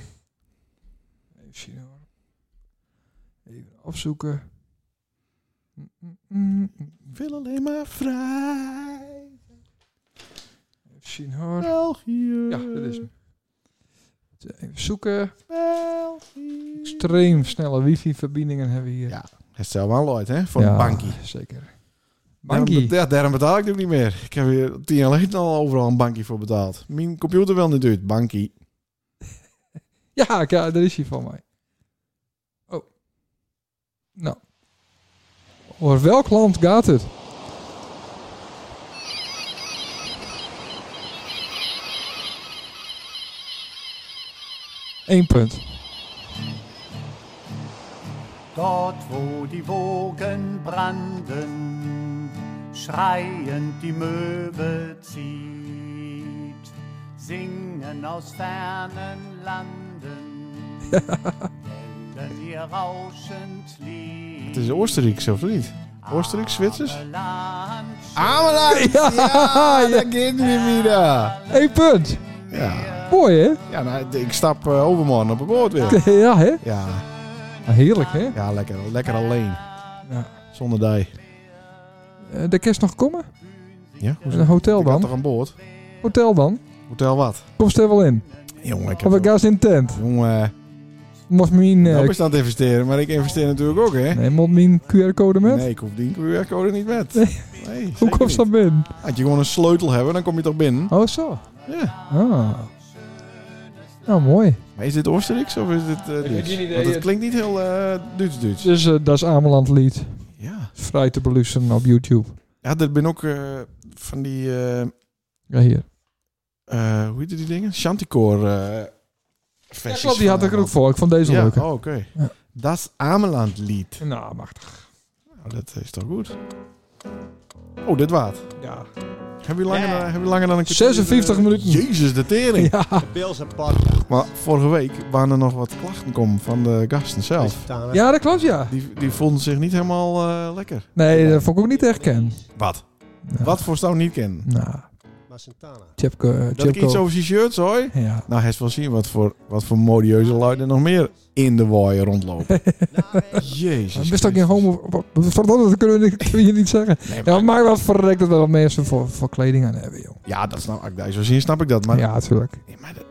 [SPEAKER 2] even hoor. Even opzoeken. Mm, mm, mm, mm.
[SPEAKER 1] wil alleen maar vrij.
[SPEAKER 2] Even hoor.
[SPEAKER 1] België.
[SPEAKER 2] Ja, dat is hem. Even zoeken.
[SPEAKER 1] België.
[SPEAKER 2] Extreem snelle wifi-verbindingen hebben we hier.
[SPEAKER 1] Ja, Herstel wel Lloyd, hè? Voor een
[SPEAKER 2] Ja,
[SPEAKER 1] bankie.
[SPEAKER 2] Zeker.
[SPEAKER 1] Daarom
[SPEAKER 2] Bankie.
[SPEAKER 1] bet- Ja, daarom betaal ik het ook niet meer. Ik heb hier tien jaar geleden al overal een bankie voor betaald. Mijn computer wel niet uit. Bankie.
[SPEAKER 2] Ja, ik- ja, daar is hij van mij. Oh. Nou. Over welk land gaat het? Eén punt.
[SPEAKER 5] Dort, wo die Wogen branden, schreiend die Möwe zieht, singen aus fernen Landen, wenden ihr rauschend Lied.
[SPEAKER 1] Het is Oostenrijk, of niet? Oostenrijk, Zwitsers?
[SPEAKER 5] Arme Land,
[SPEAKER 1] Ameland! Ja, ja, dat gaat niet meer.
[SPEAKER 2] Eén punt.
[SPEAKER 1] Ja,
[SPEAKER 2] Mooi, hè?
[SPEAKER 1] ja nou, ik stap eh, overmorgen op een boot weer.
[SPEAKER 2] ja, hè? Ah,
[SPEAKER 1] Ja,
[SPEAKER 2] Heerlijk, hè?
[SPEAKER 1] ja lekker, lekker alleen.
[SPEAKER 2] Ja.
[SPEAKER 1] Zonder dij.
[SPEAKER 2] Eh, De kerst nog komen?
[SPEAKER 1] Ja, hoezo?
[SPEAKER 2] Een hotel
[SPEAKER 1] Ik had toch
[SPEAKER 2] dan?
[SPEAKER 1] aan boord?
[SPEAKER 2] Hotel dan?
[SPEAKER 1] Hotel wat?
[SPEAKER 2] Kom ze er wel in.
[SPEAKER 1] Jongen, ik heb...
[SPEAKER 2] Of ik ga ze in tent.
[SPEAKER 1] Jongen,
[SPEAKER 2] Mocht mijn, eh,
[SPEAKER 1] dat is aan het investeren, maar ik investeer natuurlijk ook, hè?
[SPEAKER 2] nee, moet mijn QR-code met?
[SPEAKER 1] Nee, ik hoef die QR-code niet met.
[SPEAKER 2] Nee.
[SPEAKER 1] Nee,
[SPEAKER 2] Hoe
[SPEAKER 1] zeker
[SPEAKER 2] komt ze
[SPEAKER 1] niet.
[SPEAKER 2] dan binnen?
[SPEAKER 1] Had je gewoon een sleutel hebben, dan kom je toch binnen?
[SPEAKER 2] Oh, zo.
[SPEAKER 1] Ja.
[SPEAKER 2] Ah. Nou, mooi.
[SPEAKER 1] Maar is dit Oostenrijks of is dit eh
[SPEAKER 2] heb
[SPEAKER 1] Duits?
[SPEAKER 2] geen idee.
[SPEAKER 1] Want het klinkt niet heel eh Duits-Duits.
[SPEAKER 2] Dus eh, dat is Ameland lied.
[SPEAKER 1] Ja.
[SPEAKER 2] Vrij te beluisteren op YouTube.
[SPEAKER 1] Ja, er ben ook eh, van die... eh,
[SPEAKER 2] Ja, hier.
[SPEAKER 1] eh, hoe heet die dingen? Chanticore eh
[SPEAKER 2] Ja,
[SPEAKER 1] versies.
[SPEAKER 2] klopt, die had
[SPEAKER 1] van
[SPEAKER 2] ik er ook
[SPEAKER 1] Ameland.
[SPEAKER 2] voor. Ik vond deze
[SPEAKER 1] Ja,
[SPEAKER 2] leuker.
[SPEAKER 1] oh, oké.
[SPEAKER 2] Ja.
[SPEAKER 1] Dat is Ameland lied.
[SPEAKER 2] Nou, machtig.
[SPEAKER 1] Nou, dat is toch goed? Oh, dit waard.
[SPEAKER 2] Ja.
[SPEAKER 1] Hebben we langer,
[SPEAKER 3] Ja.
[SPEAKER 1] dan- hebben we langer dan een keer- Eh,
[SPEAKER 2] 56 minuten.
[SPEAKER 1] Jezus, de tering.
[SPEAKER 2] Ja.
[SPEAKER 3] De Bilse podcast.
[SPEAKER 1] Maar vorige week waren er nog wat klachten komen van de gasten zelf.
[SPEAKER 2] ja, dat klopt, ja.
[SPEAKER 1] Die, die vonden zich niet helemaal eh, lekker.
[SPEAKER 2] Nee, dat vond ik ook niet echt ken.
[SPEAKER 1] Wat?
[SPEAKER 2] Nou,
[SPEAKER 1] Wat voor staan niet kennen?
[SPEAKER 2] Nou,
[SPEAKER 3] Maar Santana.
[SPEAKER 2] Chepko. eh,
[SPEAKER 1] Dat ik
[SPEAKER 2] Chepko.
[SPEAKER 1] iets over zijn shirts hoor.
[SPEAKER 2] Ja.
[SPEAKER 1] Nou, hij is wel zien wat voor, wat voor modieuze lui er nog meer in de waaier rondlopen. Jezus.
[SPEAKER 2] Maar Wist dat geen homo... wat- wat- wat- Dat kunnen we niet- kunnen we hier niet zeggen. Ja, maar wat verrekt dat er wel mensen voor, voor kleding aan hebben, joh.
[SPEAKER 1] Ja, dat snap ik. Zo zien snap ik dat. Maar,
[SPEAKER 2] ja, natuurlijk.
[SPEAKER 1] Nee, maar de,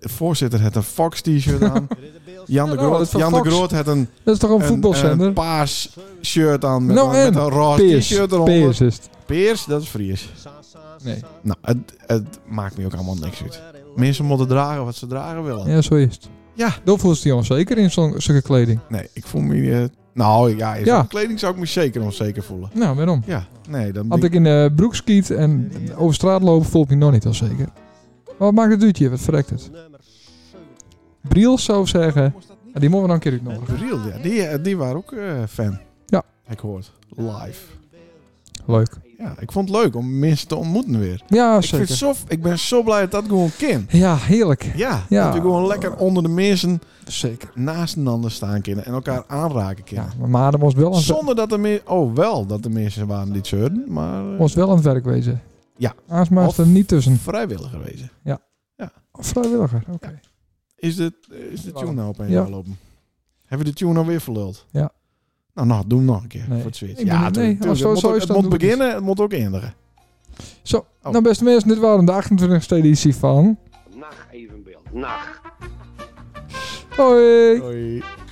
[SPEAKER 1] de voorzitter had een Fox t-shirt aan. Jan de
[SPEAKER 2] Ja, nou, dat
[SPEAKER 1] Groot,
[SPEAKER 2] is van
[SPEAKER 1] Jan de
[SPEAKER 2] Fox.
[SPEAKER 1] Groot had een,
[SPEAKER 2] Dat is toch een,
[SPEAKER 1] een,
[SPEAKER 2] voetbalzender?
[SPEAKER 1] een paars shirt aan met,
[SPEAKER 2] Nou,
[SPEAKER 1] een, met
[SPEAKER 2] en?
[SPEAKER 1] een roze
[SPEAKER 2] Peers.
[SPEAKER 1] t-shirt eronder.
[SPEAKER 2] Peers is het.
[SPEAKER 1] Peers, dat is Fries.
[SPEAKER 2] Nee.
[SPEAKER 1] Nou, het, het maakt me ook allemaal niks uit. Mensen moeten dragen wat ze dragen willen.
[SPEAKER 2] Ja, zo is het.
[SPEAKER 1] Ja.
[SPEAKER 2] Dan voelt ze die onzeker in zo'n zulke kleding.
[SPEAKER 1] Nee, ik voel me... eh, nou ja, in
[SPEAKER 2] Ja.
[SPEAKER 1] zo'n kleding zou ik me zeker onzeker voelen.
[SPEAKER 2] Nou, waarom?
[SPEAKER 1] Ja, nee, dan
[SPEAKER 2] Als
[SPEAKER 1] ben ik...
[SPEAKER 2] ik in de broek skiet en over straat loop, voel ik me nog niet al zeker. Maar wat maakt het duurtje? Wat verrekt het? Briel zou zeggen, ja, die moeten we dan een keer uitnodigen.
[SPEAKER 1] Bril, ja, die, eh, die waren ook eh, fan.
[SPEAKER 2] Ja.
[SPEAKER 1] Ik hoort. Live.
[SPEAKER 2] Leuk.
[SPEAKER 1] Ja, ik vond het leuk om mensen te ontmoeten weer.
[SPEAKER 2] Ja,
[SPEAKER 1] Ik, vind
[SPEAKER 2] zeker.
[SPEAKER 1] het zo, ik ben zo blij dat dat gewoon kan.
[SPEAKER 2] Ja, heerlijk.
[SPEAKER 1] Ja,
[SPEAKER 2] Ja.
[SPEAKER 1] dat we gewoon lekker onder de mensen
[SPEAKER 2] Zeker.
[SPEAKER 1] naast elkaar staan kunnen en elkaar aanraken kunnen.
[SPEAKER 2] Ja, maar Maarten moest wel aan het,
[SPEAKER 1] Zonder dat er meer... Oh, wel dat er mensen waren die het zeurden, maar... eh,
[SPEAKER 2] moest wel aan het werk wezen.
[SPEAKER 1] Ja.
[SPEAKER 2] Aansmaakt er niet tussen.
[SPEAKER 1] vrijwilliger wezen.
[SPEAKER 2] Vrijwilliger, oké.
[SPEAKER 1] Is de, is de tune nou opeens
[SPEAKER 2] Ja.
[SPEAKER 1] ja. lopen? Hebben we de tune alweer verluld?
[SPEAKER 2] Ja.
[SPEAKER 1] Nou, nou, doe hem nog een keer
[SPEAKER 2] Nee.
[SPEAKER 1] voor het Zwits.
[SPEAKER 2] Ik ben
[SPEAKER 1] Ja,
[SPEAKER 2] niet-
[SPEAKER 1] tu-
[SPEAKER 2] nee,
[SPEAKER 1] tuurlijk.
[SPEAKER 2] als zo-
[SPEAKER 1] het
[SPEAKER 2] zo
[SPEAKER 1] moet, ook-
[SPEAKER 2] is,
[SPEAKER 1] het
[SPEAKER 2] dan
[SPEAKER 1] moet
[SPEAKER 2] doe ik het.
[SPEAKER 1] beginnen, het moet ook eindigen.
[SPEAKER 2] Zo,
[SPEAKER 1] Oh.
[SPEAKER 2] nou beste mensen, dit waren de 28 e editie van...
[SPEAKER 4] Nacht evenbeeld. Nacht.
[SPEAKER 2] Hoi!
[SPEAKER 1] Hoi.